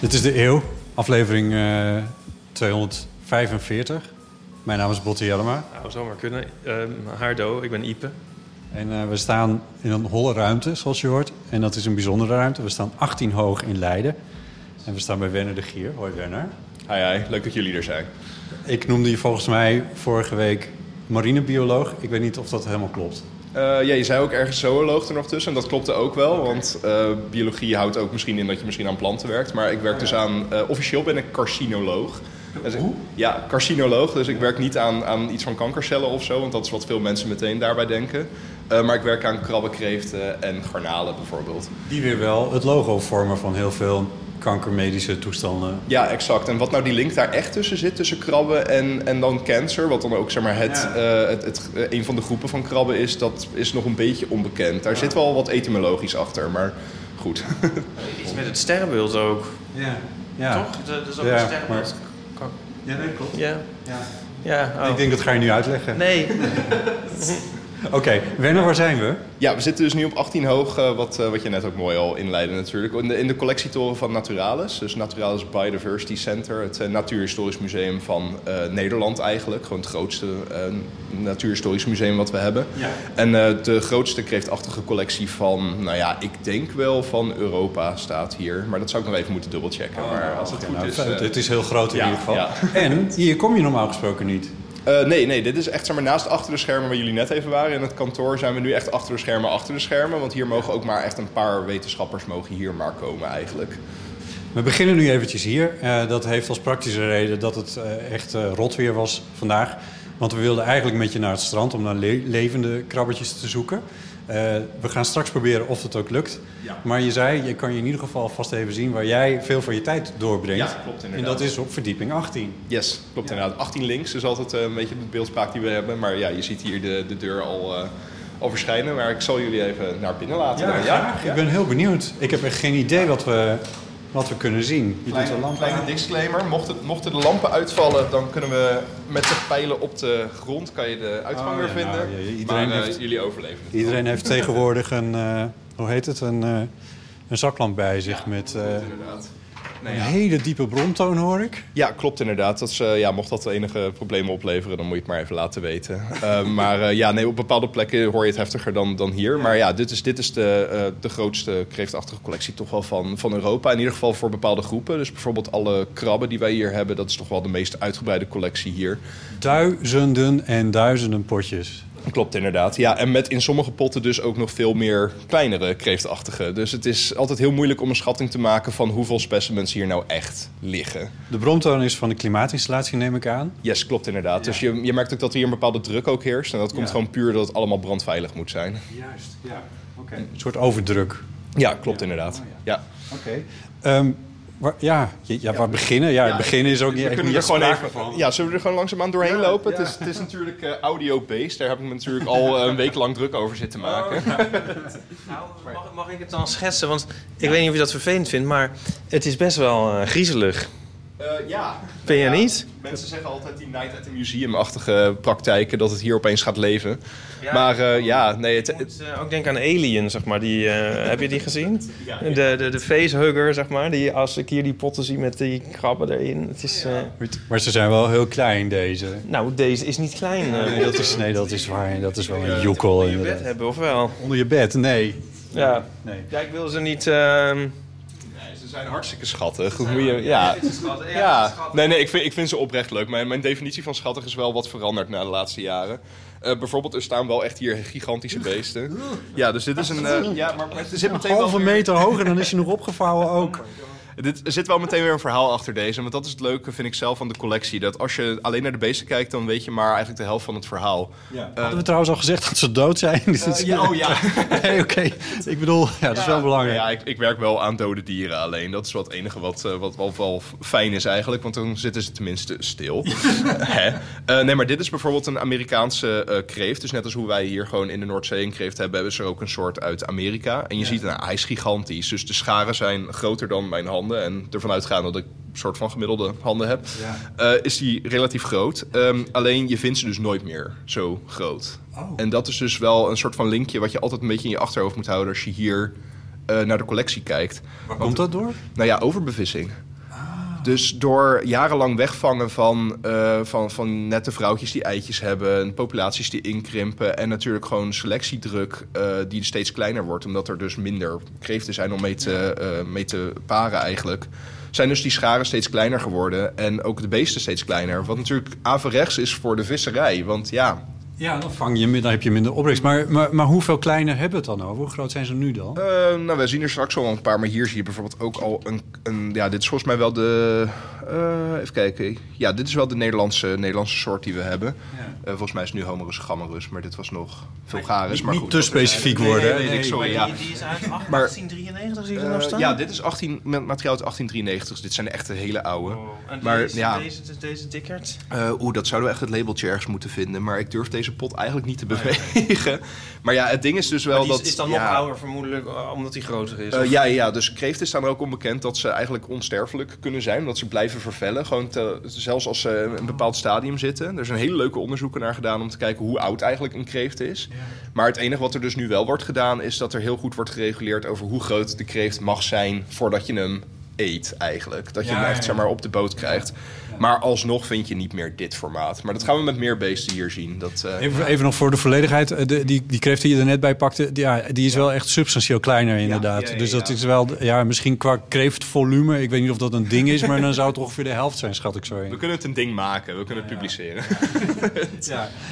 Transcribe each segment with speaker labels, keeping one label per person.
Speaker 1: Dit is de Eeuw, aflevering eh, 245. Mijn naam is Botte Jellema
Speaker 2: Nou, zou maar kunnen. Ehm, Haardo, ik ben Ipe.
Speaker 1: en eh, we staan in een holle ruimte, zoals je hoort. En dat is een bijzondere ruimte. We staan 18 hoog in Leiden. En we staan bij Werner de Gier. Hoi Werner.
Speaker 3: Hi, hi. Leuk dat jullie er zijn.
Speaker 1: Ik noemde je volgens mij vorige week marinebioloog. Ik weet niet of dat helemaal klopt.
Speaker 3: Eh, ja, je zei ook ergens zooloog er nog tussen. En dat klopte ook wel, want eh, biologie houdt ook misschien in dat je misschien aan planten werkt. Maar ik werk dus aan... eh, officieel ben ik carcinoloog. Dus ik- ja, carcinoloog. Dus ik werk niet aan, aan iets van kankercellen of zo, want dat is wat veel mensen meteen daarbij denken. Eh, maar ik werk aan krabbenkreeften en garnalen bijvoorbeeld.
Speaker 1: Die weer wel het logo vormen van heel veel kankermedische toestanden.
Speaker 3: Ja, exact. En wat nou die link daar echt tussen zit, tussen krabben en, en dan cancer, wat dan ook zeg maar het, eh, het, het, eh, een van de groepen van krabben is, dat is nog een beetje onbekend. Daar zit wel wat etymologisch achter, maar goed.
Speaker 2: Iets met het sterrenbeeld ook.
Speaker 1: Ja. ja.
Speaker 2: Toch? Dat is ook
Speaker 1: Ja,
Speaker 2: een sterrenbeeld.
Speaker 1: Ja, dat klopt.
Speaker 2: Ja. Ja. oh.
Speaker 1: Ik denk dat ga je nu uitleggen.
Speaker 2: Nee.
Speaker 1: Oké, Werner, waar zijn we?
Speaker 3: ja, we zitten dus nu op 18 hoog, eh, wat, eh, wat je net ook mooi al inleidde natuurlijk, in de, in de collectietoren van Naturalis. Dus Naturalis Biodiversity Center, het eh, natuurhistorisch museum van eh, Nederland eigenlijk. Gewoon het grootste eh, natuurhistorisch museum wat we hebben. En eh, de grootste kreeftachtige collectie van, nou ja, ik denk wel van Europa staat hier. Maar dat zou ik nog even moeten dubbelchecken. maar als het goed
Speaker 1: Nou,
Speaker 3: is.
Speaker 1: het,
Speaker 3: eh,
Speaker 1: is heel groot in
Speaker 3: ja,
Speaker 1: ieder geval.
Speaker 3: ja.
Speaker 1: En hier kom je normaal gesproken niet.
Speaker 3: eh, nee, nee, dit is echt zeg maar, naast achter de schermen waar jullie net even waren. In het kantoor zijn we nu echt achter de schermen, achter de schermen. Want hier mogen ook maar echt een paar wetenschappers mogen hier maar komen eigenlijk.
Speaker 1: We beginnen nu eventjes hier. Eh, dat heeft als praktische reden dat het eh, echt eh, rot weer was vandaag. Want we wilden eigenlijk met je naar het strand om naar le- levende krabbetjes te zoeken. Eh, we gaan straks proberen of dat ook lukt. Maar je zei, je kan je in ieder geval vast even zien waar jij veel van je tijd doorbrengt.
Speaker 3: Ja, klopt
Speaker 1: en
Speaker 3: inderdaad.
Speaker 1: dat is op verdieping 18.
Speaker 3: Yes, klopt inderdaad. 18 links is altijd eh, een beetje de beeldspraak die we hebben. Maar ja, je ziet hier de, de deur al, eh, al verschijnen. Maar ik zal jullie even naar binnen laten.
Speaker 1: Ja,
Speaker 3: dan.
Speaker 1: graag. Ik ben heel benieuwd. Ik heb echt geen idee wat we, wat we kunnen zien. Je doet de
Speaker 3: Kleine,
Speaker 1: lamp aan.
Speaker 3: kleine disclaimer, mochten, mochten de lampen uitvallen, dan kunnen we met de pijlen op de grond kan je de uitgang
Speaker 1: Oh,
Speaker 3: weer
Speaker 1: ja,
Speaker 3: vinden.
Speaker 1: nou, ja, iedereen
Speaker 3: maar eh,
Speaker 1: heeft-
Speaker 3: jullie overleven het.
Speaker 1: Iedereen heeft tegenwoordig een, eh, hoe heet het, een, eh, een zaklamp bij zich met eh,
Speaker 3: Inderdaad.
Speaker 1: een hele diepe bromtoon hoor ik.
Speaker 3: Ja, klopt inderdaad. Dat is, eh, ja, mocht dat enige problemen opleveren, dan moet je het maar even laten weten. Eh, maar eh, ja, nee, op bepaalde plekken hoor je het heftiger dan, dan hier. Maar ja, dit is, dit is de, eh, de grootste kreeftachtige collectie toch wel van, van Europa. In ieder geval voor bepaalde groepen. Dus bijvoorbeeld alle krabben die wij hier hebben, dat is toch wel de meest uitgebreide collectie hier.
Speaker 1: Duizenden en duizenden potjes.
Speaker 3: Klopt inderdaad. Ja, en met in sommige potten dus ook nog veel meer kleinere kreeftachtige. Dus het is altijd heel moeilijk om een schatting te maken van hoeveel specimens hier nou echt liggen.
Speaker 1: De bromtoon is van de klimaatinstallatie neem ik aan.
Speaker 3: Yes, klopt inderdaad. Dus je, je merkt ook dat hier een bepaalde druk ook heerst. En dat komt
Speaker 1: Ja.
Speaker 3: gewoon puur dat het allemaal brandveilig moet zijn.
Speaker 1: Juist, ja. Oké. Een soort overdruk.
Speaker 3: Ja, klopt inderdaad. ja.
Speaker 1: Oké. waar, ja, ja, ja, waar beginnen? Ja, het beginnen is ook niet echt niet sprake van.
Speaker 3: Ja, zullen we er gewoon langzaamaan doorheen lopen? Het, is, het is natuurlijk eh, audio-based. Daar heb ik me natuurlijk al eh, een week lang druk over zitten maken.
Speaker 2: Nou, mag, mag ik het dan schetsen? Want ik weet niet of je dat vervelend vindt, maar het is best wel eh, griezelig.
Speaker 3: Eh, ja.
Speaker 2: Vind je
Speaker 3: Ja,
Speaker 2: niet?
Speaker 3: Mensen zeggen altijd die night at the museum-achtige praktijken... dat het hier opeens gaat leven. Maar eh, ja, nee... Het,
Speaker 2: Ik
Speaker 3: het-
Speaker 2: moet eh, ook denken aan Alien, zeg maar. Die, eh, heb je die gezien?
Speaker 3: Ja.
Speaker 2: De, de, de facehugger, zeg maar. Die, als ik hier die potten zie met die krabben erin. Het is, eh,
Speaker 1: Maar ze zijn wel heel klein deze.
Speaker 2: nou, deze is niet klein. eh.
Speaker 1: Nee, dat is, nee, dat is waar. Dat is wel een
Speaker 2: Wil
Speaker 1: joekel
Speaker 2: je bed
Speaker 1: inderdaad.
Speaker 2: hebben, of wel?
Speaker 1: Onder je bed? Nee.
Speaker 2: Ja.
Speaker 1: Nee.
Speaker 2: Ja, ik wil ze niet... ehm,
Speaker 3: Ze zijn hartstikke schattig. Hoe moet je, ja. Ja, nee, nee ik, vind, ik vind ze oprecht leuk. Mijn, mijn definitie van schattig is wel wat veranderd na de laatste jaren. Eh, bijvoorbeeld, er staan wel echt hier gigantische beesten. Ja, dus dit is een. eh, ja, maar, maar er zit
Speaker 1: Een
Speaker 3: meteen wel
Speaker 1: halve
Speaker 3: weer-
Speaker 1: meter hoog en dan is je nog opgevouwen ook.
Speaker 3: Dit, er zit wel meteen weer een verhaal achter deze. Want dat is het leuke, vind ik zelf, van de collectie. Dat als je alleen naar de beesten kijkt, dan weet je maar eigenlijk de helft van het verhaal.
Speaker 1: Hadden we trouwens al gezegd dat ze dood zijn? dus
Speaker 3: ja, oh ja.
Speaker 1: Nee, oké. Ik bedoel, ja, dat is wel belangrijk.
Speaker 3: Ja, ik, ik werk wel aan dode dieren alleen. Dat is wel het enige wat, eh, wat wel, wel fijn is eigenlijk. Want dan zitten ze tenminste stil. Hè? Eh, nee, maar dit is bijvoorbeeld een Amerikaanse eh, kreeft. Dus net als hoe wij hier gewoon in de Noordzee een kreeft hebben... hebben ze er ook een soort uit Amerika. En je ziet, nou, hij is gigantisch. Dus de scharen zijn groter dan mijn handen. En ervan uitgaan dat ik een soort van gemiddelde handen heb... eh, is die relatief groot. Ehm, alleen je vindt ze dus nooit meer zo groot. En dat is dus wel een soort van linkje... wat je altijd een beetje in je achterhoofd moet houden... als je hier eh, naar de collectie kijkt.
Speaker 1: Waar komt Ah. dat door?
Speaker 3: Nou ja, overbevissing. Dus door jarenlang wegvangen van, eh, van, van nette vrouwtjes die eitjes hebben, en populaties die inkrimpen en natuurlijk gewoon selectiedruk eh, die steeds kleiner wordt, omdat er dus minder kreeften zijn om mee te, eh, mee te paren eigenlijk, zijn dus die scharen steeds kleiner geworden en ook de beesten steeds kleiner. Wat natuurlijk averechts is voor de visserij, want ja,
Speaker 1: Ja, dan, vang je, min- dan heb je minder opbrengst. Maar, maar, maar hoeveel kleiner hebben we het dan over? Hoe groot zijn ze nu dan?
Speaker 3: Eh, nou, we zien er straks al een paar, maar hier zie je bijvoorbeeld ook al een. een ja, dit is volgens mij wel de. eh, even kijken. Ja, dit is wel de Nederlandse, Nederlandse soort die we hebben. Eh, volgens mij is het nu Homerus gammerus, maar dit was nog Vulgaris. Maar goed, dat is-
Speaker 1: specifiek
Speaker 3: Nee, nee, nee, sorry, ja.
Speaker 2: Die, die is uit 18-
Speaker 3: Maar-
Speaker 2: 1893, zie je er nog
Speaker 3: Eh,
Speaker 2: staan?
Speaker 3: ja, dit is 18, met materiaal uit 1893. Dit zijn de echte hele oude.
Speaker 2: Oh, En
Speaker 3: Maar
Speaker 2: deze,
Speaker 3: ja,
Speaker 2: deze, deze, dikkerd.
Speaker 3: eh, oeh, dat zouden we echt het labeltje ergens moeten vinden. Maar ik durf deze pot eigenlijk niet te bewegen. Maar ja, het ding is dus wel
Speaker 2: Oh, Die is,
Speaker 3: dat.
Speaker 2: is dan
Speaker 3: ja,
Speaker 2: nog ouder vermoedelijk, eh, omdat hij groter is.
Speaker 3: Eh, ja, ja, dus kreeften staan er ook onbekend dat ze eigenlijk onsterfelijk kunnen zijn. Omdat ze blijven vervellen. Gewoon te- zelfs als ze in een bepaald stadium zitten. Er zijn hele leuke onderzoeken naar gedaan om te kijken hoe oud eigenlijk een kreeft is. Maar het enige wat er dus nu wel wordt gedaan is dat er heel goed wordt gereguleerd over hoe groot de kreeft mag zijn voordat je hem eet eigenlijk. Dat je
Speaker 1: Ja,
Speaker 3: hem echt
Speaker 1: ja, ja.
Speaker 3: zeg maar, op de boot krijgt. Maar alsnog vind je niet meer dit formaat. Maar dat gaan we met meer beesten hier zien. Dat, eh,
Speaker 1: Even, even nog voor de volledigheid. Eh, de- die, die kreeft die je er net bij pakte, die, ja, die is wel echt substantieel kleiner inderdaad.
Speaker 3: ja, ja,
Speaker 1: dus dat
Speaker 3: ja.
Speaker 1: is wel, ja, misschien qua kreeftvolume. Ik weet niet of dat een ding is, maar dan zou het ongeveer de helft zijn, schat ik zo in.
Speaker 3: we kunnen het een ding maken. We kunnen het publiceren.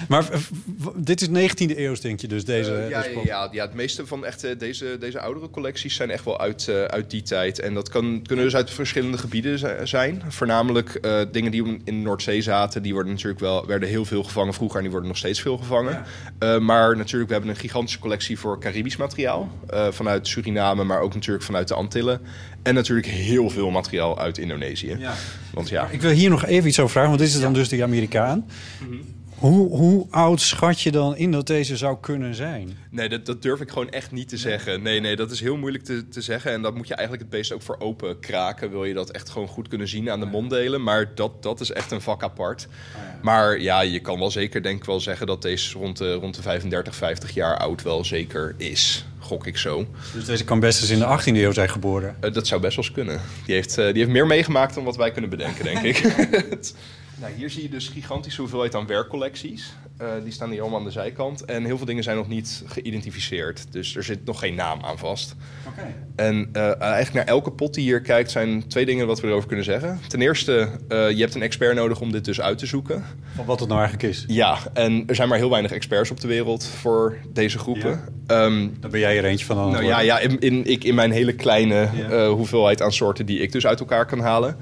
Speaker 1: Maar v- v- dit is 19e eeuws, denk je dus, deze,
Speaker 3: Eh, ja,
Speaker 1: deze
Speaker 3: ja,
Speaker 1: pot?
Speaker 3: ja, ja, het meeste van echt, eh, deze, deze oudere collecties zijn echt wel uit, eh, uit die tijd. En dat kan, kunnen dus uit verschillende gebieden zi- zijn. Voornamelijk eh, dingen die in de Noordzee zaten, die worden natuurlijk wel, werden heel veel gevangen vroeger en die worden nog steeds veel gevangen. Eh, maar natuurlijk, we hebben een gigantische collectie voor Caribisch materiaal. eh, vanuit Suriname, maar ook natuurlijk vanuit de Antillen. En natuurlijk heel veel materiaal uit Indonesië.
Speaker 1: Ja.
Speaker 3: Want ja,
Speaker 1: Ik wil hier nog even iets over vragen, want dit is dan dus de Amerikaan.
Speaker 3: Mhm.
Speaker 1: Hoe, hoe oud schat je dan in dat deze zou kunnen zijn?
Speaker 3: Nee, dat, dat durf ik gewoon echt niet te zeggen. Nee, nee, dat is heel moeilijk te, te zeggen. En dat moet je eigenlijk het beest ook voor open kraken. Wil je dat echt gewoon goed kunnen zien aan de monddelen. Maar dat, dat is echt een vak apart. Maar Ah, ja, je kan wel zeker denk ik wel zeggen dat deze rond de, rond de 35, 50 jaar oud wel zeker is. Gok ik zo.
Speaker 1: Dus deze kan best eens in de 18e eeuw zijn geboren.
Speaker 3: Eh, dat zou best wel eens kunnen. Die heeft, eh, die heeft meer meegemaakt dan wat wij kunnen bedenken, denk ik. Het- nou, hier zie je dus gigantische hoeveelheid aan werkcollecties. Eh, die staan hier allemaal aan de zijkant. En heel veel dingen zijn nog niet geïdentificeerd. Dus er zit nog geen naam aan vast. En eh, eigenlijk naar elke pot die hier kijkt zijn twee dingen wat we erover kunnen zeggen. Ten eerste, eh, je hebt een expert nodig om dit dus uit te zoeken.
Speaker 1: Van wat het nou eigenlijk is.
Speaker 3: Ja, en er zijn maar heel weinig experts op de wereld voor deze groepen. Ehm,
Speaker 1: Daar ben jij er eentje van aan het
Speaker 3: nou ja,
Speaker 1: worden.
Speaker 3: ja in, in, ik, in mijn hele kleine eh, hoeveelheid aan soorten die ik dus uit elkaar kan halen.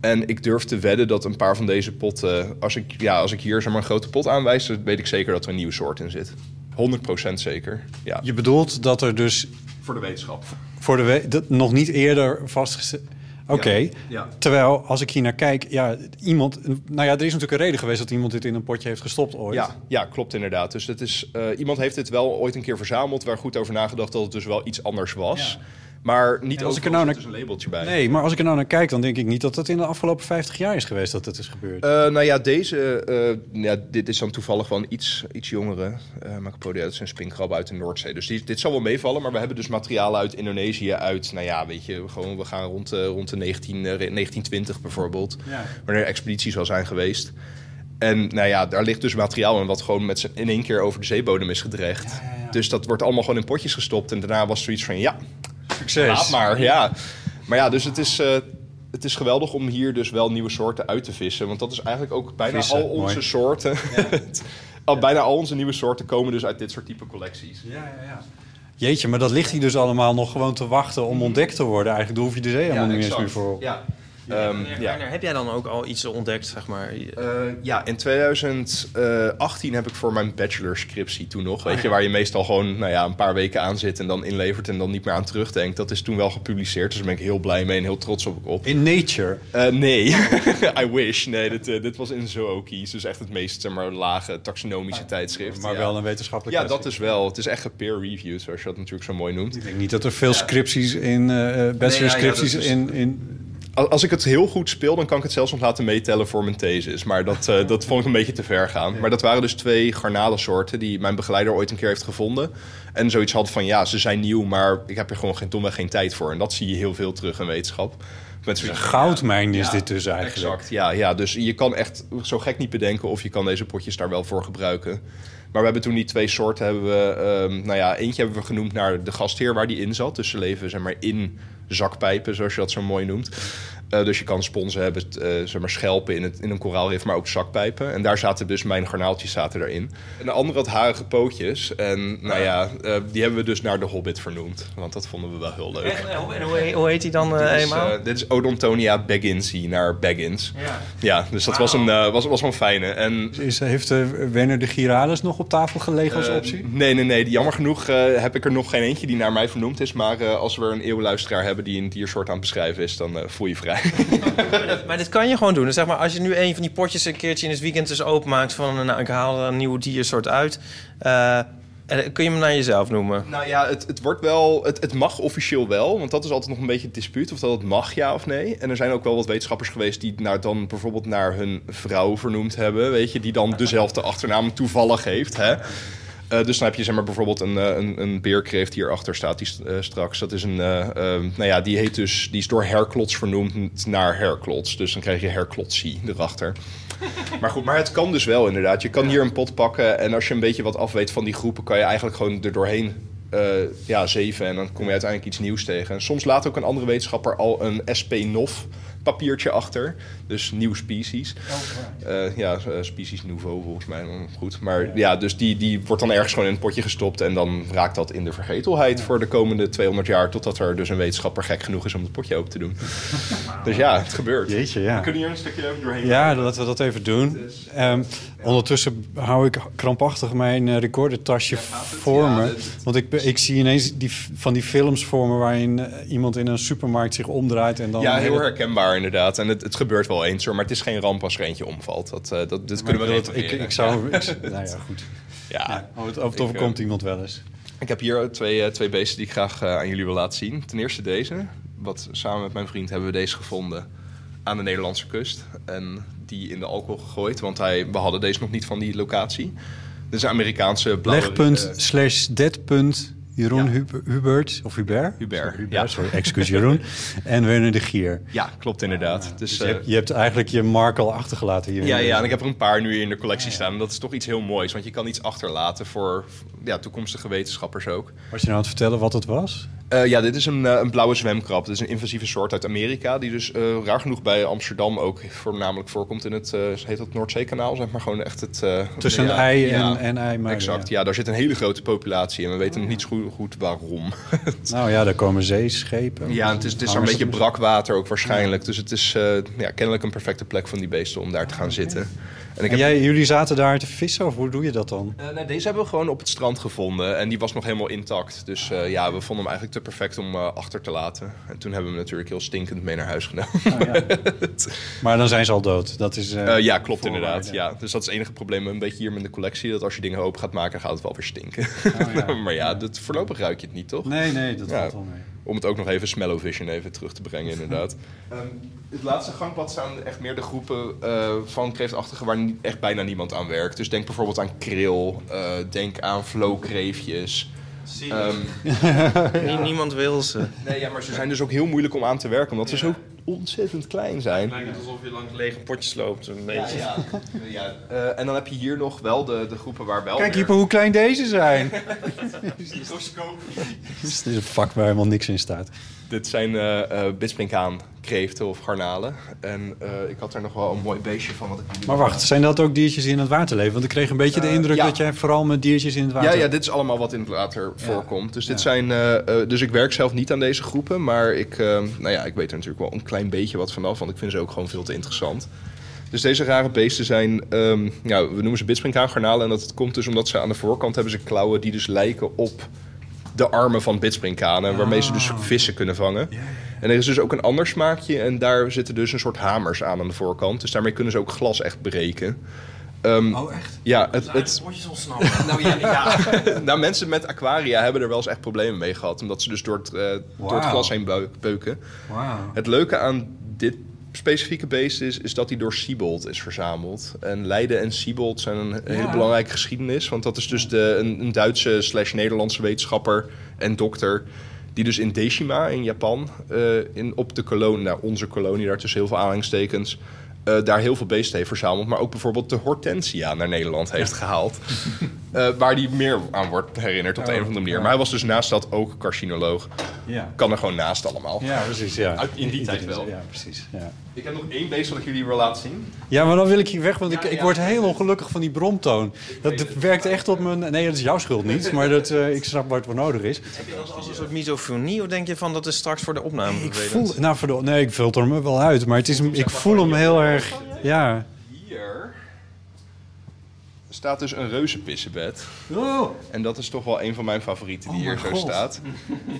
Speaker 3: En ik durf te wedden dat een paar van deze potten, als ik, ja, als ik hier zeg maar, een grote pot aanwijs, dan weet ik zeker dat er een nieuwe soort in zit. 100% zeker. Ja.
Speaker 1: Je bedoelt dat er dus
Speaker 3: Voor de wetenschap.
Speaker 1: voor de we- dat nog niet eerder vastgesteld... Oké,
Speaker 3: ja.
Speaker 1: terwijl als ik hier naar kijk, ja, iemand... Nou ja, er is natuurlijk een reden geweest dat iemand dit in een potje heeft gestopt ooit.
Speaker 3: Ja, ja, klopt inderdaad. Dus het is, eh, iemand heeft dit wel ooit een keer verzameld, waar goed over nagedacht dat het dus wel iets anders was.
Speaker 1: Ja.
Speaker 3: Maar niet
Speaker 1: En als
Speaker 3: als
Speaker 1: ik
Speaker 3: ik
Speaker 1: er nou
Speaker 3: zit
Speaker 1: naar-
Speaker 3: dus een labeltje bij.
Speaker 1: Nee, maar als ik er nou naar kijk, dan denk ik niet dat dat in de afgelopen 50 jaar is geweest dat het is gebeurd.
Speaker 3: Eh, nou ja, deze, eh, ja, dit is dan toevallig wel een iets, iets jongere. Uh, Macapodia, dat is een spinkrab uit de Noordzee. Dus die, dit zal wel meevallen, maar we hebben dus materialen uit Indonesië, uit, nou ja, weet je, gewoon, we gaan rond, eh, rond de 19, eh, 1920 bijvoorbeeld,
Speaker 1: Ja.
Speaker 3: wanneer er expedities wel zijn geweest. En nou ja, daar ligt dus materiaal in wat gewoon met z'n- in één keer over de zeebodem is gedreigd. Dus dat wordt allemaal gewoon in potjes gestopt. En daarna was zoiets van, ja,
Speaker 1: Succes.
Speaker 3: Laat maar, ja. Maar ja, dus het is, eh, het is geweldig om hier dus wel nieuwe soorten uit te vissen. Want dat is eigenlijk ook bijna
Speaker 1: Vissen,
Speaker 3: al onze
Speaker 1: mooi.
Speaker 3: soorten. al, bijna al onze nieuwe soorten komen dus uit dit soort type collecties.
Speaker 1: Ja, ja, ja. Jeetje, maar dat ligt hier dus allemaal nog gewoon te wachten om ontdekt te worden. Eigenlijk daar hoef je de zee helemaal niet eens
Speaker 3: exact.
Speaker 1: meer voor op.
Speaker 3: Ja. Ehm,
Speaker 2: Werner,
Speaker 3: ja.
Speaker 2: Werner, heb jij dan ook al iets ontdekt, zeg maar?
Speaker 3: Eh, ja, in 2018 heb ik voor mijn bachelorscriptie toen nog. Weet je, waar je meestal gewoon nou ja, een paar weken aan zit en dan inlevert en dan niet meer aan terugdenkt. Dat is toen wel gepubliceerd, dus daar ben ik heel blij mee en heel trots op. op.
Speaker 1: In Nature.
Speaker 3: Eh, nee,
Speaker 1: Oh,
Speaker 3: I wish. Nee, dit, eh, dit was in Zookies, dus echt het meest zeg maar, lage taxonomische tijdschrift.
Speaker 1: Ah, Maar
Speaker 3: ja.
Speaker 1: wel een wetenschappelijk
Speaker 3: Ja, dat is wel. Het is echt gepeer-reviewed, zoals je dat natuurlijk zo mooi noemt.
Speaker 1: Ik denk niet dat er veel scripties in, eh bachelorscripties
Speaker 3: dat is-
Speaker 1: in, in...
Speaker 3: Al- Als ik het heel goed speel, dan kan ik het zelfs nog laten meetellen voor mijn thesis. Maar dat, eh, dat vond ik een beetje te ver gaan. Maar dat waren dus twee garnalensoorten die mijn begeleider ooit een keer heeft gevonden. En zoiets had van, ja, ze zijn nieuw, maar ik heb er gewoon geen, domweg geen tijd voor. En dat zie je heel veel terug in wetenschap. Met
Speaker 1: Een
Speaker 3: zoiets
Speaker 1: goudmijn is
Speaker 3: Ja,
Speaker 1: dit dus eigenlijk.
Speaker 3: Exact, ja, ja. Dus je kan echt zo gek niet bedenken of je kan deze potjes daar wel voor gebruiken. Maar we hebben toen die twee soorten hebben we, ehm, nou ja, eentje hebben we genoemd naar de gastheer waar die in zat. Dus ze leven zeg maar in zakpijpen, zoals je dat zo mooi noemt. Eh, dus je kan sponsen hebben, t- eh, zeg maar schelpen in, het, in een koraalrif, maar ook zakpijpen. En daar zaten dus mijn garnaaltjes zaten erin. En de andere had harige pootjes. En nou ja, eh, die hebben we dus naar de Hobbit vernoemd. Want dat vonden we wel heel leuk.
Speaker 2: En hoe, hoe heet hij dan eh,
Speaker 3: Dit is,
Speaker 2: eenmaal?
Speaker 3: eh, dit is Odontonia bagginsi naar Baggins.
Speaker 2: Ja.
Speaker 3: Ja, dus dat was, een, eh, was, was wel een fijne. En,
Speaker 1: Is, heeft eh, Werner de Giralis nog op tafel gelegen als
Speaker 3: eh,
Speaker 1: optie?
Speaker 3: nee, nee, nee. Jammer genoeg eh, heb ik er nog geen eentje die naar mij vernoemd is. Maar eh, als we er een eeuwluisteraar hebben die een diersoort aan het beschrijven is, dan eh, voel je vrij. eh,
Speaker 2: Maar dit kan je gewoon doen. Dus zeg maar, als je nu een van die potjes een keertje in het weekend dus openmaakt... van eh, nou, ik haal er een nieuwe diersoort uit... eh, en kun je hem naar jezelf noemen.
Speaker 3: nou ja, het, het wordt wel. Het, het mag officieel wel, want dat is altijd nog een beetje het dispuut of dat het mag, ja of nee. En er zijn ook wel wat wetenschappers geweest die nou dan bijvoorbeeld naar hun vrouw vernoemd hebben, weet je, die dan dezelfde achternaam toevallig heeft, hè? Eh, dus dan heb je zeg maar, bijvoorbeeld een, eh, een, een beerkreeft die hierachter staat die, st- eh, straks. Dat is een, eh, eh, nou ja, die, heet dus, die is door Herklots vernoemd naar Herklots. Dus dan krijg je Herklotsie erachter. maar goed, maar het kan dus wel inderdaad. Je kan hier een pot pakken en als je een beetje wat afweet van die groepen... kan je eigenlijk gewoon er doorheen eh, ja, zeven en dan kom je uiteindelijk iets nieuws tegen. En soms laat ook een andere wetenschapper al een SP-NOF papiertje achter. Dus nieuw species. Eh, ja, eh, species nouveau volgens mij. maar Goed. Maar ja, dus die, die wordt dan ergens gewoon in een potje gestopt. En dan raakt dat in de vergetelheid voor de komende 200 jaar. Totdat er dus een wetenschapper gek genoeg is om het potje open te doen. Dus ja, het gebeurt.
Speaker 1: Jeetje, ja.
Speaker 3: We kunnen hier een stukje over doorheen.
Speaker 1: Ja, laten we dat even doen. Ehm, ondertussen hou ik krampachtig mijn eh, recordertasje voor me. Want ik, be- ik zie ineens die, f- van die films voor me... waarin eh, iemand in een supermarkt zich omdraait en dan...
Speaker 3: Ja, heel herkenbaar inderdaad. En het, het gebeurt wel eens hoor. Maar het is geen ramp als er eentje omvalt. Dat, eh, dat, dat kunnen we
Speaker 1: Ik, ik,
Speaker 3: repareren.
Speaker 1: ik zou... ik- nou ja, goed.
Speaker 3: Ja.
Speaker 1: Of het, of het
Speaker 3: Ik,
Speaker 1: overkomt
Speaker 3: eh,
Speaker 1: iemand wel eens.
Speaker 3: Ik heb hier twee, eh, twee beesten die ik graag eh, aan jullie wil laten zien. Ten eerste deze. Wat, samen met mijn vriend hebben we deze gevonden aan de Nederlandse kust. En die in de alcohol gegooid, want hij, we hadden deze nog niet van die locatie. Dit is een Amerikaanse blauwe...
Speaker 1: Legpunt
Speaker 3: eh,
Speaker 1: slash deadpunt Jeroen
Speaker 3: Ja.
Speaker 1: Hub- Hubert, of Hubert?
Speaker 3: Hubert,
Speaker 1: Sorry,
Speaker 3: ja.
Speaker 1: sorry, excuus Jeroen. en Werner de Gier.
Speaker 3: ja, klopt inderdaad. dus,
Speaker 1: Je
Speaker 3: eh,
Speaker 1: hebt, je hebt eigenlijk je mark al achtergelaten hier.
Speaker 3: ja, ja, en ik heb er een paar nu in de collectie staan. En dat is toch iets heel moois, want je kan iets achterlaten voor ja, toekomstige wetenschappers ook.
Speaker 1: Was je nou aan het vertellen wat het was?
Speaker 3: Eh, ja, dit is een, eh, een blauwe zwemkrab. Dit is een invasieve soort uit Amerika, die dus eh, raar genoeg bij Amsterdam ook voornamelijk voorkomt in het, eh, heet dat Noordzeekanaal, zeg maar gewoon echt het... eh,
Speaker 1: Tussen
Speaker 3: ja,
Speaker 1: een ei en,
Speaker 3: ja,
Speaker 1: en eimuiden.
Speaker 3: Exact, ja. daar zit een hele grote populatie en we weten nog niet zo goed- goed waarom.
Speaker 1: Nou ja, daar komen zeeschepen.
Speaker 3: ja, en het is, het is daar een beetje brak water ook waarschijnlijk, dus het is eh, ja, kennelijk een perfecte plek van die beesten om daar te gaan zitten. En ik
Speaker 1: En
Speaker 3: heb
Speaker 1: jij, jullie zaten daar te vissen, of hoe doe je dat dan?
Speaker 3: Eh, nou, deze hebben we gewoon op het strand gevonden en die was nog helemaal intact. Dus eh, ja, we vonden hem eigenlijk te perfect om eh, achter te laten. En toen hebben we hem natuurlijk heel stinkend mee naar huis genomen.
Speaker 1: Maar dan zijn ze al dood. Dat is, eh,
Speaker 3: Eh, ja, klopt
Speaker 1: voorwaarde.
Speaker 3: inderdaad. Ja. Dus dat is het enige probleem een beetje hier met de collectie. Dat als je dingen open gaat maken, gaat het wel weer stinken.
Speaker 1: Oh, ja.
Speaker 3: maar ja, dat, voorlopig ruik je het niet, toch?
Speaker 1: Nee, nee, dat
Speaker 3: Ja. Oh,
Speaker 1: valt wel mee.
Speaker 3: Om het ook nog even Smellovision even terug te brengen, inderdaad. Ehm, het laatste gangpad staan echt meer de groepen eh, van kreeftachtigen waar niet, echt bijna niemand aan werkt. Dus denk bijvoorbeeld aan kril, eh, denk aan flowkreefjes. Ehm,
Speaker 2: Nie- Niemand wil ze.
Speaker 3: nee, ja, maar ze zijn dus ook heel moeilijk om aan te werken, omdat ze zo ontzettend klein zijn.
Speaker 2: lijkt het alsof je langs lege potjes loopt. Een
Speaker 3: Ja,
Speaker 2: beetje.
Speaker 3: ja. ja. Eh, en dan heb je hier nog wel de, de groepen waar wel
Speaker 1: Kijk,
Speaker 3: weer-
Speaker 1: Ieper, hoe klein deze zijn. Het is een vak waar helemaal niks in staat.
Speaker 3: Dit zijn eh eh bispinkaan, kreeften of garnalen. En eh, ik had er nog wel een mooi beestje van. Wat ik nu-
Speaker 1: Maar wacht, zijn dat ook diertjes die in het water leven? Want ik kreeg een beetje de
Speaker 3: Eh,
Speaker 1: indruk
Speaker 3: ja.
Speaker 1: dat jij vooral met diertjes in het water...
Speaker 3: Ja, ja, dit is allemaal wat in het water voorkomt. Dus, dit zijn, eh, eh, dus ik werk zelf niet aan deze groepen. Maar ik, eh, nou ja, ik weet er natuurlijk wel een klein beetje wat vanaf. Want ik vind ze ook gewoon veel te interessant. Dus deze rare beesten zijn, ehm, ja, we noemen ze bitspringkaangarnalen. En dat komt dus omdat ze aan de voorkant hebben ze klauwen die dus lijken op de armen van bitspringkanen. Waarmee ze dus vissen kunnen vangen. En er is dus ook een ander smaakje. En daar zitten dus een soort hamers aan aan de voorkant. Dus daarmee kunnen ze ook glas echt breken.
Speaker 1: Oh, echt?
Speaker 3: Ja, het, het,
Speaker 2: Potjes ontsnappen.
Speaker 3: nou ja, ja. nou, mensen met aquaria hebben er wel eens echt problemen mee gehad. Omdat ze dus door het, eh, door het
Speaker 1: Wauw.
Speaker 3: glas heen beu- beuken.
Speaker 1: Wauw.
Speaker 3: Het leuke aan dit specifieke beest is, is dat hij door Siebold is verzameld. En Leiden en Siebold zijn een hele belangrijke geschiedenis. Want dat is dus de, een, een Duitse slash Nederlandse wetenschapper en dokter... die dus in Deshima in Japan, eh, in, op de kolonie, nou, onze kolonie, daar tussen heel veel aanhalingstekens... eh, daar heel veel beesten heeft verzameld. Maar ook bijvoorbeeld de hortensia naar Nederland heeft gehaald. Eh, waar die meer aan wordt herinnerd op de een of andere manier. Maar hij was dus naast dat ook carcinoloog.
Speaker 1: Oh, Ja.
Speaker 3: Kan er gewoon naast allemaal.
Speaker 1: Ja, precies. Ja.
Speaker 3: Uit- in die tijd wel.
Speaker 1: Ja, precies. Ja,
Speaker 3: Ik heb nog één beest wat ik jullie wil laten zien.
Speaker 1: ja maar dan wil ik hier weg, want ik,
Speaker 3: Ja,
Speaker 1: ik
Speaker 3: ja.
Speaker 1: word heel ongelukkig van die bromtoon. Dat werkt echt op mijn... Nee, dat is jouw schuld niet, maar dat, eh, ik snap waar het voor nodig is.
Speaker 2: Heb je dat als een soort misofonie of denk je van dat is straks voor de opname?
Speaker 1: Ik voel... Nou, verdo- nee, ik filter hem er wel uit, maar het is, hem- ik voel hem heel erg... Ja.
Speaker 3: Hier staat dus een reuzenpissenbed.
Speaker 1: Oh.
Speaker 3: En dat is toch wel een van mijn favorieten die
Speaker 1: Oh
Speaker 3: hier
Speaker 1: mijn
Speaker 3: zo
Speaker 1: God.
Speaker 3: staat.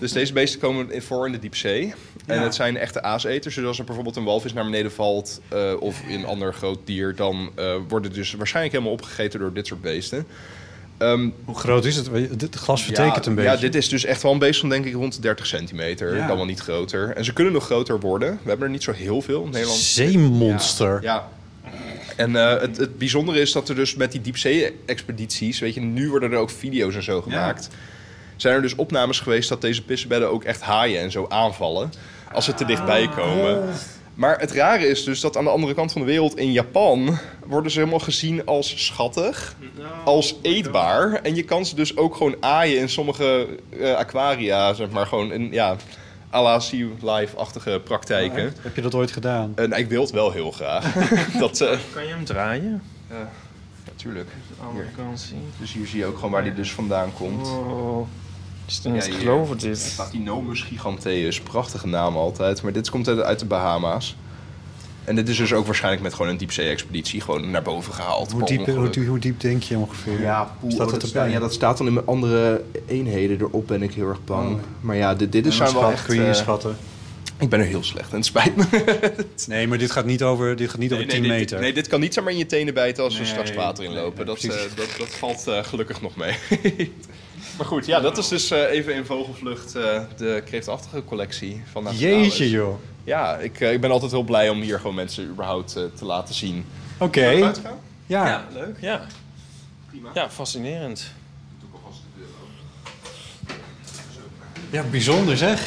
Speaker 3: Dus deze beesten komen in- voor in de diepzee. En
Speaker 1: Ja.
Speaker 3: het zijn echte aaseters. Dus als er bijvoorbeeld een walvis naar beneden valt eh, of een ander groot dier... dan eh worden dus waarschijnlijk helemaal opgegeten door dit soort beesten. Ehm,
Speaker 1: Hoe groot is het? Het glas vertekent
Speaker 3: ja,
Speaker 1: een beetje.
Speaker 3: Ja, dit is dus echt wel een beest van denk ik rond de 30 centimeter.
Speaker 1: Ja.
Speaker 3: Dan wel niet groter. En ze kunnen nog groter worden. We hebben er niet zo heel veel in Nederland.
Speaker 1: Zeemonster.
Speaker 3: Ja. En eh, het, het bijzondere is dat er dus met die diepzee-expedities, weet je, nu worden er ook video's en zo gemaakt. Zijn er dus opnames geweest dat deze pissenbedden ook echt haaien en zo aanvallen als ze te dichtbij komen. Maar het rare is dus dat aan de andere kant van de wereld, in Japan, worden ze helemaal gezien als schattig, als eetbaar. En je kan ze dus ook gewoon aaien in sommige eh, aquaria, zeg maar, gewoon in, ja, à la Sea Life-achtige praktijken.
Speaker 1: Heb je dat ooit gedaan?
Speaker 3: Eh, nou, ik wil het wel heel graag. dat, eh,
Speaker 2: Kan je hem draaien?
Speaker 3: natuurlijk.
Speaker 2: Andere kant zien.
Speaker 3: Dus hier zie je ook gewoon waar die dus vandaan komt.
Speaker 2: Oh, is het niet
Speaker 3: Ja,
Speaker 2: te
Speaker 3: hier.
Speaker 2: geloven dit?
Speaker 3: Platinomus giganteus, prachtige naam altijd. Maar dit komt uit, uit de Bahama's. En dit is dus ook waarschijnlijk met gewoon een diepzee-expeditie gewoon naar boven gehaald.
Speaker 1: Hoe
Speaker 3: per
Speaker 1: diep,
Speaker 3: ongeluk.
Speaker 1: hoe, diep- hoe diep denk je ongeveer?
Speaker 3: Ja, poeh,
Speaker 1: Staat
Speaker 3: oh,
Speaker 1: dat
Speaker 3: dat staat-
Speaker 1: erbij?
Speaker 3: ja, dat staat dan in mijn andere eenheden. Erop ben ik heel erg bang.
Speaker 1: Oh.
Speaker 3: Maar ja, dit, dit is zijn wel
Speaker 1: Schat,
Speaker 3: echt...
Speaker 1: kun je
Speaker 3: eh,
Speaker 1: schatten?
Speaker 3: ik ben er heel slecht en het spijt me.
Speaker 1: Nee, maar dit gaat niet over, dit gaat niet over 10
Speaker 3: dit-
Speaker 1: meter.
Speaker 3: nee, dit kan niet zomaar in je tenen bijten als we straks water
Speaker 1: nee,
Speaker 3: inlopen. dat,
Speaker 1: precies.
Speaker 3: eh, dat, dat valt eh, gelukkig nog mee. maar goed, ja, dat is dus eh, even in vogelvlucht eh, de kreeftachtige collectie van Naturalis.
Speaker 1: Jeetje joh.
Speaker 3: Ja, ik, eh, ik ben altijd heel blij om hier gewoon mensen überhaupt eh, te laten zien.
Speaker 1: Oké.
Speaker 3: Hey.
Speaker 1: Ja.
Speaker 2: Ja, leuk. Ja. Ja, fascinerend.
Speaker 1: ja, bijzonder zeg.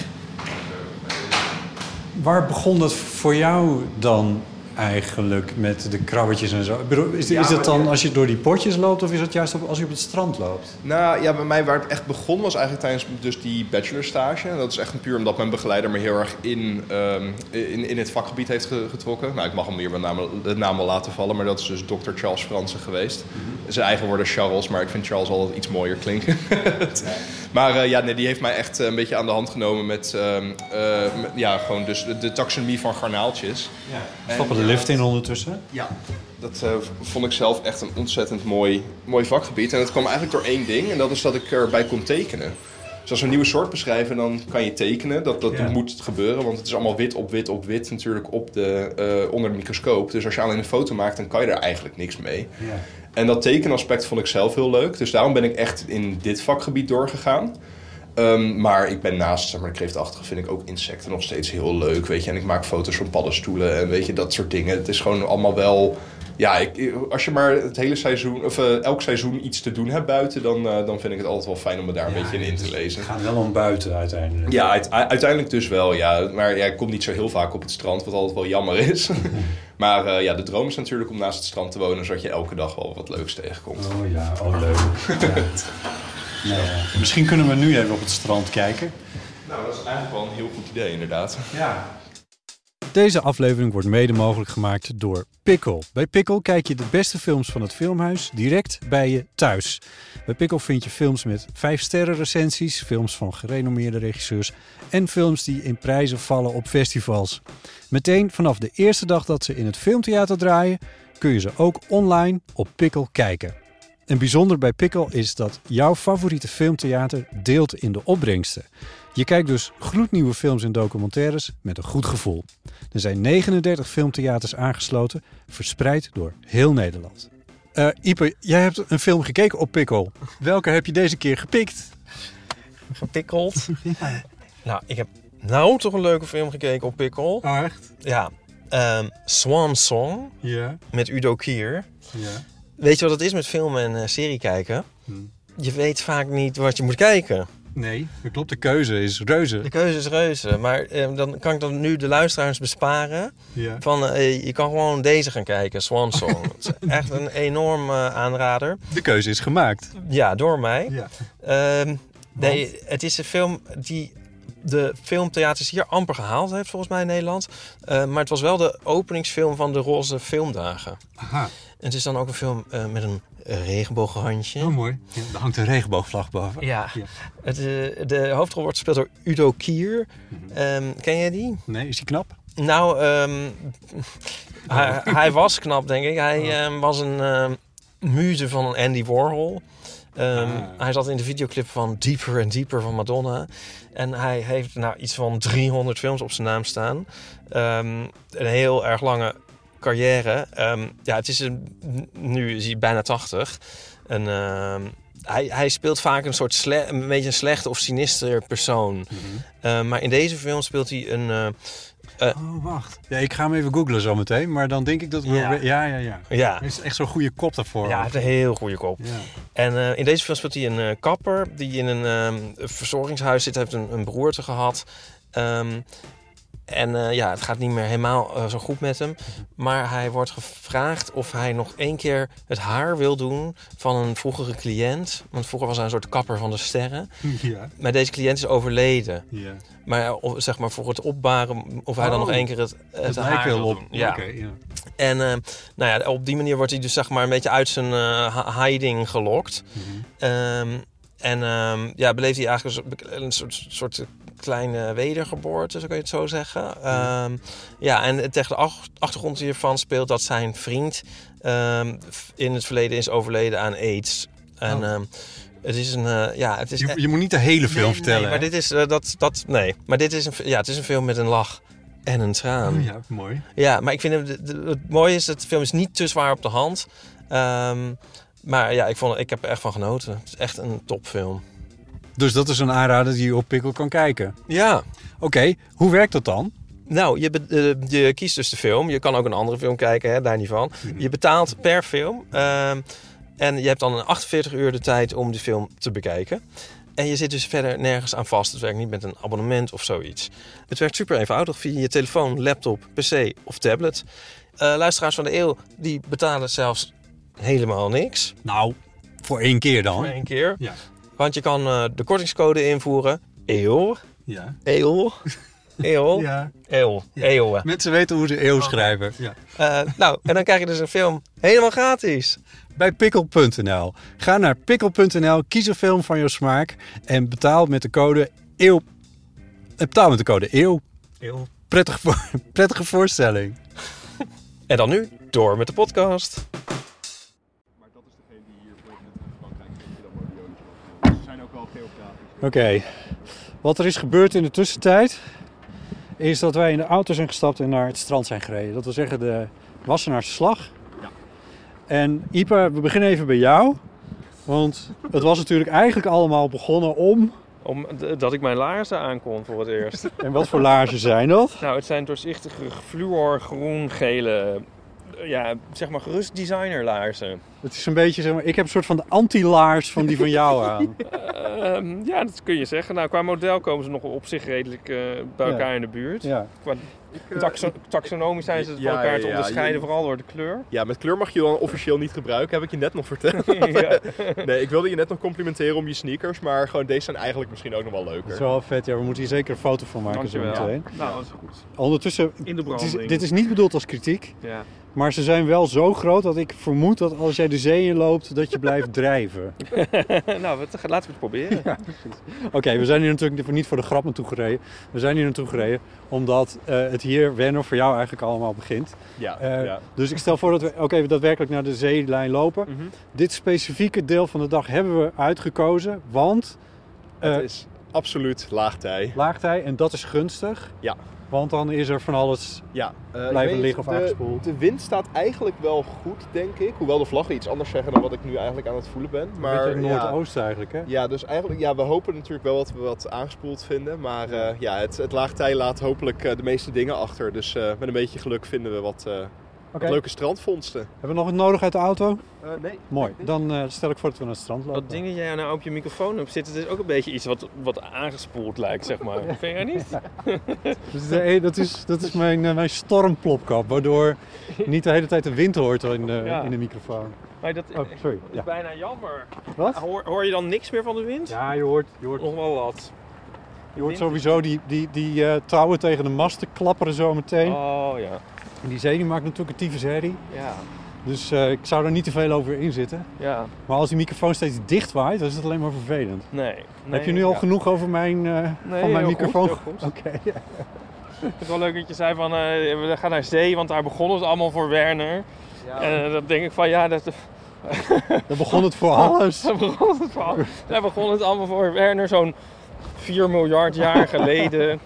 Speaker 1: Waar begon dat voor jou dan eigenlijk met de krabbetjes en zo? Ik bedoel, Is, is dat dan als je door die potjes loopt of is dat juist op, als je op het strand loopt?
Speaker 3: Nou ja, bij mij waar het echt begon was eigenlijk tijdens dus die bachelorstage. En dat is echt puur omdat mijn begeleider me heel erg in, ehm, in, in het vakgebied heeft ge- getrokken. Nou, ik mag hem hier met name, de naam wel laten vallen, maar dat is dus Dr. Charles Fransen geweest. Zijn eigen woorden Charles, maar ik vind Charles altijd iets mooier klinken. maar eh, ja, nee, die heeft mij echt eh, een beetje aan de hand genomen met, ehm, eh, met- ja, gewoon dus de, de taxonomie van garnaaltjes.
Speaker 1: Ja. Stappen de lift in ondertussen.
Speaker 3: Ja, dat eh, v- vond ik zelf echt een ontzettend mooi, mooi vakgebied. En dat kwam eigenlijk door één ding, en dat is dat ik erbij kon tekenen. Dus als we een nieuwe soort beschrijven, dan kan je tekenen. Dat, dat
Speaker 1: Ja.
Speaker 3: moet gebeuren, want het is allemaal wit op wit op wit natuurlijk op de, eh, onder de microscoop. Dus als je alleen een foto maakt, dan kan je daar eigenlijk niks mee.
Speaker 1: Ja.
Speaker 3: En dat tekenaspect vond ik zelf heel leuk. Dus daarom ben ik echt in dit vakgebied doorgegaan. Ehm, maar ik ben naast zeg maar, de kreeftachtige vind ik ook insecten nog steeds heel leuk. Weet je? En ik maak foto's van paddenstoelen en weet je, dat soort dingen. Het is gewoon allemaal wel... Ja, ik, als je maar het hele seizoen, of eh, elk seizoen iets te doen hebt buiten... Dan, eh, dan vind ik het altijd wel fijn om me daar een beetje in, in te lezen.
Speaker 1: Het gaat wel om buiten uiteindelijk.
Speaker 3: Ja, uit- u- uiteindelijk dus wel, ja. Maar ja, ik kom niet zo heel vaak op het strand, wat altijd wel jammer is. maar eh, ja, de droom is natuurlijk om naast het strand te wonen... zodat je elke dag wel wat leuks tegenkomt.
Speaker 1: Oh ja, oh leuk. Ja. Nou ja. Misschien kunnen we nu even op het strand kijken.
Speaker 3: Nou, dat is eigenlijk wel een heel goed idee, inderdaad.
Speaker 1: Deze aflevering wordt mede mogelijk gemaakt door Pickle. Bij Pickle kijk je de beste films van het filmhuis direct bij je thuis. Bij Pickle vind je films met 5 sterren recensies, films van gerenommeerde regisseurs en films die in prijzen vallen op festivals. Meteen vanaf de eerste dag dat ze in het filmtheater draaien, kun je ze ook online op Pickle kijken. En bijzonder bij Pickle is dat jouw favoriete filmtheater deelt in de opbrengsten. Je kijkt dus gloednieuwe films en documentaires met een goed gevoel. Er zijn 39 filmtheaters aangesloten, verspreid door heel Nederland. Eh Ipe, jij hebt een film gekeken op Pickle. Welke heb je deze keer gepikt?
Speaker 2: Gepikkeld. Nou, ik heb nou toch een leuke film gekeken op Pikkel.
Speaker 1: Oh, echt?
Speaker 2: Ja. ehm Swan Song
Speaker 1: Ja.
Speaker 2: met Udo Kier.
Speaker 1: ja.
Speaker 2: Weet je wat het is met film en eh, serie kijken?
Speaker 1: Hmm.
Speaker 2: Je weet vaak niet wat je moet kijken.
Speaker 1: Nee, dat klopt. De keuze is reuze.
Speaker 2: De keuze is reuze. Maar eh, dan kan ik dan nu de luisteraars besparen.
Speaker 1: Ja.
Speaker 2: Van, eh, je kan gewoon deze gaan kijken, Swan Song. Het is echt een enorm eh, aanrader.
Speaker 1: De keuze is gemaakt.
Speaker 2: Ja, door mij.
Speaker 1: Ja.
Speaker 2: Ehm, nee, het is een film die de filmtheaters hier amper gehaald heeft, volgens mij in Nederland. Eh, maar het was wel de openingsfilm van de Roze Filmdagen.
Speaker 1: Aha,
Speaker 2: Het is dan ook een film eh, met een eh, regenbooghandje.
Speaker 1: heel mooi. Ja, daar hangt een regenboogvlag boven.
Speaker 2: Ja, het, eh, de hoofdrol wordt gespeeld door Udo Kier. Ehm, ken jij die?
Speaker 1: Nee, is die knap?
Speaker 2: Nou, ehm, hij, hij was knap, denk ik. Hij ehm, was een ehm muze van Andy Warhol. Ehm,
Speaker 1: Ah.
Speaker 2: Hij zat in de videoclip van Deeper and Deeper van Madonna. En hij heeft nou, iets van 300 films op zijn naam staan. Ehm, een heel erg lange carrière. Ehm, ja, het is een, nu is hij bijna 80. En, ehm, hij, hij speelt vaak een soort sle- een beetje een slecht of sinister persoon.
Speaker 1: Mhm.
Speaker 2: Ehm, maar in deze film speelt hij een, eh,
Speaker 1: Oh, wacht. Ja, ik ga hem even googlen zometeen, maar dan denk ik dat... we-
Speaker 2: Ja.
Speaker 1: ja, ja. ja.
Speaker 2: ja,
Speaker 1: Hij is echt zo'n goede kop daarvoor.
Speaker 2: Ja, hij heeft een heel goede kop.
Speaker 1: Ja.
Speaker 2: En eh, in deze film speelt hij een eh, kapper die in een ehm, verzorgingshuis zit, Hij heeft een, een beroerte gehad. Ehm, en eh, ja, het gaat niet meer helemaal eh, zo goed met hem. Maar hij wordt gevraagd of hij nog één keer het haar wil doen van een vroegere cliënt. Want vroeger was hij een soort kapper van de sterren.
Speaker 1: Ja.
Speaker 2: Maar deze cliënt is overleden.
Speaker 1: ja.
Speaker 2: Maar eh, of- zeg maar voor het opbaren, of hij dan
Speaker 1: Oh,
Speaker 2: nog één keer het, het
Speaker 1: Het
Speaker 2: haar
Speaker 1: lijkt wel
Speaker 2: wil
Speaker 1: op.
Speaker 2: doen. Ja.
Speaker 1: Oké, ja.
Speaker 2: En eh, nou ja, op die manier wordt hij dus zeg maar een beetje uit zijn eh, hi- hiding gelokt.
Speaker 1: Mhm.
Speaker 2: Ehm, en ehm, ja, beleeft hij eigenlijk een soort, een soort, soort kleine wedergeboorte, zo kan je het zo zeggen. Ehm, ja, en tegen de ach- achtergrond hiervan speelt dat zijn vriend ehm, f- in het verleden is overleden aan aids. En
Speaker 1: Oh.
Speaker 2: ehm, het is een... eh, ja, het is
Speaker 1: Je, je moet niet de hele film
Speaker 2: Nee,
Speaker 1: vertellen.
Speaker 2: Nee, maar dit is, eh, dat, dat, nee, maar dit is een, ja, het is een film met een lach en een traan.
Speaker 1: hè? Oh, Ja, mooi.
Speaker 2: Ja, maar ik vind hem- de- de- het mooie is dat de film is niet te zwaar op de hand. Ehm maar ja, ik, vond, ik heb er echt van genoten. Het is echt een topfilm.
Speaker 1: Dus dat is een aanrader die je op Pikkel kan kijken.
Speaker 2: Ja.
Speaker 1: Oké, hoe werkt dat dan?
Speaker 2: Nou, je, be- eh, je kiest dus de film. Je kan ook een andere film kijken, hè, daar niet van.
Speaker 1: Mhm.
Speaker 2: Je betaalt per film. ehm, en je hebt dan een 48 uur de tijd om de film te bekijken. En je zit dus verder nergens aan vast. Het werkt niet met een abonnement of zoiets. Het werkt super eenvoudig via je telefoon, laptop, pc of tablet. Eh, luisteraars van de eeuw, die betalen zelfs helemaal niks.
Speaker 1: Nou, voor één keer dan.
Speaker 2: Voor één keer.
Speaker 1: Ja.
Speaker 2: Want je kan eh, de kortingscode invoeren. Eeuw.
Speaker 1: Ja.
Speaker 2: Eeuw. Eeuw.
Speaker 1: ja.
Speaker 2: Eeuw. Eeuwen.
Speaker 1: Oh. Mensen weten hoe ze eeuw schrijven. Ja.
Speaker 2: Eh, nou, en dan krijg je dus een film helemaal gratis.
Speaker 1: Bij pikkel.nl. Ga naar pikkel.nl, kies een film van jouw smaak en betaal met de code eeuw. eh, Betaal met de code eeuw.
Speaker 2: Eeuw.
Speaker 1: Prettige, voor- prettige voorstelling.
Speaker 2: En dan nu door met de podcast.
Speaker 1: Oké. Wat er is gebeurd in de tussentijd is dat wij in de auto zijn gestapt en naar het strand zijn gereden. Dat wil zeggen de Wassenaarse Slag. En Ipa, we beginnen even bij jou. Want het was natuurlijk eigenlijk allemaal begonnen om...
Speaker 2: Omdat ik mijn laarzen aankon voor het eerst.
Speaker 1: En wat voor laarzen zijn dat?
Speaker 2: nou, het zijn doorzichtige fluor, groen, gele... eh, Ja, zeg maar gerust designer laarzen.
Speaker 1: Het is een beetje, zeg maar, ik heb een soort van de anti-laars van die van jou aan.
Speaker 2: Ehm, ja, dat kun je zeggen. Nou, qua model komen ze nog op zich redelijk eh, bij
Speaker 1: Ja.
Speaker 2: elkaar in de buurt.
Speaker 1: Ja.
Speaker 2: Qua
Speaker 4: eh,
Speaker 2: taxo- taxonomisch zijn ze
Speaker 4: Ja,
Speaker 2: van elkaar te
Speaker 4: ja, ja,
Speaker 2: onderscheiden,
Speaker 4: je-
Speaker 2: vooral door de kleur.
Speaker 4: Ja, met kleur mag je dan officieel niet gebruiken, heb ik je net nog verteld.
Speaker 2: ja.
Speaker 4: Nee, ik wilde je net nog complimenteren om je sneakers, maar gewoon deze zijn eigenlijk misschien ook nog wel
Speaker 1: Dat is
Speaker 4: leuker.
Speaker 1: wel vet. Ja, we moeten hier zeker een foto van maken zo
Speaker 2: Dankjewel.
Speaker 1: meteen.
Speaker 2: Nou, dat is goed.
Speaker 1: Ondertussen,
Speaker 2: In de
Speaker 1: het is-
Speaker 2: branding.
Speaker 1: dit is niet bedoeld als kritiek,
Speaker 2: Ja.
Speaker 1: maar ze zijn wel zo groot dat ik vermoed dat als jij de zee in loopt, dat je blijft drijven.
Speaker 2: nou, wat, laten we het proberen.
Speaker 1: Oké, we zijn hier natuurlijk niet voor de grap naartoe gereden. We zijn hier naartoe gereden omdat eh, het hier, Werner, voor jou eigenlijk allemaal begint.
Speaker 4: Ja,
Speaker 1: Eh,
Speaker 4: ja.
Speaker 1: Dus ik stel voor dat we ook even daadwerkelijk naar de zeelijn lopen.
Speaker 4: Mhm.
Speaker 1: Dit specifieke deel van de dag hebben we uitgekozen, want
Speaker 4: het
Speaker 1: eh,
Speaker 4: is absoluut laagtij.
Speaker 1: laagtij en dat is gunstig.
Speaker 4: Ja.
Speaker 1: Want dan is er van alles.
Speaker 4: Ja, eh, ik
Speaker 1: Blijven
Speaker 4: weet,
Speaker 1: liggen of
Speaker 4: de,
Speaker 1: aangespoeld.
Speaker 4: De wind staat eigenlijk wel goed, denk ik. Hoewel de vlaggen iets anders zeggen dan wat ik nu eigenlijk aan het voelen ben.
Speaker 1: een
Speaker 4: Maar
Speaker 1: beetje
Speaker 4: ja,
Speaker 1: Noordoosten eigenlijk, hè?
Speaker 4: ja, dus eigenlijk, ja, we hopen natuurlijk wel wat we wat aangespoeld vinden. Maar eh, ja, het, het laagtij laat hopelijk eh, de meeste dingen achter. Dus eh, met een beetje geluk vinden we wat, eh, wat
Speaker 1: Oké.
Speaker 4: leuke strandvondsten.
Speaker 1: Hebben we nog wat nodig uit de auto?
Speaker 4: Eh, nee.
Speaker 1: Mooi. Dan eh, stel ik voor dat we naar het strand lopen.
Speaker 2: Dat ding dat jij nou op je microfoon hebt zitten, dat is ook een beetje iets wat, wat aangespoeld lijkt, zeg maar. Vind jij niet?
Speaker 1: Dat is, de e- dat is, dat is mijn, eh, mijn stormplopkap, waardoor niet de hele tijd de wind hoort in de,
Speaker 2: Ja.
Speaker 1: in de microfoon.
Speaker 2: Maar dat is
Speaker 1: Oh, sorry. Ja.
Speaker 2: bijna jammer.
Speaker 1: Wat?
Speaker 2: Hoor, hoor je dan niks meer van de wind?
Speaker 1: Ja, je hoort, je hoort,
Speaker 2: Nog wel wat.
Speaker 1: je hoort sowieso die, die, die eh, touwen tegen de masten klapperen zo meteen.
Speaker 2: Oh ja.
Speaker 1: En Die zee die maakt natuurlijk een tyfus herrie,
Speaker 2: Ja.
Speaker 1: dus eh, ik zou er niet te veel over in zitten.
Speaker 2: Ja.
Speaker 1: Maar als die microfoon steeds dicht waait, dan is het alleen maar vervelend.
Speaker 2: Nee.
Speaker 1: Heb je nu al genoeg over mijn, eh, van mijn microfoon?
Speaker 2: goed.
Speaker 1: Oké.
Speaker 2: Het is wel leuk dat je zei van eh, we gaan naar zee, want daar begonnen het allemaal voor Werner. En eh, dat denk ik van ja, dat,
Speaker 1: Dan begon het
Speaker 2: Oh,
Speaker 1: voor alles.
Speaker 2: daar, begon het van, daar begon het allemaal voor Werner zo'n 4 miljard jaar geleden.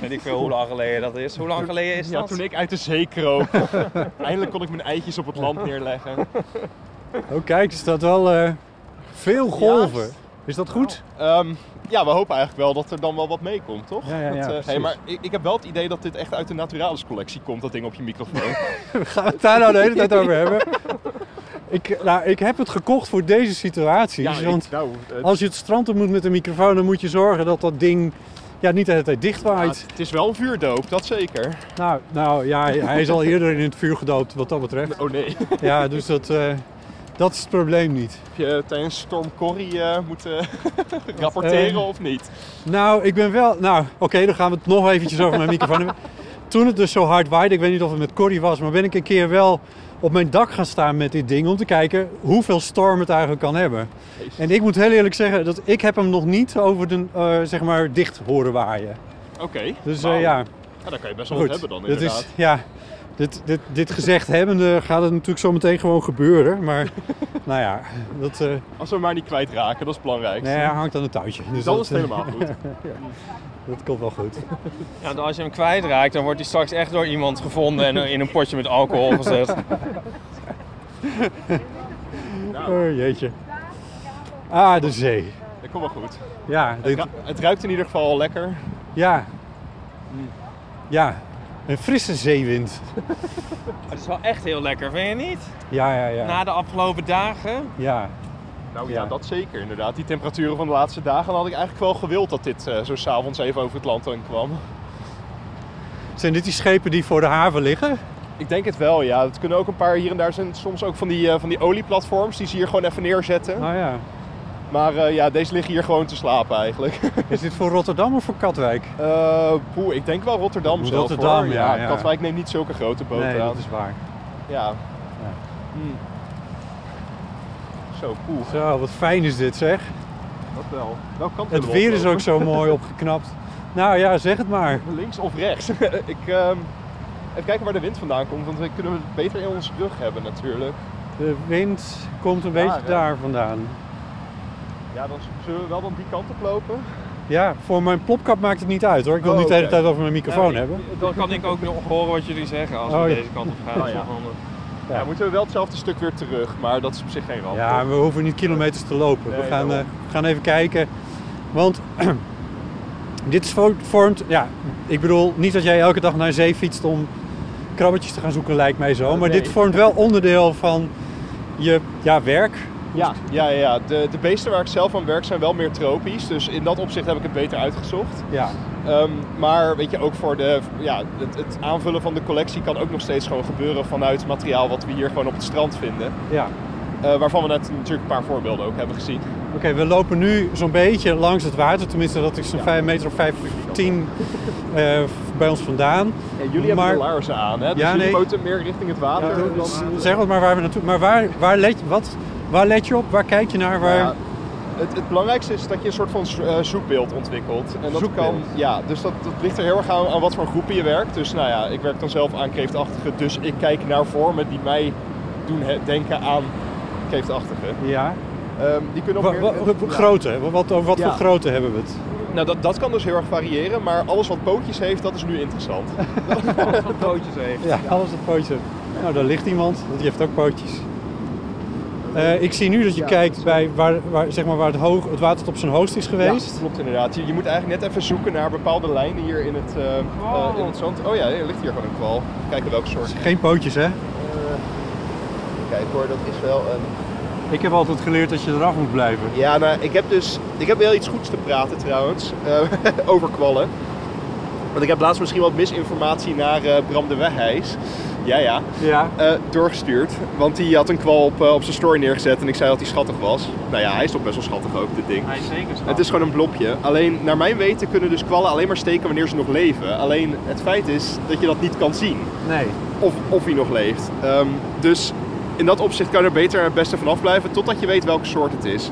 Speaker 2: Weet ik veel hoe lang geleden dat is. Hoe lang geleden is dat?
Speaker 4: ik uit de zee kroop, eindelijk kon ik mijn eitjes op het land neerleggen.
Speaker 1: Oh kijk, er staat wel eh, veel golven. Is dat goed?
Speaker 4: Ehm, ja, we hopen eigenlijk wel dat er dan wel wat meekomt, toch?
Speaker 1: Ja, ja, ja,
Speaker 4: Dat, eh,
Speaker 1: precies.
Speaker 4: hey, maar ik, ik heb wel het idee dat dit echt uit de Naturalis collectie komt, dat ding op je microfoon.
Speaker 1: Gaan we het daar nou de hele tijd over hebben? Ik, nou, ik heb het gekocht voor deze situaties.
Speaker 4: ik-
Speaker 1: want
Speaker 4: nou, eh,
Speaker 1: als je het strand op moet met een microfoon, dan moet je zorgen dat dat ding ja, niet de hele tijd dicht
Speaker 4: ja,
Speaker 1: waait.
Speaker 4: het is wel een vuurdoop, dat zeker.
Speaker 1: Nou, nou ja, hij is al eerder in het vuur gedoopt wat dat betreft.
Speaker 4: Oh nee.
Speaker 1: Ja, dus dat, eh, dat is het probleem niet.
Speaker 4: Heb je tijdens Storm Corrie eh, moeten rapporteren
Speaker 1: Eh.
Speaker 4: of niet?
Speaker 1: Nou, ik ben wel. Nou, oké, dan gaan we het nog eventjes over mijn microfoon hebben. Toen het dus zo hard waaide, ik weet niet of het met Corrie was, maar ben ik een keer wel op mijn dak gaan staan met dit ding om te kijken hoeveel storm het eigenlijk kan hebben. En ik moet heel eerlijk zeggen dat ik heb hem nog niet over de, eh, zeg maar, dicht horen waaien.
Speaker 4: Oké.
Speaker 1: Dus eh,
Speaker 4: Nou,
Speaker 1: ja,
Speaker 4: nou, dan kan je best wel wat
Speaker 1: goed.
Speaker 4: hebben dan
Speaker 1: dat
Speaker 4: inderdaad.
Speaker 1: is, ja, dit, dit, dit gezegd hebbende gaat het natuurlijk zo meteen gewoon gebeuren. Maar nou ja, dat eh,
Speaker 4: Als we hem maar niet kwijtraken, dat is belangrijk.
Speaker 1: nou ja, hangt aan het touwtje. Dus
Speaker 4: dat
Speaker 1: dat,
Speaker 4: is het
Speaker 1: eh,
Speaker 4: helemaal goed.
Speaker 1: dat komt wel goed.
Speaker 2: Ja, als je hem kwijtraakt, dan wordt hij straks echt door iemand gevonden en eh, in een potje met alcohol gezet.
Speaker 1: Oh, jeetje. Ah, de zee.
Speaker 4: Dat komt wel goed.
Speaker 1: Ja, dit-
Speaker 4: Ja, het ruikt in ieder geval al lekker.
Speaker 1: ja. Ja, een frisse zeewind.
Speaker 2: Het is wel echt heel lekker, vind je niet?
Speaker 1: Ja, ja, ja.
Speaker 2: Na de afgelopen dagen.
Speaker 1: Ja,
Speaker 4: Nou
Speaker 1: ja,
Speaker 4: ja, dat zeker inderdaad. Die temperaturen van de laatste dagen dan had ik eigenlijk wel gewild dat dit eh, zo s'avonds even over het land heen kwam.
Speaker 1: zijn dit die schepen die voor de haven liggen?
Speaker 4: Ik denk het wel, ja. Het kunnen ook een paar hier en daar zijn soms ook van die, eh, van die olieplatforms die ze hier gewoon even neerzetten.
Speaker 1: Nou ja.
Speaker 4: Maar eh, ja, deze liggen hier gewoon te slapen eigenlijk.
Speaker 1: Is dit voor Rotterdam of voor Katwijk?
Speaker 4: Eh poeh, ik denk wel Rotterdam zelf
Speaker 1: Rotterdam,
Speaker 4: hoor.
Speaker 1: ja, ja.
Speaker 4: Katwijk neemt niet zulke grote boten
Speaker 1: Nee,
Speaker 4: aan.
Speaker 1: dat is waar.
Speaker 4: Ja. Hmm. Zo, poeh,
Speaker 1: Zo, wat fijn is dit zeg.
Speaker 4: dat wel. Welke kant
Speaker 1: Het
Speaker 4: willen we
Speaker 1: weer is
Speaker 4: oplopen?
Speaker 1: ook zo mooi opgeknapt. Nou ja, zeg het maar.
Speaker 4: Links of rechts? ik, ehm, even kijken waar de wind vandaan komt, want we kunnen het beter in onze rug hebben natuurlijk.
Speaker 1: De wind komt een
Speaker 4: Daar,
Speaker 1: beetje
Speaker 4: hè?
Speaker 1: daar vandaan.
Speaker 4: Ja, dan zullen we wel dan die kant op lopen.
Speaker 1: Ja, voor mijn plopkap maakt het niet uit hoor. Ik wil
Speaker 4: Oh,
Speaker 1: niet de hele
Speaker 4: oké.
Speaker 1: tijd over mijn microfoon
Speaker 2: Ja,
Speaker 1: hebben.
Speaker 2: Dan kan ik ook nog horen wat jullie zeggen als
Speaker 1: Oh,
Speaker 2: we
Speaker 1: ja.
Speaker 2: deze kant op gaan.
Speaker 4: Oh, ja. Ja. moeten we wel hetzelfde stuk weer terug, maar dat is op zich geen ramp.
Speaker 1: Ja,
Speaker 4: toch?
Speaker 1: we hoeven niet kilometers te lopen. we
Speaker 4: Nee,
Speaker 1: gaan,
Speaker 4: daarom.
Speaker 1: eh, gaan even kijken. Want dit is vo- vormt. Ja, ik bedoel niet dat jij elke dag naar zee fietst om krabbetjes te gaan zoeken, lijkt mij zo. Maar
Speaker 4: nee.
Speaker 1: dit vormt wel onderdeel van je ja, werk.
Speaker 4: Ja, ja, ja, ja. De, de beesten waar ik zelf aan werk zijn wel meer tropisch. Dus in dat opzicht heb ik het beter uitgezocht.
Speaker 1: Ja.
Speaker 4: Ehm, maar weet je, ook voor de, ja, het, het aanvullen van de collectie kan ook nog steeds gewoon gebeuren vanuit materiaal wat we hier gewoon op het strand vinden.
Speaker 1: ja.
Speaker 4: Eh, waarvan we net natuurlijk een paar voorbeelden ook hebben gezien.
Speaker 1: Oké, we lopen nu zo'n beetje langs het water. Tenminste, dat is zo'n 5 meter of 15 eh, bij ons vandaan.
Speaker 4: Ja, jullie
Speaker 1: Maar-
Speaker 4: hebben de laarzen aan, hè? Dus
Speaker 1: Ja,
Speaker 4: jullie
Speaker 1: nee.
Speaker 4: poten meer richting het water.
Speaker 1: Ja,
Speaker 4: dan-
Speaker 1: dus zeg het maar waar we naartoe. Maar waar, waar, let, wat, waar let je op? Waar kijk je naar? Waar...
Speaker 4: Ja, het, het belangrijkste is dat je een soort van zo- eh, zoekbeeld ontwikkelt. En dat
Speaker 1: Zoekbeeld.
Speaker 4: kan, ja, dus dat, dat ligt er heel erg aan, aan wat voor groepen je werkt. Dus nou ja, ik werk dan zelf aan kreeftachtige, dus ik kijk naar vormen die mij doen he- denken aan kreeftachtige.
Speaker 1: Ja.
Speaker 4: Ehm, die kunnen ook
Speaker 1: Wa-
Speaker 4: meer...
Speaker 1: wa-
Speaker 4: ja.
Speaker 1: grootte, wat, wat, over wat
Speaker 4: Ja.
Speaker 1: voor grootte hebben we het?
Speaker 4: Nou, dat, dat kan dus heel erg variëren, maar alles wat pootjes heeft, dat is nu interessant.
Speaker 2: pootjes heeft.
Speaker 1: Ja, alles dat pootje. Nou, daar ligt iemand, want die heeft ook pootjes. Eh, ik zie nu dat je kijkt bij waar, waar, zeg maar waar het, hoog, het water tot op zijn hoogst is geweest.
Speaker 4: Ja, klopt inderdaad. Je, je moet eigenlijk net even zoeken naar bepaalde lijnen hier in het, eh, eh, in het zand. Oh ja, er ligt hier gewoon een kwal. Kijken welke soort.
Speaker 1: Geen pootjes, hè?
Speaker 4: Kijk hoor, dat is wel een...
Speaker 1: Ik heb altijd geleerd dat je eraf moet blijven.
Speaker 4: Ja, nou, ik heb dus... Ik heb wel iets goeds te praten trouwens, eh, over kwallen. Want ik heb laatst misschien wat misinformatie naar eh, Bram de Weghijs. Ja, ja.
Speaker 1: Ja.
Speaker 4: eh, doorgestuurd. Want die had een kwal op, eh, op zijn story neergezet en ik zei dat hij schattig was. Nou ja, hij is toch best wel schattig ook, dit ding.
Speaker 2: Hij is zeker schat.
Speaker 4: Het is gewoon een blobje. Alleen, naar mijn weten, kunnen dus kwallen alleen maar steken wanneer ze nog leven. Alleen, het feit is dat je dat niet kan zien.
Speaker 1: Nee.
Speaker 4: Of, of hij nog leeft. Ehm, dus in dat opzicht kan je er beter het beste vanaf blijven, totdat je weet welke soort het is.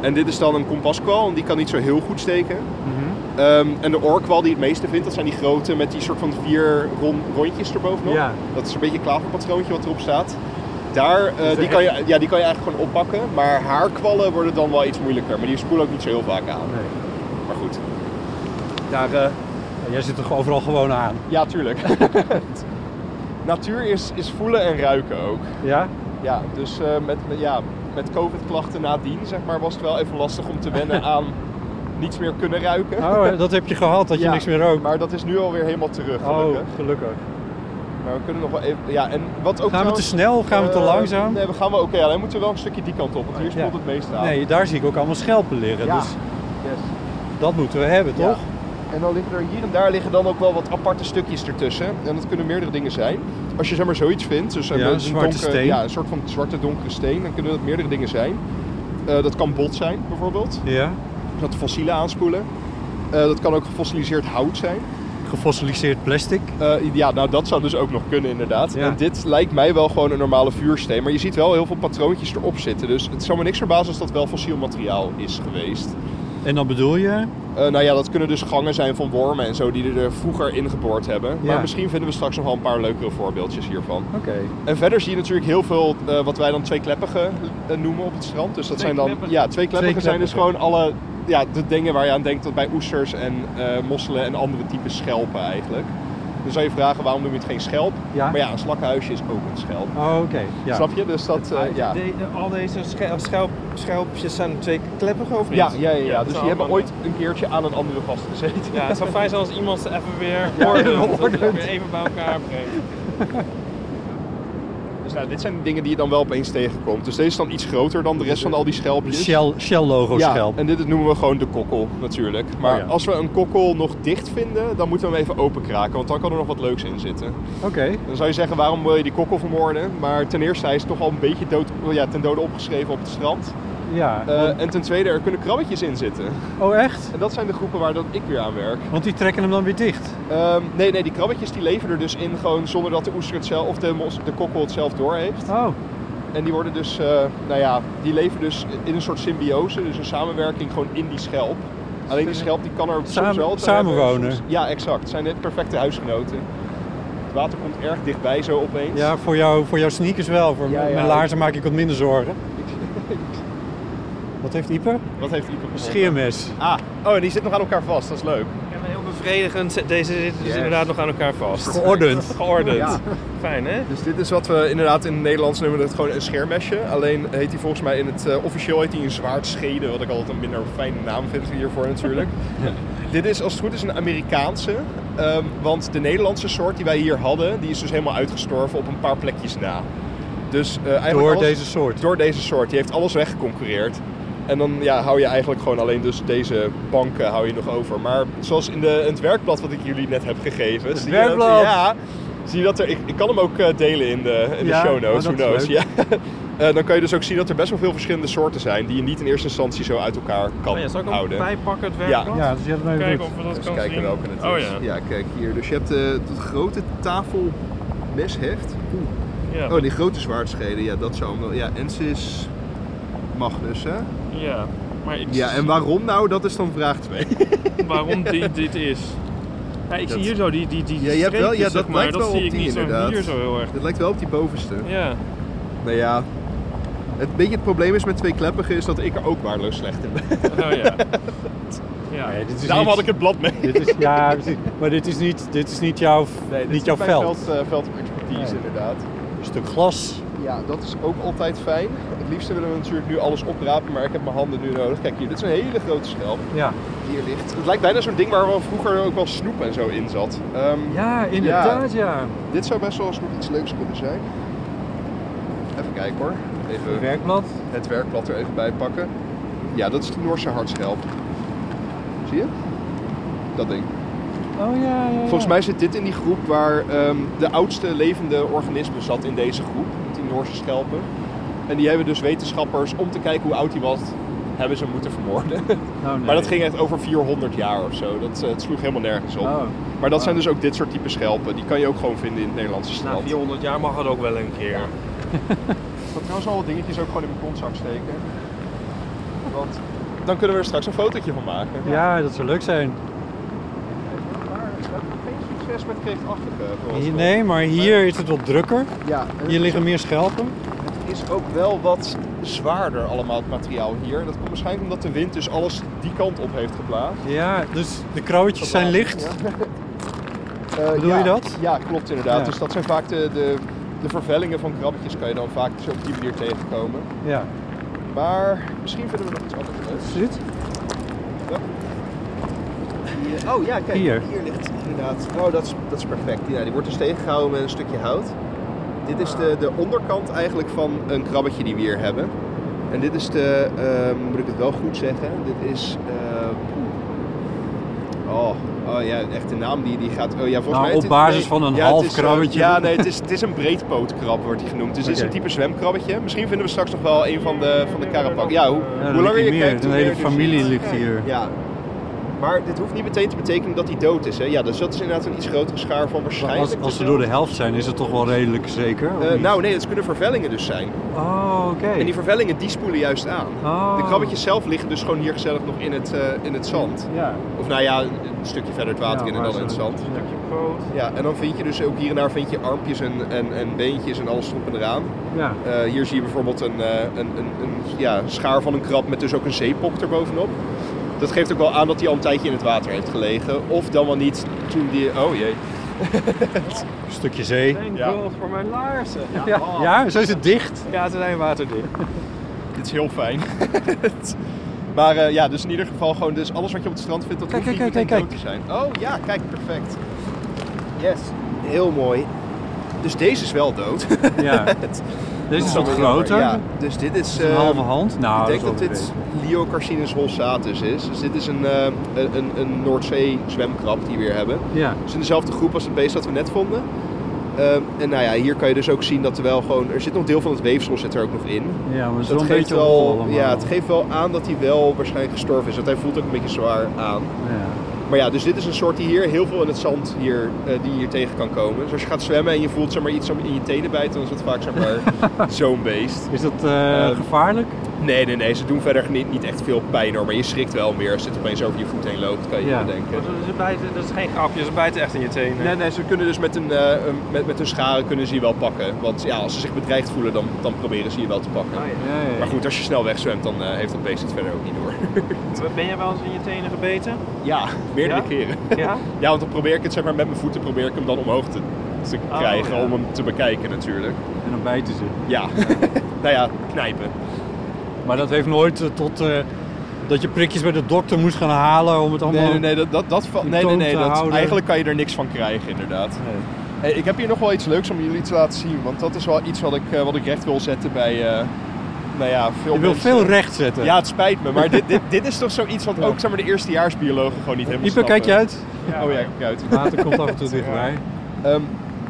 Speaker 4: En dit is dan een kompaskwal, en die kan niet zo heel goed steken. Ehm, en de oorkwal die het meeste vindt, dat zijn die grote met die soort van vier ron- rondjes erbovenop.
Speaker 1: Ja.
Speaker 4: Dat is een beetje een klaverpatroontje wat erop staat. Daar, eh, die, kan je, ja, die kan je eigenlijk gewoon oppakken. Maar haar kwallen worden dan wel iets moeilijker. Maar die spoelen ook niet zo heel vaak aan. Maar goed. Daar, eh,
Speaker 1: Jij zit toch overal gewoon aan?
Speaker 4: ja, tuurlijk. Natuur is, is voelen en ruiken ook.
Speaker 1: Ja?
Speaker 4: Ja, dus eh, met, met- ja, met COVID-klachten nadien zeg maar, was het wel even lastig om te wennen aan niets meer kunnen ruiken.
Speaker 1: Oh, dat heb je gehad, dat je
Speaker 4: Ja,
Speaker 1: niks meer rookt.
Speaker 4: Maar dat is nu alweer helemaal terug,
Speaker 1: Oh,
Speaker 4: gelukkig.
Speaker 1: gelukkig.
Speaker 4: Maar we kunnen nog wel even... Ja, en wat
Speaker 1: Gaan
Speaker 4: ook
Speaker 1: we te
Speaker 4: trouwens-
Speaker 1: snel? Gaan we te
Speaker 4: eh,
Speaker 1: langzaam?
Speaker 4: Nee, we gaan wel... Oké, alleen moeten we wel een stukje die kant op, want hier speelt
Speaker 1: Ja.
Speaker 4: het meest aan.
Speaker 1: Nee, daar zie ik ook allemaal schelpen liggen.
Speaker 4: Ja.
Speaker 1: Dus
Speaker 4: Yes.
Speaker 1: dat moeten we hebben,
Speaker 4: Ja.
Speaker 1: toch?
Speaker 4: En dan liggen er hier en daar liggen dan ook wel wat aparte stukjes ertussen. En dat kunnen meerdere dingen zijn. Als je zeg maar zoiets vindt, dus een,
Speaker 1: Ja, een zwarte
Speaker 4: donkere-
Speaker 1: steen.
Speaker 4: Ja, een soort van zwarte donkere steen, dan kunnen dat meerdere dingen zijn. Eh, dat kan bot zijn bijvoorbeeld,
Speaker 1: Ja.
Speaker 4: dus dat fossielen aanspoelen. Eh, dat kan ook gefossiliseerd hout zijn.
Speaker 1: Gefossiliseerd plastic.
Speaker 4: Eh, ja, nou dat zou dus ook nog kunnen inderdaad.
Speaker 1: Ja.
Speaker 4: En dit lijkt mij wel gewoon een normale vuursteen. Maar je ziet wel heel veel patroontjes erop zitten. Dus het zou me niks verbazen als dat wel fossiel materiaal is geweest.
Speaker 1: En dan bedoel je?
Speaker 4: Eh, nou ja, dat kunnen dus gangen zijn van wormen en zo die er vroeger ingeboord hebben.
Speaker 1: Ja.
Speaker 4: Maar misschien vinden we straks nog wel een paar leukere voorbeeldjes hiervan.
Speaker 1: Oké.
Speaker 4: En verder zie je natuurlijk heel veel eh, wat wij dan twee kleppigen eh, noemen op het strand. Dus dat
Speaker 2: Twee
Speaker 4: zijn dan.
Speaker 2: kleppigen.
Speaker 4: Ja, twee kleppigen
Speaker 1: Twee
Speaker 4: zijn dus gewoon alle. Ja, de dingen waar je aan denkt dat bij oesters en eh, mosselen en andere typen schelpen eigenlijk. Dan zou je vragen waarom noem je het geen schelp?
Speaker 1: Ja.
Speaker 4: Maar ja, een slakkenhuisje is ook een schelp.
Speaker 1: Oh, oké. Ja.
Speaker 4: Snap je? Dus dat. eh, ja.
Speaker 2: al deze sche- schelp, schelpjes zijn twee kleppigen of niet?
Speaker 4: Ja, ja, ja, ja.
Speaker 2: dat
Speaker 4: Dus
Speaker 2: zijn
Speaker 4: die hebben
Speaker 2: allemaal-
Speaker 4: ooit een keertje aan een andere vastgezeten.
Speaker 2: Ja, het zou fijn zijn als iemand ze even weer ordent. dat we weer even bij elkaar brengt.
Speaker 4: Dus nou, dit zijn de dingen die je dan wel opeens tegenkomt. Dus deze is dan iets groter dan de rest van al die
Speaker 1: De
Speaker 4: schelpjes.
Speaker 1: Shell, Shell logo
Speaker 4: Ja,
Speaker 1: schelp.
Speaker 4: en dit noemen we gewoon de kokkel natuurlijk. Maar
Speaker 1: Oh ja.
Speaker 4: als we een kokkel nog dicht vinden, dan moeten we hem even openkraken. Want dan kan er nog wat leuks in zitten.
Speaker 1: Oké.
Speaker 4: Dan zou je zeggen, waarom wil je die kokkel vermoorden? Maar ten eerste, hij is toch al een beetje dood, oh ja, ten dode opgeschreven op het strand.
Speaker 1: Ja.
Speaker 4: Eh, en ten tweede, er kunnen krabbetjes in zitten.
Speaker 1: oh, echt?
Speaker 4: En dat zijn de groepen waar dat ik weer aan werk.
Speaker 1: Want die trekken hem dan weer dicht.
Speaker 4: Ehm, nee, nee, die krabbetjes die leven er dus in gewoon zonder dat de oester het zelf, of de, mos, de kokkel het zelf doorheeft.
Speaker 1: Oh.
Speaker 4: En die worden dus, eh, nou ja, die leven dus in een soort symbiose, dus een samenwerking gewoon in die schelp. Alleen die schelp die kan er
Speaker 1: Samen-
Speaker 4: soms wel te
Speaker 1: samenwonen.
Speaker 4: hebben, soms- Ja, exact. Het zijn de perfecte huisgenoten. Het water komt erg dichtbij zo opeens.
Speaker 1: Ja, voor, jou, voor jouw sneakers wel. Voor
Speaker 4: Ja, ja.
Speaker 1: mijn laarzen maak ik wat minder zorgen. Wat heeft Ieper?
Speaker 4: Wat heeft Ipe gevonden?
Speaker 1: Scheermes.
Speaker 4: Ah, oh, en die zit nog aan elkaar vast. Dat is leuk.
Speaker 2: Ja, maar heel bevredigend. Deze zitten dus
Speaker 4: Yes.
Speaker 2: inderdaad nog aan elkaar vast.
Speaker 1: Geordend.
Speaker 2: Geordend.
Speaker 4: Ja.
Speaker 2: Fijn hè?
Speaker 4: Dus dit is wat we inderdaad in het Nederlands noemen het gewoon een scheermesje. Alleen heet hij volgens mij in het eh, officieel heet hij een zwaardschede, wat ik altijd een minder fijne naam vind hiervoor natuurlijk. Dit is als het goed is een Amerikaanse, ehm, want de Nederlandse soort die wij hier hadden, die is dus helemaal uitgestorven op een paar plekjes na. Dus, eh, eigenlijk
Speaker 1: Door
Speaker 4: alles-
Speaker 1: deze soort.
Speaker 4: Door deze soort. Die heeft alles weggeconcurreerd. En dan ja, hou je eigenlijk gewoon alleen dus deze banken hou je nog over. Maar zoals in, de, in het werkblad wat ik jullie net heb gegeven. zie je dat-
Speaker 1: werkblad!
Speaker 4: ja, zie je dat er... Ik, ik kan hem ook eh, delen in de, in
Speaker 1: Ja,
Speaker 4: de show notes.
Speaker 1: oh,
Speaker 4: Who
Speaker 1: dat is
Speaker 4: knows? Ja. Eh, dan kan je dus ook zien dat er best wel veel verschillende soorten zijn... die je niet in eerste instantie zo uit elkaar kan
Speaker 2: Oh ja, zal ik hem
Speaker 4: houden.
Speaker 2: bijpakken, het
Speaker 4: Ja.
Speaker 2: werkblad?
Speaker 1: Ja, dus je hebt hem even
Speaker 2: Kijken
Speaker 1: goed.
Speaker 2: of we dat
Speaker 4: Eens
Speaker 2: kunnen
Speaker 4: kijken
Speaker 2: zien.
Speaker 4: welke het
Speaker 2: oh
Speaker 4: is.
Speaker 2: ja.
Speaker 4: kijk hier. Dus je hebt eh, dat grote tafelmesheft. Oeh.
Speaker 2: Ja.
Speaker 4: Oh, die grote zwaardscheden. Ja, dat zou hem wel... Ja, Ensis Magnus, hè?
Speaker 2: ja. Maar ik
Speaker 4: Ja, en waarom nou? Dat is dan vraag 2.
Speaker 2: waarom dit, dit is. Ja, ik zie hier zo die, die, die
Speaker 4: Ja, je hebt wel-
Speaker 2: streepjes,
Speaker 4: ja,
Speaker 2: zeg
Speaker 4: dat
Speaker 2: maar.
Speaker 4: lijkt
Speaker 2: dat
Speaker 4: wel
Speaker 2: zie
Speaker 4: op
Speaker 2: ik
Speaker 4: die
Speaker 2: niet zo
Speaker 4: inderdaad.
Speaker 2: hier zo heel erg.
Speaker 4: Dat lijkt wel op die bovenste.
Speaker 2: Ja,
Speaker 4: Nou ja, het beetje het probleem is met twee kleppigen is dat ik er ook waardeloos slecht in ben.
Speaker 2: oh ja. Ja,
Speaker 1: dit is
Speaker 4: Daarom
Speaker 1: niet-
Speaker 4: had ik het blad mee.
Speaker 1: dit is, ja, precies. maar dit is niet, dit is niet jouw, niet jouw veld.
Speaker 4: Veld, eh, veld of expertise
Speaker 1: Nee.
Speaker 4: inderdaad.
Speaker 1: Een stuk glas.
Speaker 4: Ja, dat is ook altijd fijn. Het liefste willen we natuurlijk nu alles oprapen, maar ik heb mijn handen nu nodig. Kijk hier, dit is een hele grote schelp.
Speaker 1: Ja,
Speaker 4: die Hier ligt. Het lijkt bijna zo'n ding waar wel vroeger ook wel snoep en zo in zat. Ehm,
Speaker 1: ja inderdaad, ja.
Speaker 4: Dit zou best wel eens nog iets leuks kunnen zijn. Even kijken hoor. Even
Speaker 1: Werkblad.
Speaker 4: het werkblad er even bij pakken. Ja, dat is de Noorse hartschelp. Zie je? Dat ding.
Speaker 1: Oh ja, ja, ja.
Speaker 4: Volgens mij zit dit in die groep waar ehm, de oudste levende organisme zat in deze groep. Die Noorse schelpen. En die hebben dus wetenschappers, om te kijken hoe oud die was, hebben ze hem moeten vermoorden.
Speaker 1: Nou, nee.
Speaker 4: Maar dat ging echt over 400 jaar of zo. Dat eh, het sloeg helemaal nergens op.
Speaker 1: Oh. Nou,
Speaker 4: Maar dat zijn dus ook dit soort type schelpen. Die kan je ook gewoon vinden in het Nederlandse
Speaker 5: Na
Speaker 4: strand.
Speaker 5: 400 jaar mag het ook wel een keer.
Speaker 4: Ik kan trouwens al wat dingetjes ook gewoon in mijn kontzak steken. Want dan kunnen we er straks een fotootje van maken.
Speaker 1: Ja, dat zou leuk zijn.
Speaker 4: Maar we hebben geen succes met
Speaker 1: Hier-
Speaker 4: kreeftachtige.
Speaker 1: Nee, maar hier is het wat drukker.
Speaker 4: Ja, en
Speaker 1: Hier
Speaker 4: het
Speaker 1: liggen meer schelpen.
Speaker 4: is ook wel wat zwaarder allemaal het materiaal hier. Dat komt waarschijnlijk omdat de wind dus alles die kant op heeft geplaatst.
Speaker 1: Ja, dus de krooitjes zijn licht.
Speaker 4: Eh,
Speaker 1: Bedoel
Speaker 4: ja,
Speaker 1: je dat?
Speaker 4: Ja, klopt inderdaad.
Speaker 1: Ja.
Speaker 4: Dus dat zijn vaak de, de, de vervellingen van krabbetjes kan je dan vaak dus op die manier tegenkomen.
Speaker 1: Ja.
Speaker 4: Maar misschien vinden we nog iets anders leuks.
Speaker 1: Zit?
Speaker 4: Hier- Oh ja, kijk,
Speaker 1: Hier.
Speaker 4: hier, ligt inderdaad. Oh, dat is, dat is perfect. Ja, die wordt dus tegengehouden met een stukje hout. Dit is de, de onderkant eigenlijk van een krabbetje die we hier hebben. En dit is de, ehm, moet ik het wel goed zeggen? Dit is. eh, oh, oh ja, echt de naam die, die gaat. Oh, ja, volgens
Speaker 1: Nou,
Speaker 4: mij,
Speaker 1: op
Speaker 4: dit-
Speaker 1: basis van een
Speaker 4: ja,
Speaker 1: half
Speaker 4: het is, eh,
Speaker 1: krabbetje.
Speaker 4: ja, nee, het is, het is een breedpootkrab, wordt die genoemd. Dus dit is
Speaker 1: Oké.
Speaker 4: een type zwemkrabbetje. Misschien vinden we straks nog wel een van de, van de karapak. Ja, hoe,
Speaker 1: Ja, er
Speaker 4: hoe langer
Speaker 1: liggen
Speaker 4: je
Speaker 1: meer.
Speaker 4: kijkt,
Speaker 1: Een
Speaker 4: hoe
Speaker 1: hele
Speaker 4: meer je er
Speaker 1: familie
Speaker 4: ziet.
Speaker 1: ligt hier.
Speaker 4: Ja. Maar dit hoeft niet meteen te betekenen dat hij dood is. Hè? Ja, dus dat is inderdaad een iets grotere schaar van
Speaker 1: Maar
Speaker 4: waarschijnlijk.
Speaker 1: Als, als ze
Speaker 4: dus
Speaker 1: door de
Speaker 4: wel-
Speaker 1: helft zijn, is het toch wel redelijk zeker? of
Speaker 4: Eh,
Speaker 1: niet?
Speaker 4: nou nee, dat kunnen vervellingen dus zijn.
Speaker 1: Oh, oké.
Speaker 4: En die vervellingen die spoelen juist aan.
Speaker 1: Oh.
Speaker 4: De krabbetjes zelf liggen dus gewoon hier gezellig nog in het, eh, in het zand.
Speaker 1: Ja.
Speaker 4: Of nou ja, een stukje verder het water
Speaker 1: Ja,
Speaker 4: in en
Speaker 1: waar
Speaker 4: dan in het
Speaker 1: ze-
Speaker 4: zand. Ja, en dan vind je dus ook hier en daar vind je armpjes en, en, en beentjes en alles erop en eraan.
Speaker 1: Ja.
Speaker 4: Eh, hier zie je bijvoorbeeld een, eh, een, een, een ja, schaar van een krab met dus ook een zeepok erbovenop. Dat geeft ook wel aan dat hij al een tijdje in het water heeft gelegen. Of dan wel niet toen die... Oh jee.
Speaker 1: Een stukje zee.
Speaker 2: Mijn
Speaker 4: Ja.
Speaker 2: guld voor mijn laarzen. Ja,
Speaker 1: Ja, ja, zo is het dicht.
Speaker 2: ze zijn waterdicht.
Speaker 4: Dit is heel fijn. maar eh, ja, dus in ieder geval gewoon dus alles wat je op het strand vindt, dat
Speaker 1: Kijk,
Speaker 4: hoeft
Speaker 1: kijk,
Speaker 4: niet
Speaker 1: kijk,
Speaker 4: meteen dood te zijn. Oh ja, kijk, perfect. Yes, heel mooi. Dus deze is wel dood.
Speaker 1: Ja. Deze is wat groter.
Speaker 4: Ja, dus dit is...
Speaker 1: Een
Speaker 4: eh,
Speaker 1: halve hand. Nou,
Speaker 4: Ik denk
Speaker 1: dat
Speaker 4: dat
Speaker 1: is wel
Speaker 4: dit
Speaker 1: een
Speaker 4: Liocarcinus holsatus is. Dus dit is een, eh, een, een, een Noordzee zwemkrab die we hier hebben.
Speaker 1: beetje- Ja.
Speaker 4: Het is in dezelfde groep als het beest dat we net vonden. Ehm, en nou ja, hier kan je dus ook zien dat er wel gewoon... Er zit nog deel van het weefsel zit er ook nog in.
Speaker 1: Ja, maar
Speaker 4: Dus
Speaker 1: zo'n beetje rol
Speaker 4: wel,
Speaker 1: allemaal.
Speaker 4: ja, het geeft wel aan dat hij wel waarschijnlijk gestorven is. Want hij voelt ook een beetje zwaar aan.
Speaker 1: Ja.
Speaker 4: Maar ja, dus dit is een soort die hier heel veel in het zand hier, eh, die je hier tegen kan komen. Dus als je gaat zwemmen en je voelt zeg maar, iets om in je tenen bijten, dan is dat vaak zeg maar, zo'n beest.
Speaker 1: Is dat eh,
Speaker 4: Eh,
Speaker 1: gevaarlijk?
Speaker 4: Nee, nee, nee. Ze doen verder niet, niet echt veel pijn hoor. Maar je schrikt wel meer als het opeens over je voet heen loopt, kan je
Speaker 1: Ja.
Speaker 4: je bedenken.
Speaker 2: Ze bijten, dat is geen grapje, ze bijten echt in je tenen.
Speaker 4: Nee, nee, ze kunnen dus met hun, eh, een- met, met hun scharen kunnen ze je wel pakken. Want ja, als ze zich bedreigd voelen, dan, dan proberen ze je wel te pakken.
Speaker 2: Ah, ja.
Speaker 1: Ja, ja.
Speaker 4: Maar goed, als je snel wegzwemt, dan eh, heeft dat beest het verder ook niet door.
Speaker 2: Ben jij wel eens in je tenen gebeten?
Speaker 4: ja, meerdere
Speaker 2: Ja?
Speaker 4: keren.
Speaker 2: Ja?
Speaker 4: Ja, want dan probeer ik het zeg maar met mijn voeten probeer ik hem dan omhoog te, te
Speaker 2: Oh,
Speaker 4: krijgen
Speaker 2: ja.
Speaker 4: om hem te bekijken natuurlijk.
Speaker 1: En dan bijten ze.
Speaker 4: Ja, nou ja, knijpen.
Speaker 1: Maar dat heeft nooit eh, tot eh, dat je prikjes bij de dokter moest gaan halen om het allemaal...
Speaker 4: Nee, nee, nee, dat, dat, dat, va-
Speaker 1: De
Speaker 4: nee, nee,
Speaker 1: toon
Speaker 4: nee
Speaker 1: te
Speaker 4: dat,
Speaker 1: houden.
Speaker 4: eigenlijk kan je er niks van krijgen inderdaad. Hey, ik heb hier nog wel iets leuks om jullie te laten zien. Want dat is wel iets wat ik, eh, wat ik recht wil zetten bij eh, nou ja, veel
Speaker 1: Je wil
Speaker 4: mensen.
Speaker 1: veel recht zetten.
Speaker 4: Ja, het spijt me. Maar dit, dit, dit is toch zoiets wat ook zeg maar, de eerstejaarsbiologen gewoon niet helemaal
Speaker 1: Ieper, kijk je
Speaker 4: snappen.
Speaker 1: uit.
Speaker 4: Oh ja, kijk uit.
Speaker 1: Water komt af en toe dichterbij.
Speaker 4: Ehm,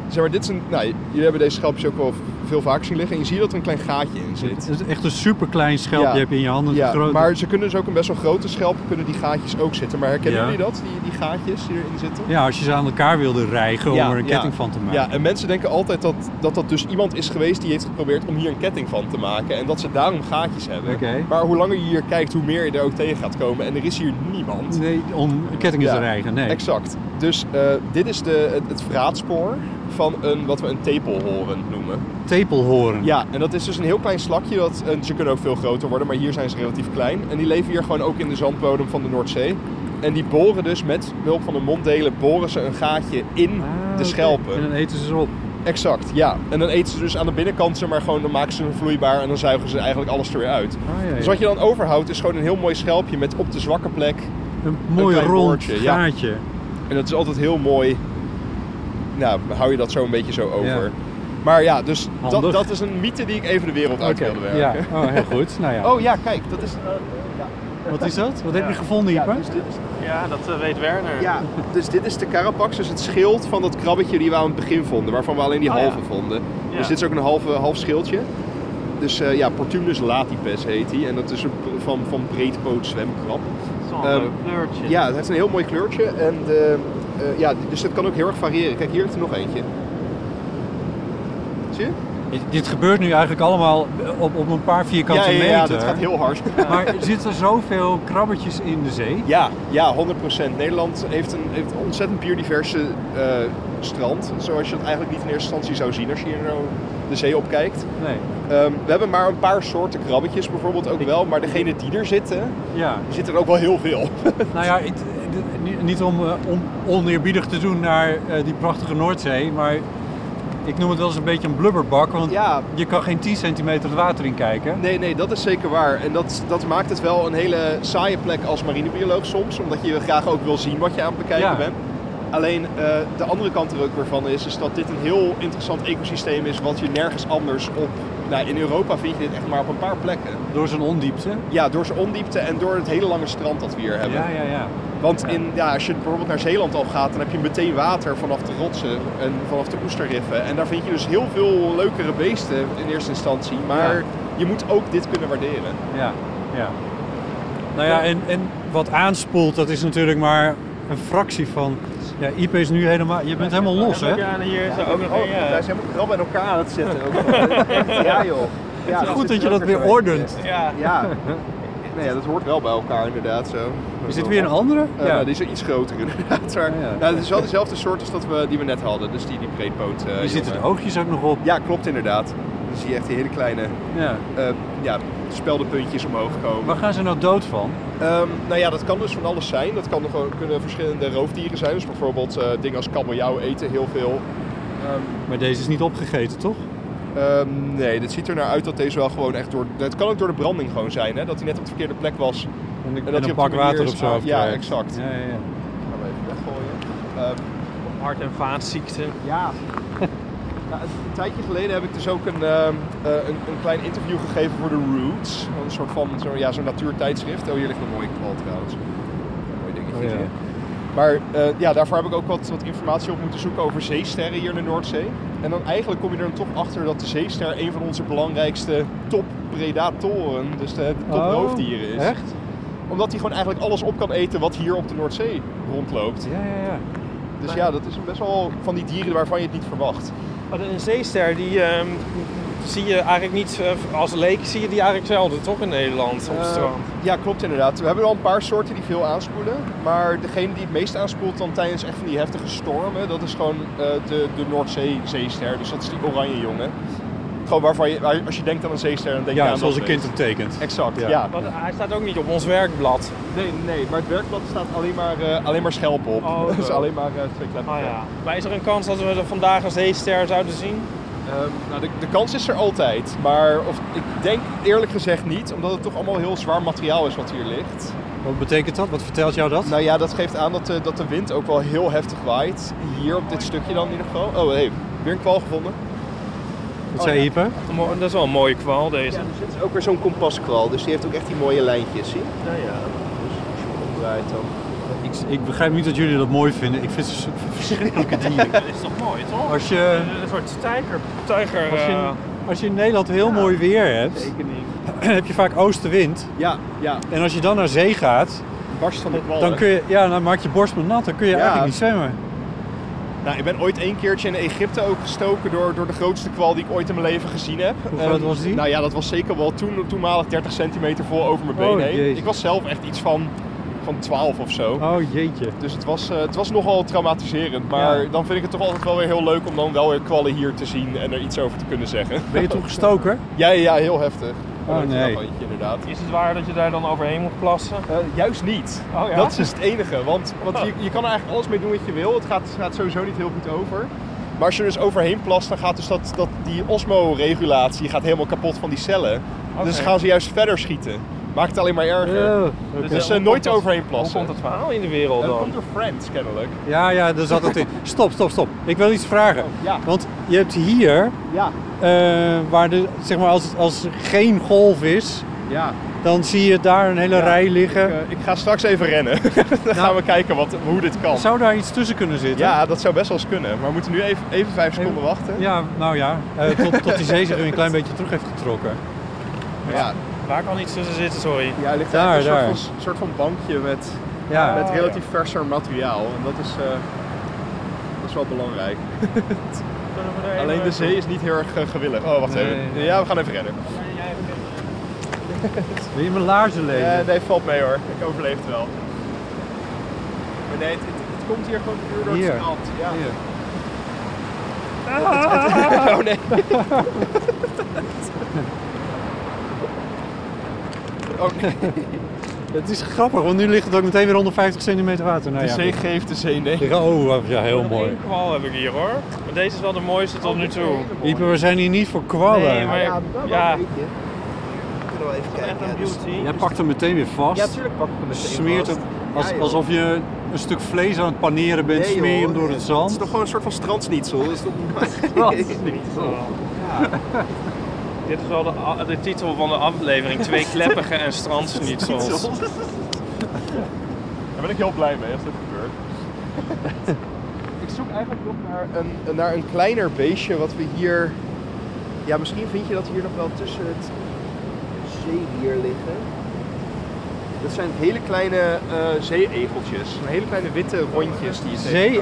Speaker 4: zeg maar, dit is een, nou, jullie hebben deze schelpjes ook al veel vaker zien liggen. En je ziet dat er een klein gaatje in zit.
Speaker 1: Het is echt een superklein schelpje
Speaker 4: Ja.
Speaker 1: heb je in je handen.
Speaker 4: Ja,
Speaker 1: Groot-
Speaker 4: maar ze kunnen dus ook een best wel grote schelp, kunnen die gaatjes ook zitten. Maar herkennen
Speaker 1: Ja.
Speaker 4: jullie dat, die, die gaatjes die erin zitten?
Speaker 1: ja, als je ze aan elkaar wilde rijgen om
Speaker 4: Ja,
Speaker 1: er een
Speaker 4: ja.
Speaker 1: ketting van te maken.
Speaker 4: Ja, en mensen denken altijd dat, dat dat dus iemand is geweest die heeft geprobeerd om hier een ketting van te maken. En dat ze daarom gaatjes hebben.
Speaker 1: Oké.
Speaker 4: Maar hoe langer je hier kijkt, hoe meer je er ook tegen gaat komen. En er is hier niemand.
Speaker 1: Nee, om kettingen te
Speaker 4: Ja,
Speaker 1: rijgen. Nee.
Speaker 4: Exact. Dus eh, dit is de, het, het vraatspoor van een, wat we een tepelhoren noemen.
Speaker 1: Tepelhoorn.
Speaker 4: Ja, en dat is dus een heel klein slakje. Dat, en ze kunnen ook veel groter worden, maar hier zijn ze relatief klein. En die leven hier gewoon ook in de zandbodem van de Noordzee. En die boren dus met behulp van de monddelen boren ze een gaatje in
Speaker 1: Ah, oké.
Speaker 4: de schelpen. Ah,
Speaker 1: En dan eten ze ze op.
Speaker 4: Exact, ja. En dan eten ze dus aan de binnenkant, zeg maar gewoon, dan maken ze hem vloeibaar en dan zuigen ze eigenlijk alles er weer uit.
Speaker 1: ja, ja.
Speaker 4: Dus wat je dan overhoudt is gewoon een heel mooi schelpje met op de zwakke plek.
Speaker 1: Een mooi
Speaker 4: klein
Speaker 1: rond
Speaker 4: boordje, ja.
Speaker 1: gaatje.
Speaker 4: En dat is altijd heel mooi. Nou, hou je dat zo een beetje zo over.
Speaker 1: Ja.
Speaker 4: Maar ja, dus dat,
Speaker 1: Handig.
Speaker 4: dat is een mythe die ik even de wereld uit wilde werken.
Speaker 1: Ja, oh, heel goed. Nou ja.
Speaker 4: Oh ja, kijk, dat is.
Speaker 1: Wat is dat? Wat heb je gevonden,
Speaker 4: ja,
Speaker 1: Ieper?
Speaker 4: dus dit is,
Speaker 2: Ja, dat eh, weet Werner.
Speaker 4: ja, dus dit is de carapax, dus het schild van dat krabbetje die we aan het begin vonden, waarvan we alleen die
Speaker 2: Oh, ja.
Speaker 4: halve vonden.
Speaker 2: Ja.
Speaker 4: Dus dit is ook een halve, half schildje. Dus eh, ja, Portunus latipes heet hij. En dat is een, p- van, van breedpoot zwemkrab.
Speaker 2: Zo'n
Speaker 4: Ehm,
Speaker 2: leuk kleurtje.
Speaker 4: Ja, het heeft een heel mooi kleurtje. En eh, eh, ja, dus dat kan ook heel erg variëren. Kijk, hier heeft er nog eentje. Zie je?
Speaker 1: Dit- Dit gebeurt nu eigenlijk allemaal op, op een paar vierkante
Speaker 4: ja, ja,
Speaker 1: meter.
Speaker 4: ja, dat gaat heel hard.
Speaker 1: Maar zitten er zoveel krabbetjes in de zee?
Speaker 4: Ja, ja, 100%. Nederland heeft een, heeft een ontzettend biodiverse eh, strand. Zoals je dat eigenlijk niet in eerste instantie zou zien als je hier nou de zee opkijkt.
Speaker 1: Nee.
Speaker 4: Ehm, we hebben maar een paar soorten krabbetjes bijvoorbeeld ook wel. Maar degene die er zitten,
Speaker 1: Ja.
Speaker 4: die zitten er ook wel heel veel.
Speaker 1: Nou ja, ik- ik- niet- niet om, eh, om oneerbiedig te doen naar eh, die prachtige Noordzee, maar ik noem het wel eens een beetje een blubberbak, want
Speaker 4: Ja.
Speaker 1: je kan geen 10 centimeter het water in kijken.
Speaker 4: Nee, nee, dat is zeker waar. En dat, dat maakt het wel een hele saaie plek als marinebioloog soms. Omdat je graag ook wil zien wat je aan het bekijken
Speaker 1: Ja.
Speaker 4: bent. Alleen eh, de andere kant er ook weer van is, is dat dit een heel interessant ecosysteem is. Wat je nergens anders op... Nou, in Europa vind je dit echt maar op een paar plekken.
Speaker 1: Door zijn ondiepte.
Speaker 4: Ja, door zijn ondiepte en door het hele lange strand dat we hier hebben.
Speaker 1: Ja, ja, ja.
Speaker 4: Want in, ja, als je bijvoorbeeld naar Zeeland al gaat, dan heb je meteen water vanaf de rotsen en vanaf de oesterriffen. En daar vind je dus heel veel leukere beesten in eerste instantie. Maar
Speaker 1: Ja.
Speaker 4: je moet ook dit kunnen waarderen.
Speaker 1: ja, ja. Nou ja, en, en wat aanspoelt, dat is natuurlijk maar een fractie van... Ja, IP is nu helemaal... Je bent helemaal los, hè?
Speaker 2: Ja, en hier is er ook
Speaker 4: Oh,
Speaker 2: nog een. eh, ja.
Speaker 4: zijn helemaal krabben aan elkaar aan het zetten. ja joh. Ja,
Speaker 1: Goed dat je dat weer ordent.
Speaker 2: Ja.
Speaker 4: Ja. Nee, dat hoort wel bij elkaar inderdaad zo.
Speaker 1: Is dit weer een andere?
Speaker 4: Eh, nou, die is iets groter inderdaad. Maar,
Speaker 1: Ja, ja.
Speaker 4: Nou, het is wel dezelfde soort als dat we, die we net hadden. Dus die, die breedpoot. eh,
Speaker 1: Hier zitten de
Speaker 4: jongen.
Speaker 1: oogjes ook nog op.
Speaker 4: Ja, klopt inderdaad. Dan zie je echt die hele kleine
Speaker 1: Ja.
Speaker 4: eh ja, speldenpuntjes omhoog komen.
Speaker 1: Waar gaan ze nou dood van?
Speaker 4: Ehm, nou ja, dat kan dus van alles zijn. Dat kan gewoon, kunnen verschillende roofdieren zijn. Dus bijvoorbeeld eh, dingen als kabeljauw eten heel veel.
Speaker 1: Maar deze is niet opgegeten, toch?
Speaker 4: Ehm, nee, dit ziet er naar uit dat deze wel gewoon echt door... Het kan ook door de branding gewoon zijn, hè? Dat hij net op de verkeerde plek was.
Speaker 1: En,
Speaker 4: dat je
Speaker 1: een
Speaker 4: op
Speaker 1: pak
Speaker 4: die manier
Speaker 1: water
Speaker 4: is
Speaker 1: op zo.
Speaker 4: aan-
Speaker 1: hoofd
Speaker 4: ja,
Speaker 1: krijgt.
Speaker 4: exact.
Speaker 1: Ja, ja, ja.
Speaker 4: Gaan we even weggooien. Ehm,
Speaker 2: Hart- en vaatziekten.
Speaker 4: Ja. Ja, een tijdje geleden heb ik dus ook een, ehm, eh, een, een klein interview gegeven voor de Roots. Een soort van zo, ja, zo'n natuurtijdschrift. Oh, hier ligt een mooie kwal trouwens. Mooi dingetje.
Speaker 1: Oh, ja.
Speaker 4: Maar eh, ja, daarvoor heb ik ook wat, wat informatie op moeten zoeken over zeesterren hier in de Noordzee. En dan eigenlijk kom je er dan toch achter dat de zeester een van onze belangrijkste toppredatoren, dus de, de
Speaker 1: Oh,
Speaker 4: toproofdieren is.
Speaker 1: Echt?
Speaker 4: Omdat hij gewoon eigenlijk alles op kan eten wat hier op de Noordzee rondloopt.
Speaker 1: Ja, ja, ja.
Speaker 4: Dus ja, dat is een best wel van die dieren waarvan je het niet verwacht.
Speaker 2: Maar een zeester, die ehm, zie je eigenlijk niet, eh, als leek zie je die eigenlijk zelden, toch in Nederland op het
Speaker 4: Eh,
Speaker 2: strand?
Speaker 4: ja, klopt inderdaad. We hebben wel een paar soorten die veel aanspoelen. Maar degene die het meest aanspoelt dan tijdens echt van die heftige stormen, dat is gewoon eh, de, de Noordzee-zeester. Dus dat is die oranje jongen. Gewoon waarvan je, waar- als je denkt aan een zeester, dan denk je
Speaker 1: Ja,
Speaker 4: aan
Speaker 1: zoals een
Speaker 4: dat
Speaker 1: kind
Speaker 4: beest.
Speaker 1: hem tekent.
Speaker 4: Exact,
Speaker 1: Ja.
Speaker 4: ja.
Speaker 2: Want hij staat ook niet op ons werkblad.
Speaker 4: Nee, nee, maar het werkblad staat alleen maar, eh, alleen maar schelpen op.
Speaker 2: Oh,
Speaker 4: dus
Speaker 2: zo.
Speaker 4: alleen maar eh, twee kleppen.
Speaker 2: Ah ja. Maar is er een kans dat we er vandaag een zeester zouden zien?
Speaker 4: Ehm, nou, de, de kans is er altijd. Maar of, ik denk eerlijk gezegd niet, omdat het toch allemaal heel zwaar materiaal is wat hier ligt.
Speaker 1: Wat betekent dat? Wat vertelt jou dat?
Speaker 4: Nou ja, dat geeft aan dat, eh, dat de wind ook wel heel heftig waait. Hier op dit stukje dan in ieder geval. Oh, hey, weer een kwal gevonden.
Speaker 1: Wat
Speaker 4: Oh,
Speaker 1: zei Hyper?
Speaker 2: Dat is wel een mooie kwaal deze.
Speaker 4: Ja, dus dit is ook weer zo'n kompaskwal. Dus die heeft ook echt die mooie lijntjes, zie je? Nou ja, dus als je hem omdraait dan...
Speaker 1: Ik, ik begrijp niet dat jullie dat mooi vinden. Ik vind ze verschrikkelijke dieren.
Speaker 2: Dat is toch mooi, toch?
Speaker 1: Als je,
Speaker 2: Een soort tijger. Tijger. eh,
Speaker 1: als je, als je in Nederland heel mooi weer hebt, heb je vaak oostenwind.
Speaker 4: Ja, ja.
Speaker 1: En als je dan naar zee gaat,
Speaker 4: Barst van de kwal.
Speaker 1: dan, kun je, ja, dan maak je borst maar nat. Dan kun je
Speaker 4: Ja.
Speaker 1: eigenlijk niet zwemmen.
Speaker 4: Nou, ik ben ooit één keertje in Egypte ook gestoken door, door de grootste kwal die ik ooit in mijn leven gezien heb.
Speaker 1: Hoe groot
Speaker 4: Ehm,
Speaker 1: was die?
Speaker 4: Nou ja, dat was zeker wel toen, toenmalig 30 centimeter vol over mijn been
Speaker 1: Oh,
Speaker 4: heen.
Speaker 1: jezus.
Speaker 4: Ik was zelf echt iets van, van 12 of zo.
Speaker 1: Oh jeetje.
Speaker 4: Dus het was, eh, het was nogal traumatiserend. Maar
Speaker 1: Ja.
Speaker 4: dan vind ik het toch altijd wel weer heel leuk om dan wel weer kwallen hier te zien en er iets over te kunnen zeggen.
Speaker 1: Ben je toen gestoken?
Speaker 4: Ja, ja, heel heftig.
Speaker 1: Oh,
Speaker 4: Een
Speaker 1: nee.
Speaker 4: knaphandje, inderdaad.
Speaker 2: Is het waar dat je daar dan overheen moet plassen? Dus
Speaker 4: Eh, juist niet.
Speaker 2: Oh ja?
Speaker 4: Dat is dus het enige. Want, want je, je kan er eigenlijk alles mee doen wat je wil. Het gaat, gaat sowieso niet heel goed over. Maar als je er dus overheen plast, dan gaat dus dat, dat, die osmoregulatie gaat helemaal kapot van die cellen. Dus gaan ze juist verder schieten. Maakt het alleen maar erger.
Speaker 1: Oké.
Speaker 4: Dus
Speaker 2: eh,
Speaker 4: eh,
Speaker 2: hoe komt
Speaker 4: nooit
Speaker 2: dat-
Speaker 4: overheen
Speaker 2: Hoe
Speaker 4: plassen.
Speaker 2: komt dat verhaal in de wereld
Speaker 4: Eh, dat
Speaker 2: dan?
Speaker 4: komt door Friends kennelijk.
Speaker 1: Ja, ja, daar zat het in. Stop, stop, stop. Ik wil iets vragen.
Speaker 4: Oh, ja.
Speaker 1: Want je hebt hier,
Speaker 4: Ja,
Speaker 1: eh, waar de, zeg maar als, als er geen golf is,
Speaker 4: ja.
Speaker 1: dan zie je daar een hele rij liggen.
Speaker 4: Ik, eh, ik ga straks even rennen. dan gaan we kijken wat, hoe dit kan.
Speaker 1: Zou daar iets tussen kunnen zitten?
Speaker 4: Ja, dat zou best wel eens kunnen. Maar we moeten nu even, even vijf seconden wachten.
Speaker 1: Ja, nou ja. eh, tot, tot die zee zich weer een klein beetje terug heeft getrokken.
Speaker 4: Ja,
Speaker 2: Waar kan iets tussen zitten, sorry?
Speaker 4: ja er ligt
Speaker 1: Daar,
Speaker 4: eigenlijk een
Speaker 1: daar.
Speaker 4: soort van, soort van bankje met...
Speaker 1: Ja.
Speaker 4: met relatief verser materiaal. En dat is, eh, dat is wel belangrijk.
Speaker 2: Kunnen we er
Speaker 4: Alleen de zee is niet heel erg eh, gewillig. Oh, wacht
Speaker 1: Nee,
Speaker 4: even.
Speaker 1: nee.
Speaker 4: Ja, we gaan even rennen.
Speaker 1: Wil je mijn laarzen lezen?
Speaker 4: Eh, nee, valt mee hoor. Ik overleef het wel. Maar nee, het, het- het komt hier gewoon puur door
Speaker 1: Hier.
Speaker 4: het strand. Ja.
Speaker 1: Hier.
Speaker 4: Oh nee. oh nee.
Speaker 1: Het is grappig, want nu ligt het ook meteen weer 150 centimeter water. Nou,
Speaker 4: De
Speaker 1: ja,
Speaker 4: zee
Speaker 1: goed.
Speaker 4: geeft, de zee neemt.
Speaker 1: Oh, ja, heel mooi.
Speaker 2: Eén kwal heb ik hier hoor. Maar deze is wel de mooiste tot nu toe.
Speaker 1: Ipe, we zijn hier niet voor kwallen.
Speaker 2: Nee, maar- Ja, wel Ja. een
Speaker 4: beetje. Kunnen we even
Speaker 2: Echt een beauty.
Speaker 1: Jij pakt hem meteen weer vast.
Speaker 4: pak ik hem
Speaker 1: smeert hem als,
Speaker 4: Ja, joh.
Speaker 1: alsof je een stuk vlees aan het paneren bent, smeer je hem door het
Speaker 4: Het is
Speaker 1: zand.
Speaker 4: toch gewoon een soort van strandsnietsel? Dat is toch...
Speaker 2: Dit is wel de, a- de titel van de aflevering. Twee kleppige en strandsnietsels.
Speaker 4: Daar ben ik heel blij mee als dit gebeurt. ik zoek eigenlijk nog naar een, naar een kleiner beestje wat we hier... Ja, misschien vind je dat hier nog wel tussen het zeewier liggen. Dat zijn hele kleine eh zeeegeltjes. Hele kleine witte rondjes die je tegenkomt.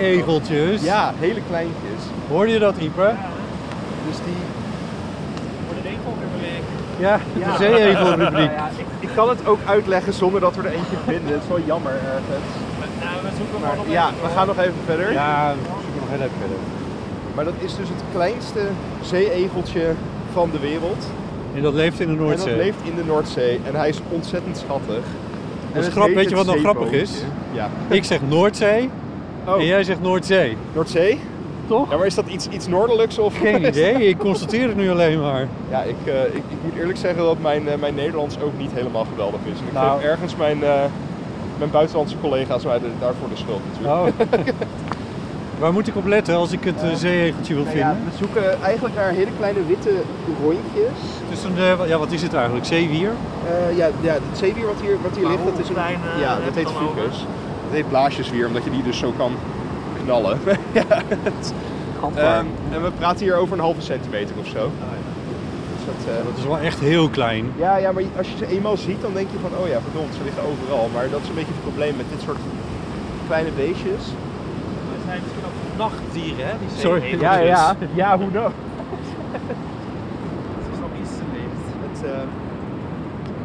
Speaker 1: Zeeegeltjes.
Speaker 4: Ja, hele kleintjes.
Speaker 1: Hoorde je dat, Ieper?
Speaker 4: Dus die...
Speaker 1: Ja, de zeeegelrubriek.
Speaker 4: ik, ik kan het ook uitleggen zonder dat we er eentje vinden. Het is wel jammer ergens.
Speaker 2: nou,
Speaker 4: Maar ja, we gaan nog even verder.
Speaker 1: Ja, we zoeken nog heel even verder.
Speaker 4: Maar dat is dus het kleinste zeeegeltje van de wereld.
Speaker 1: En dat leeft in de
Speaker 4: En dat
Speaker 1: Noordzee.
Speaker 4: leeft in de Noordzee. En hij is ontzettend schattig. En
Speaker 1: is
Speaker 4: het
Speaker 1: grap-
Speaker 4: heet
Speaker 1: weet je
Speaker 4: het
Speaker 1: wat nou grappig is?
Speaker 4: zeevogeltje. Ja.
Speaker 1: Ik zeg Noordzee
Speaker 4: Oh,
Speaker 1: en jij zegt Noordzee.
Speaker 4: Noordzee?
Speaker 1: Toch?
Speaker 4: Ja, maar is dat iets, iets noordelijks? Of...
Speaker 1: Geen idee, ik constateer het nu alleen maar.
Speaker 4: Ja, ik, eh, ik, ik moet eerlijk zeggen dat mijn, eh, mijn Nederlands ook niet helemaal geweldig is. En ik
Speaker 1: Nou.
Speaker 4: geef ergens mijn, eh, mijn buitenlandse collega's mij de- daarvoor de schuld natuurlijk.
Speaker 1: Oh. Waar moet ik op letten als ik het eh, zeeegeltje wil
Speaker 4: Nou ja,
Speaker 1: vinden?
Speaker 4: we zoeken eigenlijk naar hele kleine witte rondjes.
Speaker 1: Dus een, eh, ja, wat is het eigenlijk? Zeewier?
Speaker 4: Eh, ja, ja, het zeewier wat hier, wat hier ligt, dat is een,
Speaker 2: klein, eh,
Speaker 4: ja,
Speaker 2: heb
Speaker 4: dat
Speaker 2: je
Speaker 4: heet
Speaker 2: het dan
Speaker 4: fucus. Dat heet blaasjeswier, omdat je die dus zo kan knallen. ja, het- Ehm, en we praten hier over een halve centimeter of
Speaker 2: Oh,
Speaker 4: zo. Dus dat, eh,
Speaker 1: Dat is wel echt heel klein.
Speaker 4: ja, ja, maar als je ze eenmaal ziet, dan denk je van, oh ja, verdomd, ze liggen overal. Maar dat is een beetje het probleem met dit soort kleine beestjes.
Speaker 2: Het zijn misschien ook nachtdieren, hè? Die
Speaker 1: Sorry.
Speaker 2: zeeegeltjes.
Speaker 1: Ja, ja.
Speaker 4: ja, hoe dan?
Speaker 2: Het Dus is nog iets te licht.
Speaker 4: Het,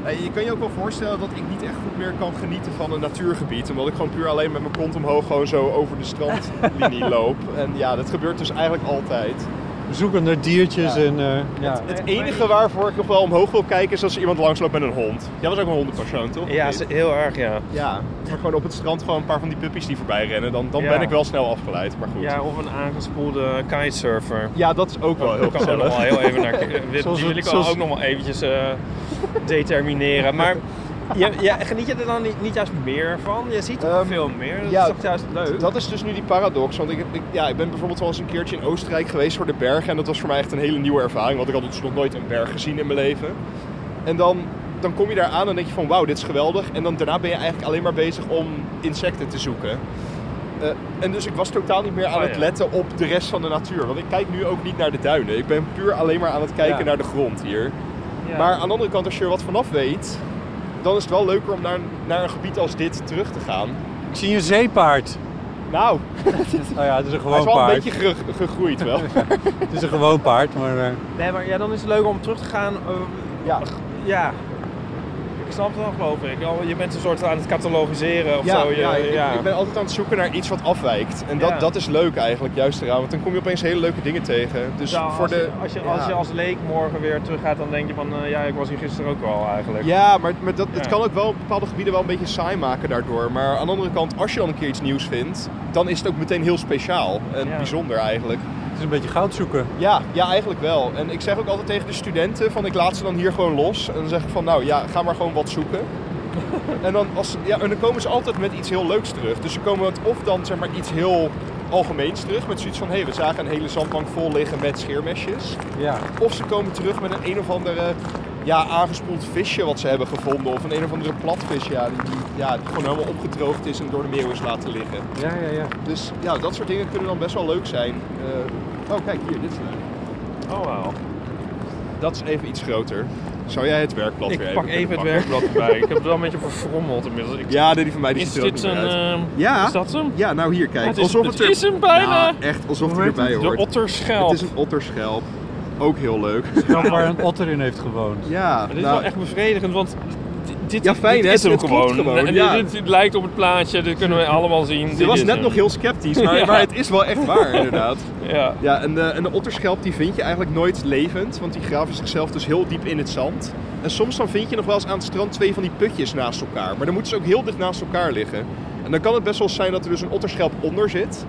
Speaker 4: eh, eh, je kan je ook wel voorstellen dat ik niet echt goed meer kan genieten van een natuurgebied. Omdat ik gewoon puur alleen met mijn kont omhoog gewoon zo over de strandlinie loop. En ja, dat gebeurt dus eigenlijk altijd.
Speaker 1: We zoeken naar diertjes
Speaker 4: Ja.
Speaker 1: en... eh, ja.
Speaker 4: Het enige waarvoor ik nog wel omhoog wil kijken is als er iemand langsloopt met een hond. Jij was ook een hondenpersoon, toch?
Speaker 2: Ja, ze- heel erg, ja.
Speaker 4: Ja, maar gewoon op het strand gewoon een paar van die puppies die voorbij rennen. Dan, dan
Speaker 2: Ja.
Speaker 4: ben ik wel snel afgeleid, maar goed.
Speaker 2: Ja, of een aangespoelde kitesurfer.
Speaker 4: Ja, dat is ook wel heel
Speaker 2: Ik kan ook nog
Speaker 4: gezellig.
Speaker 2: wel heel even naar. dit-
Speaker 1: Zoals
Speaker 2: Die
Speaker 1: we-
Speaker 2: wil ik wel
Speaker 1: zoals-
Speaker 2: ook nog wel eventjes eh, determineren. Maar Ja, ja, geniet je er dan niet, niet juist meer van? Je ziet toch
Speaker 4: Ehm,
Speaker 2: veel meer. Dat
Speaker 4: ja,
Speaker 2: is toch juist leuk?
Speaker 4: Dat is dus nu die paradox. Want ik, heb- ik- ja, ik ben bijvoorbeeld wel eens een keertje in Oostenrijk geweest voor de bergen. En dat was voor mij echt een hele nieuwe ervaring. Want ik had dus nog nooit een berg gezien in mijn leven. En dan, dan kom je daar aan en denk je van wauw, dit is geweldig. En dan daarna ben je eigenlijk alleen maar bezig om insecten te zoeken. Eh, en dus ik was totaal niet meer aan
Speaker 2: Oh,
Speaker 4: het
Speaker 2: ja.
Speaker 4: letten op de rest van de natuur. Want ik kijk nu ook niet naar de duinen. Ik ben puur alleen maar aan het kijken
Speaker 2: Ja.
Speaker 4: naar de grond hier.
Speaker 2: Ja.
Speaker 4: Maar aan de andere kant, als je er wat vanaf weet, dan is het wel leuker om naar, naar een gebied als dit terug te gaan.
Speaker 1: Ik zie een zeepaard.
Speaker 4: Nou,
Speaker 1: Nou ja, het is een
Speaker 4: hij
Speaker 1: gewoon
Speaker 4: is wel
Speaker 1: paard.
Speaker 4: een beetje gero- gegroeid wel.
Speaker 1: Het is een gewoon paard, maar eh,
Speaker 2: Nee, maar ja, dan is het leuk om terug te gaan. eh,
Speaker 4: ja.
Speaker 2: ja. Ik snap het wel, geloof ik. Al- Je bent een soort aan het catalogiseren of
Speaker 4: Ja,
Speaker 2: zo. Je,
Speaker 4: ja, ik,
Speaker 2: ja.
Speaker 4: ik ben altijd aan het zoeken naar iets wat afwijkt. En dat,
Speaker 2: Ja.
Speaker 4: dat is leuk eigenlijk, juist eraan. Want dan kom je opeens hele leuke dingen tegen. Dus
Speaker 2: Nou,
Speaker 4: voor
Speaker 2: als,
Speaker 4: de...
Speaker 2: je, als, je, als
Speaker 4: ja.
Speaker 2: je als leek morgen weer terug gaat, dan denk je van... eh, ja, ik was hier gisteren ook al eigenlijk.
Speaker 4: Ja, maar, maar dat, het
Speaker 2: Ja.
Speaker 4: kan ook wel bepaalde gebieden wel een beetje saai maken daardoor. Maar aan de andere kant, als je dan een keer iets nieuws vindt, dan is het ook meteen heel speciaal en
Speaker 2: Ja.
Speaker 4: bijzonder eigenlijk.
Speaker 1: het is een beetje goud zoeken.
Speaker 4: Ja, ja, eigenlijk wel. En ik zeg ook altijd tegen de studenten van ik laat ze dan hier gewoon los. En dan zeg ik van nou ja, ga maar gewoon wat zoeken. en, dan als, ja, en dan komen ze altijd met iets heel leuks terug. Dus ze komen het of dan zeg maar iets heel algemeens terug. Met zoiets van hé, hey, we zagen een hele zandbank vol liggen met scheermesjes.
Speaker 1: Ja.
Speaker 4: Of ze komen terug met een een of andere ja, aangespoeld visje wat ze hebben gevonden. Of een een of andere platvis ja, die, die, ja, die gewoon helemaal opgedroogd is en door de meeuw is laten liggen.
Speaker 1: Ja, ja, ja.
Speaker 4: Dus ja, dat soort dingen kunnen dan best wel leuk zijn. Eh, oh kijk, hier, dit is leuk.
Speaker 2: Oh, wel.
Speaker 4: Dat is even iets groter. Zou jij het werkblad weer
Speaker 2: Ik
Speaker 4: even
Speaker 2: pak
Speaker 4: kunnen
Speaker 2: even het
Speaker 4: pakken?
Speaker 2: werkblad erbij. Ik heb het wel een beetje verfrommeld inmiddels. Ik-
Speaker 4: Ja, die van mij die
Speaker 2: is
Speaker 4: ziet er ook
Speaker 2: dit
Speaker 4: niet
Speaker 2: een...
Speaker 4: meer uit.
Speaker 2: eh,
Speaker 4: Ja.
Speaker 2: Is dat hem?
Speaker 4: Ja, nou hier, kijk.
Speaker 2: het is-
Speaker 4: alsof
Speaker 2: het
Speaker 4: er...
Speaker 2: is hem bijna.
Speaker 4: Ja, echt, alsof het
Speaker 1: heet
Speaker 4: erbij
Speaker 2: De
Speaker 4: hoort.
Speaker 2: otterschelp.
Speaker 4: het is een otterschelp. Ook heel leuk.
Speaker 1: Dan waar een otter in heeft gewoond.
Speaker 4: ja,
Speaker 2: Maar dit is
Speaker 4: nou,
Speaker 2: wel echt bevredigend, want d- dit,
Speaker 4: Ja, fijn,
Speaker 2: dit
Speaker 4: hè?
Speaker 2: is hem
Speaker 4: Het klopt
Speaker 2: gewoon.
Speaker 4: gewoon,
Speaker 2: En
Speaker 4: ja.
Speaker 2: dit, dit lijkt op het plaatje, dit kunnen we allemaal zien.
Speaker 4: je
Speaker 2: Dit
Speaker 4: was
Speaker 2: is
Speaker 4: net
Speaker 2: hem.
Speaker 4: nog heel sceptisch, maar,
Speaker 2: Ja.
Speaker 4: maar het is wel echt waar, inderdaad.
Speaker 2: Ja.
Speaker 4: Ja, en de, en de otterschelp die vind je eigenlijk nooit levend, want die graven zichzelf dus heel diep in het zand. En soms dan vind je nog wel eens aan het strand twee van die putjes naast elkaar, maar dan moeten ze ook heel dicht naast elkaar liggen. En dan kan het best wel eens zijn dat er dus een otterschelp onder zit,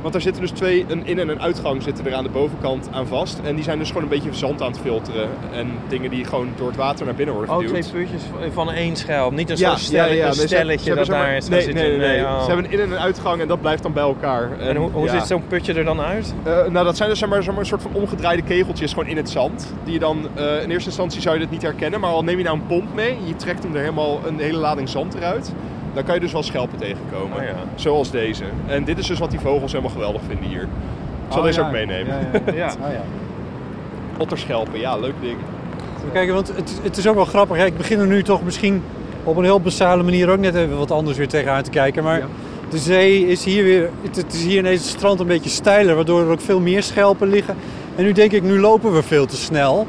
Speaker 4: want daar zitten dus twee, een in- en een uitgang zitten er aan de bovenkant aan vast. En die zijn dus gewoon een beetje zand aan het filteren en dingen die gewoon door het water naar binnen worden
Speaker 2: Oh,
Speaker 4: geduwd.
Speaker 2: twee puutjes van één schelp. Niet een
Speaker 4: Ja,
Speaker 2: soort stelletje,
Speaker 4: ja, ja, nee, ze- ze
Speaker 2: stelletje
Speaker 4: hebben
Speaker 2: dat
Speaker 4: zeg maar-
Speaker 2: daar is gaan
Speaker 4: nee,
Speaker 2: zitten.
Speaker 4: Nee, nee, nee.
Speaker 2: oh.
Speaker 4: Ze hebben een in- en een uitgang en dat blijft dan bij elkaar.
Speaker 2: En hoe, hoe
Speaker 4: ja.
Speaker 2: ziet zo'n putje er dan uit?
Speaker 4: Eh, nou, dat zijn dus zeg maar, zeg maar, een soort van omgedraaide kegeltjes gewoon in het zand. Die je dan, eh, in eerste instantie zou je dit niet herkennen, maar al neem je nou een pomp mee, je trekt hem er helemaal een hele lading zand eruit, dan kan je dus wel schelpen tegenkomen.
Speaker 2: Oh ja.
Speaker 4: Zoals deze. En dit is dus wat die vogels helemaal geweldig vinden hier. Ik zal
Speaker 1: Oh,
Speaker 4: deze
Speaker 1: ja.
Speaker 4: ook meenemen.
Speaker 1: Ja, ja, ja.
Speaker 2: Ja.
Speaker 1: Ah, ja.
Speaker 4: Otterschelpen, ja, leuk ding.
Speaker 1: Kijk, want het, het is ook wel grappig. Ja, ik begin er nu toch misschien op een heel basale manier ook net even wat anders weer tegenaan te kijken. Maar de zee is hier weer, het, het is hier in deze strand een beetje steiler, waardoor er ook veel meer schelpen liggen. En nu denk ik, nu lopen we veel te snel.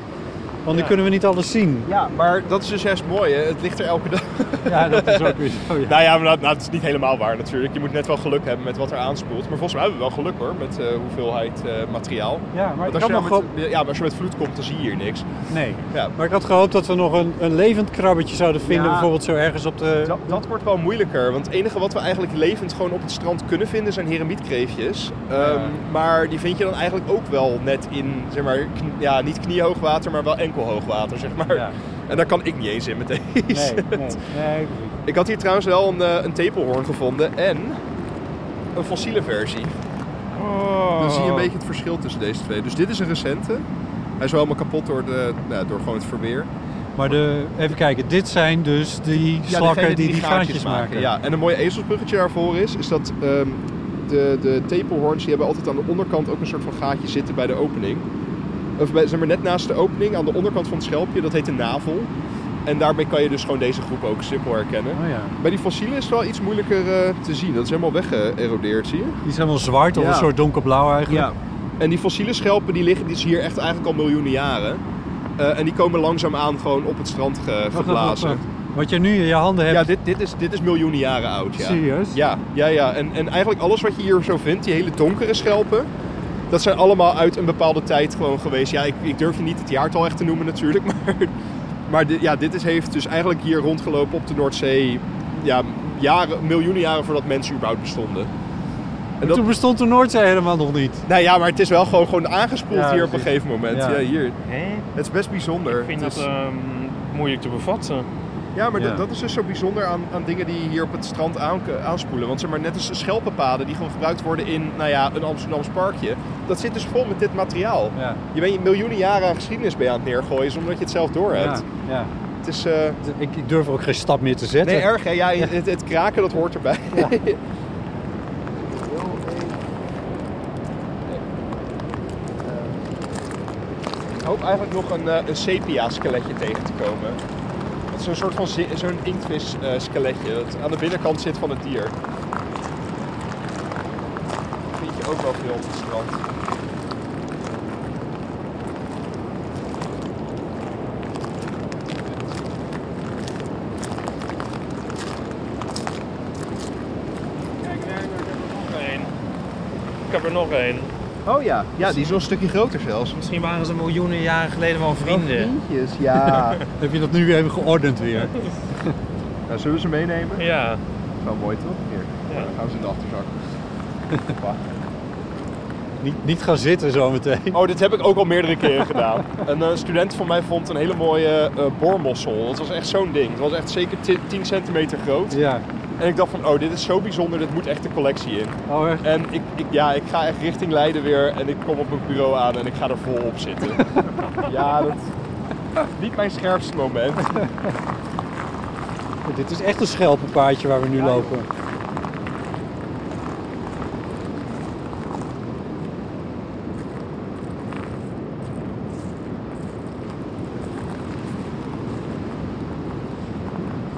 Speaker 1: Want nu kunnen we niet alles zien.
Speaker 4: Ja, maar dat is dus juist mooi, hè? het ligt er elke dag.
Speaker 1: Ja, dat is ook weer zo. Ja.
Speaker 4: Nou ja, maar dat, nou, dat is niet helemaal waar natuurlijk. Je moet net wel geluk hebben met wat er aanspoelt. Maar volgens mij hebben we wel geluk hoor, met eh, hoeveelheid eh, materiaal.
Speaker 1: Ja, maar
Speaker 4: Want
Speaker 1: ik
Speaker 4: als
Speaker 1: had
Speaker 4: je,
Speaker 1: nog
Speaker 4: nou
Speaker 1: gehoopt-
Speaker 4: met, ja, maar als je met vloed komt, dan zie je hier niks.
Speaker 1: Nee.
Speaker 4: Ja,
Speaker 1: Maar ik had gehoopt dat we nog een, een levend krabbetje zouden vinden,
Speaker 4: Ja.
Speaker 1: bijvoorbeeld zo ergens op de...
Speaker 4: Dat, dat wordt wel moeilijker, want het enige wat we eigenlijk levend gewoon op het strand kunnen vinden zijn heremietkreefjes. Ehm, Maar die vind je dan eigenlijk ook wel net in, zeg maar, kn- ja, niet kniehoog water, maar wel enkel hoog water, zeg maar.
Speaker 1: Ja.
Speaker 4: En daar kan ik niet eens in met deze.
Speaker 1: Nee, nee, nee. precies.
Speaker 4: Ik had hier trouwens wel een, eh, een tepelhoorn gevonden en een fossiele versie.
Speaker 2: Oh.
Speaker 4: Dan zie je een beetje het verschil tussen deze twee. Dus dit is een recente. Hij is wel helemaal kapot door, de, nou, door gewoon het verweer.
Speaker 1: Maar de, even kijken, dit zijn dus die slakken
Speaker 4: degene
Speaker 1: die die gaatjes maken.
Speaker 4: Ja, en een mooi ezelsbruggetje daarvoor is, is dat ehm, de, de tepelhoorns die hebben altijd aan de onderkant ook een soort van gaatje zitten bij de opening. Of bij, zeg maar net naast de opening, aan de onderkant van het schelpje, dat heet de navel. En daarmee kan je dus gewoon deze groep ook simpel herkennen.
Speaker 1: Oh ja.
Speaker 4: Bij die fossielen is het wel iets moeilijker eh, te zien. Dat is helemaal weggeërodeerd, zie je?
Speaker 1: Die is helemaal zwart of
Speaker 4: Ja.
Speaker 1: een soort donkerblauw eigenlijk.
Speaker 4: En die fossiele schelpen die liggen dus hier echt eigenlijk al miljoenen jaren. Eh, en die komen langzaamaan gewoon op het strand ge-
Speaker 1: Wacht, wacht, wacht,
Speaker 4: geblazen.
Speaker 1: wacht. Wat je nu in je handen hebt.
Speaker 4: Ja, dit, dit, is, dit is miljoenen jaren oud. Ja.
Speaker 1: Serieus?
Speaker 4: Ja, ja, ja. En, en eigenlijk alles wat je hier zo vindt, die hele donkere schelpen, dat zijn allemaal uit een bepaalde tijd gewoon geweest. Ja, ik, ik durf je niet het jaartal echt te noemen natuurlijk, maar, maar dit, ja, dit is, heeft dus eigenlijk hier rondgelopen op de Noordzee. Ja, jaren, miljoenen jaren voordat mensen überhaupt bestonden. En dat,
Speaker 1: Toen bestond de Noordzee helemaal nog niet.
Speaker 4: nou ja, maar het is wel gewoon, gewoon aangespoeld
Speaker 1: Ja,
Speaker 4: hier op een
Speaker 1: precies.
Speaker 4: gegeven moment. Ja,
Speaker 1: Ja.
Speaker 4: hier.
Speaker 2: Hè?
Speaker 4: Het is best bijzonder.
Speaker 2: Ik vind
Speaker 4: Het
Speaker 2: dat
Speaker 4: is-
Speaker 2: ehm, moeilijk te bevatten.
Speaker 4: Ja, maar
Speaker 6: Ja.
Speaker 4: dat- dat is dus zo bijzonder aan, aan dingen die hier op het strand aan, aanspoelen. Want zeg maar, net als schelpenpaden die gewoon gebruikt worden in nou ja, een Amsterdams parkje. Dat zit dus vol met dit materiaal.
Speaker 6: Ja.
Speaker 4: Je bent miljoenen jaren aan geschiedenis bij aan het neergooien zonder dat je het zelf doorhebt.
Speaker 6: Ja, ja.
Speaker 4: Het is... eh,
Speaker 1: Ik, ik durf er ook geen stap meer te zetten.
Speaker 4: Nee, erg hè? Ja, het, het kraken dat hoort erbij. Ik hoop eigenlijk nog een, eh, een sepia-skeletje tegen te komen. Dat is een soort van zi- zo'n inktvis-skeletje eh, dat aan de binnenkant zit van het dier. Dat vind je ook wel veel op het strand.
Speaker 2: Kijk, daar heb ik er nog één. Ik heb er nog één.
Speaker 4: Oh ja, ja die is nog een stukje groter zelfs.
Speaker 2: Misschien waren ze miljoenen jaren geleden wel vrienden.
Speaker 4: Vriendjes, ja.
Speaker 1: Heb je dat nu even geordend weer?
Speaker 4: nou, zullen we ze meenemen?
Speaker 2: Ja.
Speaker 4: Wel Nou, mooi toch? Hier,
Speaker 2: Ja.
Speaker 4: dan gaan we ze in de achterzak.
Speaker 1: niet, niet gaan zitten zometeen.
Speaker 4: Oh, dit heb ik ook al meerdere keren gedaan. Een eh, student van mij vond een hele mooie eh boormossel. Dat was echt zo'n ding. Het was echt zeker 10 centimeter groot.
Speaker 1: Ja.
Speaker 4: En ik dacht van, oh, dit is zo bijzonder. Dit moet echt de collectie in.
Speaker 1: Oh, echt?
Speaker 4: En ik, ik, ja, ik ga echt richting Leiden weer. En ik kom op mijn bureau aan en ik ga er vol op zitten. ja, dat... Niet mijn scherpste moment.
Speaker 1: Dit is echt een schelpenpaadje waar we nu lopen.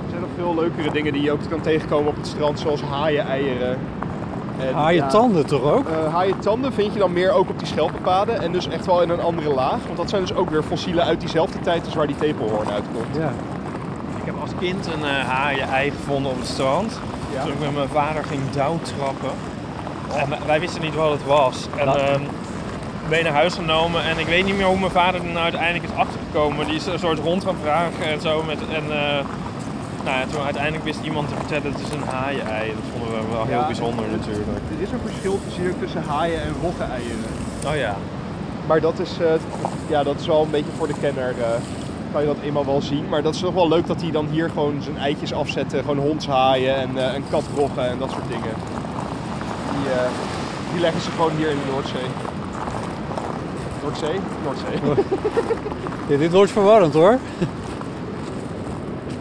Speaker 4: Er zijn nog veel leukere dingen die je ook kan tegenkomen op het strand. Zoals haaien, eieren. En,
Speaker 1: Haaien
Speaker 4: ja,
Speaker 1: Ah, tanden toch ook?
Speaker 4: Eh haaien tanden vind je dan meer ook op die schelpenpaden en dus echt wel in een andere laag. Want dat zijn dus ook weer fossielen uit diezelfde tijd als waar die tepelhoorn uitkomt.
Speaker 1: Ja.
Speaker 2: Ik heb als kind een eh haaien-ei gevonden op het strand.
Speaker 4: Ja. Oh.
Speaker 2: Toen ik met mijn vader ging douwtrappen. En wij- wij wisten niet wat het was. En ehm ben je naar huis genomen. En ik weet niet meer hoe mijn vader er nou uiteindelijk is achtergekomen. Die is een soort rond gaan vragen en zo. Met, en eh, nou, ja, toen uiteindelijk wist iemand te vertellen, het is een haaien-ei. Dat vonden we wel heel
Speaker 4: Ja.
Speaker 2: bijzonder natuurlijk.
Speaker 4: Er is een verschil tussen, tussen haaien en rogge-eieren.
Speaker 2: Oh ja.
Speaker 4: Maar dat is, eh, ja, dat is wel een beetje voor de kenner. eh, kan je dat eenmaal wel zien. Maar dat is toch wel leuk dat hij dan hier gewoon zijn eitjes afzetten. Gewoon hondshaaien en, eh en katroggen en dat soort dingen. Die, eh, die leggen ze gewoon hier in de Noordzee. Noordzee? Noordzee.
Speaker 1: Ja, dit wordt verwarrend hoor.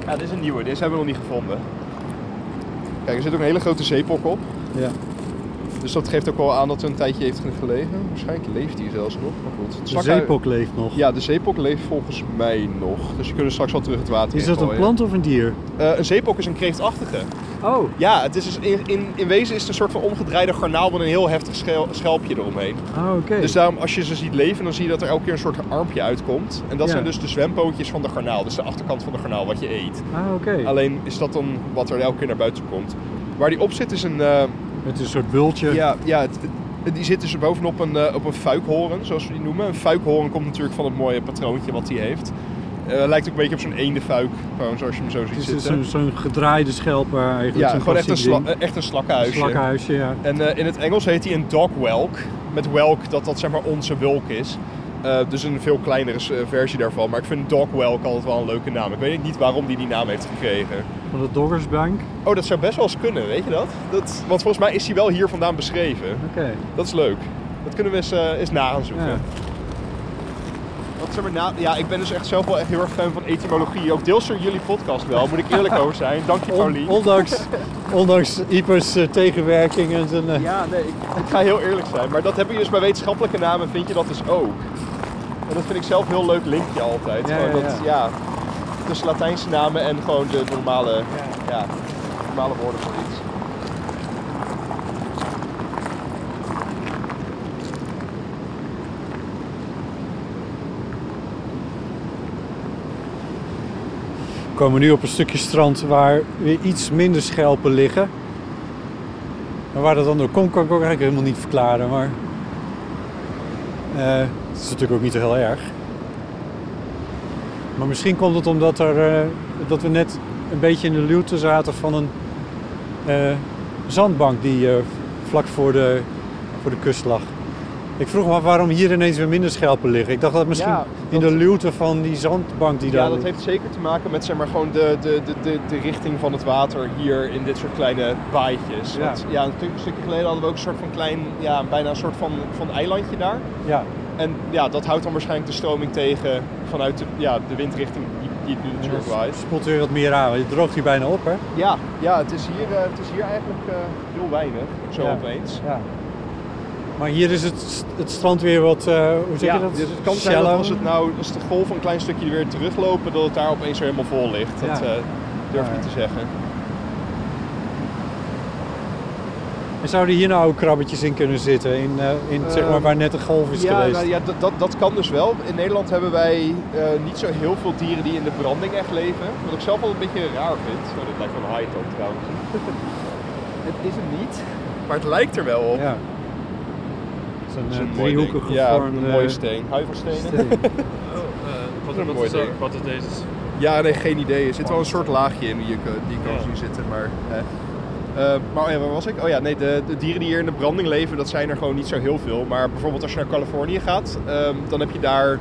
Speaker 4: Ja, dit is een nieuwe. Deze hebben we nog niet gevonden. Kijk, er zit ook een hele grote zeepok op.
Speaker 1: Ja.
Speaker 4: Dus dat geeft ook wel aan dat er een tijdje heeft gelegen. Waarschijnlijk leeft hij zelfs nog. Maar goed. Het
Speaker 1: De
Speaker 4: slakhuis-
Speaker 1: zeepok leeft nog.
Speaker 4: Ja, de zeepok leeft volgens mij nog. Dus je kunt er straks wel terug het water
Speaker 1: Is
Speaker 4: in
Speaker 1: dat een
Speaker 4: gooien.
Speaker 1: plant of een dier?
Speaker 4: Eh, een zeepok is een kreeftachtige.
Speaker 1: Oh.
Speaker 4: Ja, het is dus in, in, in wezen is het een soort van omgedraaide garnaal met een heel heftig schel- schelpje eromheen.
Speaker 1: Ah, oké.
Speaker 4: Dus daarom, als je ze ziet leven, dan zie je dat er elke keer een soort armpje uitkomt. En dat
Speaker 1: Ja.
Speaker 4: zijn dus de zwempootjes van de garnaal. Dus de achterkant van de garnaal, wat je eet.
Speaker 1: Ah, oké.
Speaker 4: Alleen is dat dan wat er elke keer naar buiten komt. Waar die op zit is een... eh,
Speaker 1: Het is een soort bultje.
Speaker 4: ja, ja het, het- die zit dus bovenop een, eh, op een fuikhoren, zoals we die noemen. Een fuikhoren komt natuurlijk van het mooie patroontje wat die heeft. Eh, lijkt ook een beetje op zo'n eendenfuik, gewoon zoals je hem zo ziet
Speaker 1: Het is zo'n
Speaker 4: zitten.
Speaker 1: zo'n gedraaide schelper eigenlijk.
Speaker 4: ja,
Speaker 1: zo'n
Speaker 4: gewoon echt een,
Speaker 1: klassiek
Speaker 4: sla,
Speaker 1: ding.
Speaker 4: echt een slakkenhuisje.
Speaker 1: Slakkenhuisje, ja.
Speaker 4: En eh, in het Engels heet hij een dogwelk. Met welk dat dat zeg maar onze wulk is. Eh, dus een veel kleinere eh, versie daarvan. Maar ik vind dogwelk altijd wel een leuke naam. Ik weet niet waarom die die naam heeft gekregen.
Speaker 1: Van de Doggersbank. Oké.
Speaker 4: Oh, dat zou best wel eens kunnen, weet je dat? dat want volgens mij is hij wel hier vandaan beschreven. Dat is leuk. Dat kunnen we eens, eh, eens na gaan zoeken.
Speaker 1: Ja.
Speaker 4: Wat zeg maar na- ja, ik ben dus echt zelf wel echt heel erg fan van etymologie. Ook deels door jullie podcast wel, moet ik eerlijk over zijn. Dank je,
Speaker 1: On-
Speaker 4: Paulien.
Speaker 1: ondanks, ondanks Ipers eh, tegenwerking en zijn... eh,
Speaker 4: Ja, nee, ik, ik ga heel eerlijk zijn. Maar dat heb je dus bij wetenschappelijke namen, vind je dat dus ook. En dat vind ik zelf een heel leuk linkje altijd.
Speaker 1: Ja,
Speaker 4: Gewoon
Speaker 1: ja,
Speaker 4: dat, ja, tussen Latijnse namen en gewoon de normale, ja, normale woorden voor iets.
Speaker 1: We komen nu op een stukje strand waar weer iets minder schelpen liggen. En waar dat dan door komt, kan ik ook eigenlijk helemaal niet verklaren. Maar eh, het is natuurlijk ook niet heel erg. Maar misschien komt het omdat er, eh, dat we net een beetje in de luwte zaten van een eh, zandbank die eh, vlak voor de, voor de kust lag. Ik vroeg me af waarom hier ineens weer minder schelpen liggen. Ik dacht dat misschien
Speaker 4: Ja,
Speaker 1: in de
Speaker 4: dat-
Speaker 1: luwte van die zandbank die daar
Speaker 4: Ja, dat
Speaker 1: ligt.
Speaker 4: heeft zeker te maken met zeg maar, gewoon de, de, de, de, de richting van het water hier in dit soort kleine baaitjes.
Speaker 1: Ja.
Speaker 4: Want, ja, een stuk- stukje geleden hadden we ook een soort van klein, ja, bijna een soort van, van eilandje daar.
Speaker 1: Ja.
Speaker 4: En ja, dat houdt dan waarschijnlijk de stroming tegen vanuit de, ja, de windrichting die, die het nu
Speaker 1: En
Speaker 4: natuurlijk
Speaker 1: dan
Speaker 4: waait.
Speaker 1: spoelt Dus weer wat meer aan. want Het droogt hier bijna op, hè?
Speaker 4: Ja, ja het, is hier, eh, het is hier eigenlijk eh, heel weinig, zo
Speaker 1: Ja.
Speaker 4: opeens. Dus
Speaker 1: Ja. Maar hier is het, st- het strand weer wat, eh, hoe zeg
Speaker 4: Ja,
Speaker 1: je dat?
Speaker 4: dus het kan zijn dat
Speaker 1: Shallow.
Speaker 4: als, het nou, als de golven een klein stukje weer teruglopen, dat het daar opeens weer helemaal vol ligt. Dat
Speaker 1: Ja.
Speaker 4: eh, durf ik
Speaker 1: Ja.
Speaker 4: niet te zeggen.
Speaker 1: En zouden hier nou ook krabbetjes in kunnen zitten? In, eh, in zeg maar
Speaker 4: Ehm,
Speaker 1: waar net een golf is
Speaker 4: Ja,
Speaker 1: geweest?
Speaker 4: nou ja dat, dat, dat kan dus wel. In Nederland hebben wij eh, niet zo heel veel dieren die in de branding echt leven. Wat ik zelf wel een beetje raar vind. Nou, dat lijkt wel een high trouwens. het is het niet, maar het lijkt er wel op.
Speaker 1: Ja. Zo'n
Speaker 4: Dat is
Speaker 1: eh,
Speaker 4: een mooi ding.
Speaker 1: driehoekig
Speaker 4: Ja,
Speaker 1: gevormde...
Speaker 4: een mooie steen. Huiverstenen.
Speaker 2: Eh, Wat,
Speaker 4: een
Speaker 2: wat
Speaker 4: mooi
Speaker 2: is, dat-
Speaker 4: ding.
Speaker 2: wat is deze?
Speaker 4: Ja, nee, geen idee. Er zit wel een soort laagje in die je kan- die je kan
Speaker 2: Ja.
Speaker 4: zien zitten. Maar, eh. Eh, maar oh ja, waar was ik? Oh ja, nee, de, de dieren die hier in de branding leven, dat zijn er gewoon niet zo heel veel. Maar bijvoorbeeld als je naar Californië gaat, ehm, dan heb je daar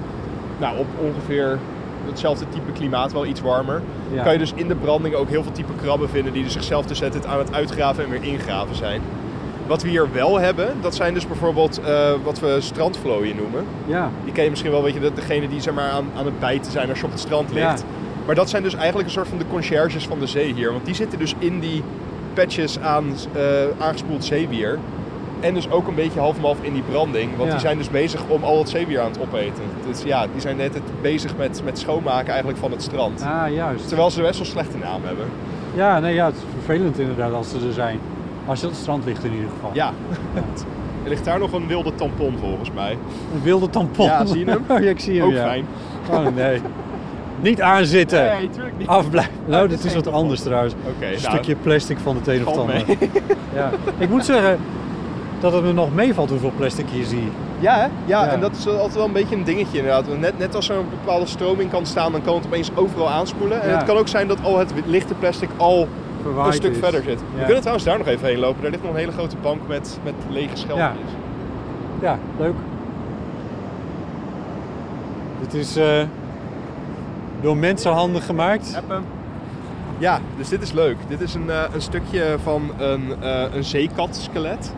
Speaker 4: nou, op ongeveer hetzelfde type klimaat, wel iets warmer.
Speaker 1: Ja.
Speaker 4: Kan je dus in de branding ook heel veel type krabben vinden die er zichzelf dus het aan het uitgraven en weer ingraven zijn. Wat we hier wel hebben, dat zijn dus bijvoorbeeld eh, wat we strandvlooien noemen.
Speaker 1: Ja.
Speaker 4: Die ken je misschien wel, weet je, dat degene die zeg maar, aan, aan het bijten zijn als je op het strand
Speaker 1: Ja.
Speaker 4: ligt. Maar dat zijn dus eigenlijk een soort van de conciërges van de zee hier. Want die zitten dus in die patches aan eh, aangespoeld zeewier. En dus ook een beetje half en half in die branding. Want
Speaker 1: Ja.
Speaker 4: die zijn dus bezig om al het zeewier aan het opeten. Dus ja, die zijn net bezig met, met schoonmaken eigenlijk van het strand.
Speaker 1: Ah, juist.
Speaker 4: Terwijl ze best wel slechte naam hebben.
Speaker 1: Ja, nee, ja, het is vervelend inderdaad als ze er zijn. Als je op het strand ligt in ieder geval.
Speaker 4: Ja. er ligt daar nog een wilde tampon volgens mij.
Speaker 1: Een wilde tampon.
Speaker 4: Ja, zie je hem?
Speaker 1: Oh, ja, ik zie hem,
Speaker 4: Ook
Speaker 1: ja.
Speaker 4: fijn.
Speaker 1: Oh, nee. Niet aanzitten.
Speaker 4: Nee, tuurlijk niet.
Speaker 1: Afblijven. Nou,
Speaker 4: het
Speaker 1: dat
Speaker 4: is
Speaker 1: is
Speaker 4: geen
Speaker 1: wat anders trouwens.
Speaker 4: Oké,
Speaker 1: een
Speaker 4: nou.
Speaker 1: stukje plastic van de tweede of
Speaker 4: Valt
Speaker 1: het ander. Ja. Ik moet zeggen dat het me nog meevalt hoeveel plastic je zie.
Speaker 4: Ja, hè? Ja,
Speaker 1: Ja.
Speaker 4: en dat is wel altijd wel een beetje een dingetje inderdaad. Want Net, net als er een bepaalde stroming kan staan, dan kan het opeens overal aanspoelen. En
Speaker 1: Ja.
Speaker 4: het kan ook zijn dat al het lichte plastic al
Speaker 1: Verwaaid
Speaker 4: een stuk
Speaker 1: is.
Speaker 4: verder zit. We
Speaker 1: Ja.
Speaker 4: kunnen trouwens daar nog even heen lopen. Daar ligt nog een hele grote bank met, met lege schelpjes.
Speaker 1: Ja, leuk. Dit is eh, door mensenhanden gemaakt.
Speaker 4: Ja, dus dit is leuk. Dit is een, eh, een stukje van een, eh een zeekatskelet.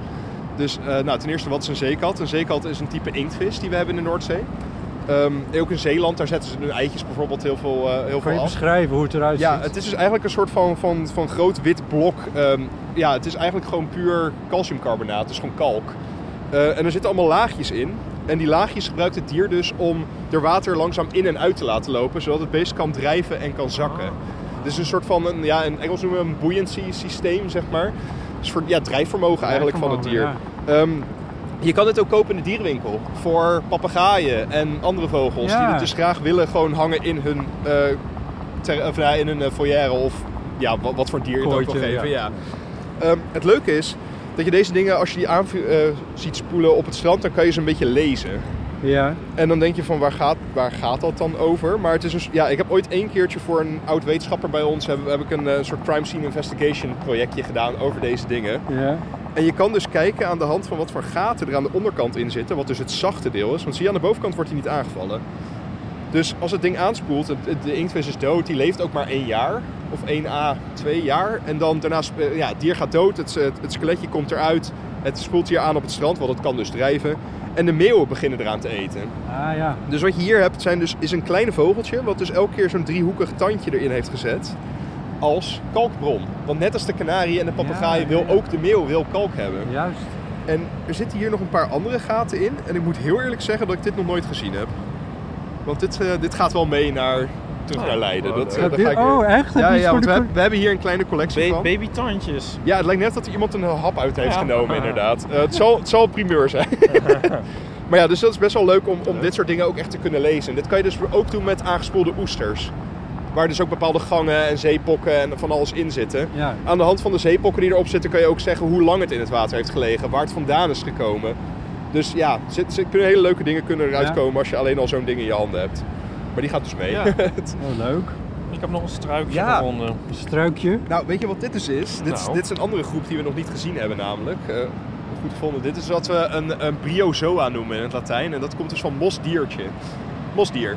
Speaker 4: Dus eh, nou, ten eerste, wat is een zeekat? Een zeekat is een type inktvis die we hebben in de Noordzee. Ehm, ook in Zeeland, daar zetten ze hun eitjes bijvoorbeeld heel veel, eh heel
Speaker 1: Kan je
Speaker 4: veel af.
Speaker 1: beschrijven hoe het eruit
Speaker 4: Ja,
Speaker 1: ziet?
Speaker 4: het is dus eigenlijk een soort van, van, van groot wit blok. Ehm, ja, het is eigenlijk gewoon puur calciumcarbonaat, dus gewoon kalk. Eh, en er zitten allemaal laagjes in. En die laagjes gebruikt het dier dus om er water langzaam in en uit te laten lopen, zodat het beest kan drijven en kan zakken. Dus een soort van, een, ja, in Engels noemen we een buoyancy systeem, zeg maar. Dus voor ja, drijfvermogen eigenlijk van het dier.
Speaker 1: Drijfvermogen,
Speaker 4: Ehm, je kan dit ook kopen in de dierenwinkel voor papegaaien en andere vogels
Speaker 1: Ja.
Speaker 4: die het dus graag willen gewoon hangen in hun eh, ter, of, nou, in een eh, foyer of ja, wat, wat voor dier je het ook wil
Speaker 1: Kooitje,
Speaker 4: geven.
Speaker 1: ja.
Speaker 4: Ja. Ehm, het leuke is dat je deze dingen, als je die aan eh, ziet spoelen op het strand, dan kan je ze een beetje lezen.
Speaker 1: Ja.
Speaker 4: En dan denk je van waar gaat, waar gaat dat dan over? Maar het is dus, ja, ik heb ooit één keertje voor een oud wetenschapper bij ons heb, heb ik een eh, soort crime scene investigation projectje gedaan over deze dingen.
Speaker 1: Ja.
Speaker 4: En je kan dus kijken aan de hand van wat voor gaten er aan de onderkant in zitten, wat dus het zachte deel is. Want zie je, aan de bovenkant wordt hij niet aangevallen. Dus als het ding aanspoelt, het- het- de inktvis is dood, die leeft ook maar één jaar. Of 1 à 2 jaar. En dan daarna, sp- eh, ja, het dier gaat dood, het, het, het skeletje komt eruit. Het spoelt hier aan op het strand, want het kan dus drijven. En de meeuwen beginnen eraan te eten.
Speaker 1: Ah ja.
Speaker 4: Dus wat je hier hebt zijn dus, is een klein vogeltje, wat dus elke keer zo'n driehoekig tandje erin heeft gezet. Als kalkbron. Want net als de kanarie en de papegaai
Speaker 1: ja,
Speaker 4: wil
Speaker 1: ja.
Speaker 4: ook de meeuw wil kalk hebben.
Speaker 1: Juist.
Speaker 4: En er zitten hier nog een paar andere gaten in. En ik moet heel eerlijk zeggen dat ik dit nog nooit gezien heb. Want dit, eh, dit gaat wel mee naar terug naar Leiden. Dat, eh,
Speaker 1: Heb
Speaker 4: daar
Speaker 1: je-
Speaker 4: ga ik weer.
Speaker 1: oh, echt? Heb
Speaker 4: Ja,
Speaker 1: je iets
Speaker 4: ja
Speaker 1: voor
Speaker 4: want
Speaker 1: de
Speaker 4: we,
Speaker 1: co-
Speaker 4: hebben- we hebben hier een kleine collectie
Speaker 2: Ba
Speaker 4: van.
Speaker 2: babytandjes.
Speaker 4: Ja, het lijkt net dat er iemand een hap uit heeft
Speaker 2: Ja.
Speaker 4: genomen, inderdaad. Eh, het, zal, het zal primeur zijn. maar ja, dus dat is best wel leuk om, om dit soort dingen ook echt te kunnen lezen. En dit kan je dus ook doen met aangespoelde oesters. Waar dus ook bepaalde gangen en zeepokken en van alles in zitten.
Speaker 1: Ja.
Speaker 4: Aan de hand van de zeepokken die erop zitten, kan je ook zeggen hoe lang het in het water heeft gelegen, waar het vandaan is gekomen. Dus ja, er zit- er kunnen hele leuke dingen kunnen eruit
Speaker 1: Ja.
Speaker 4: komen als je alleen al zo'n ding in je handen hebt. Maar die gaat dus mee.
Speaker 1: Oh, leuk.
Speaker 2: Ik heb nog een struikje
Speaker 4: Ja.
Speaker 2: gevonden.
Speaker 1: Een struikje.
Speaker 4: Nou, weet je wat dit dus is? Dit, is-
Speaker 2: Nou.
Speaker 4: dit is een andere groep die we nog niet gezien hebben namelijk. Eh, goed gevonden. Dit is wat we een, een briozoa noemen in het Latijn. En dat komt dus van mosdiertje. Mosdier.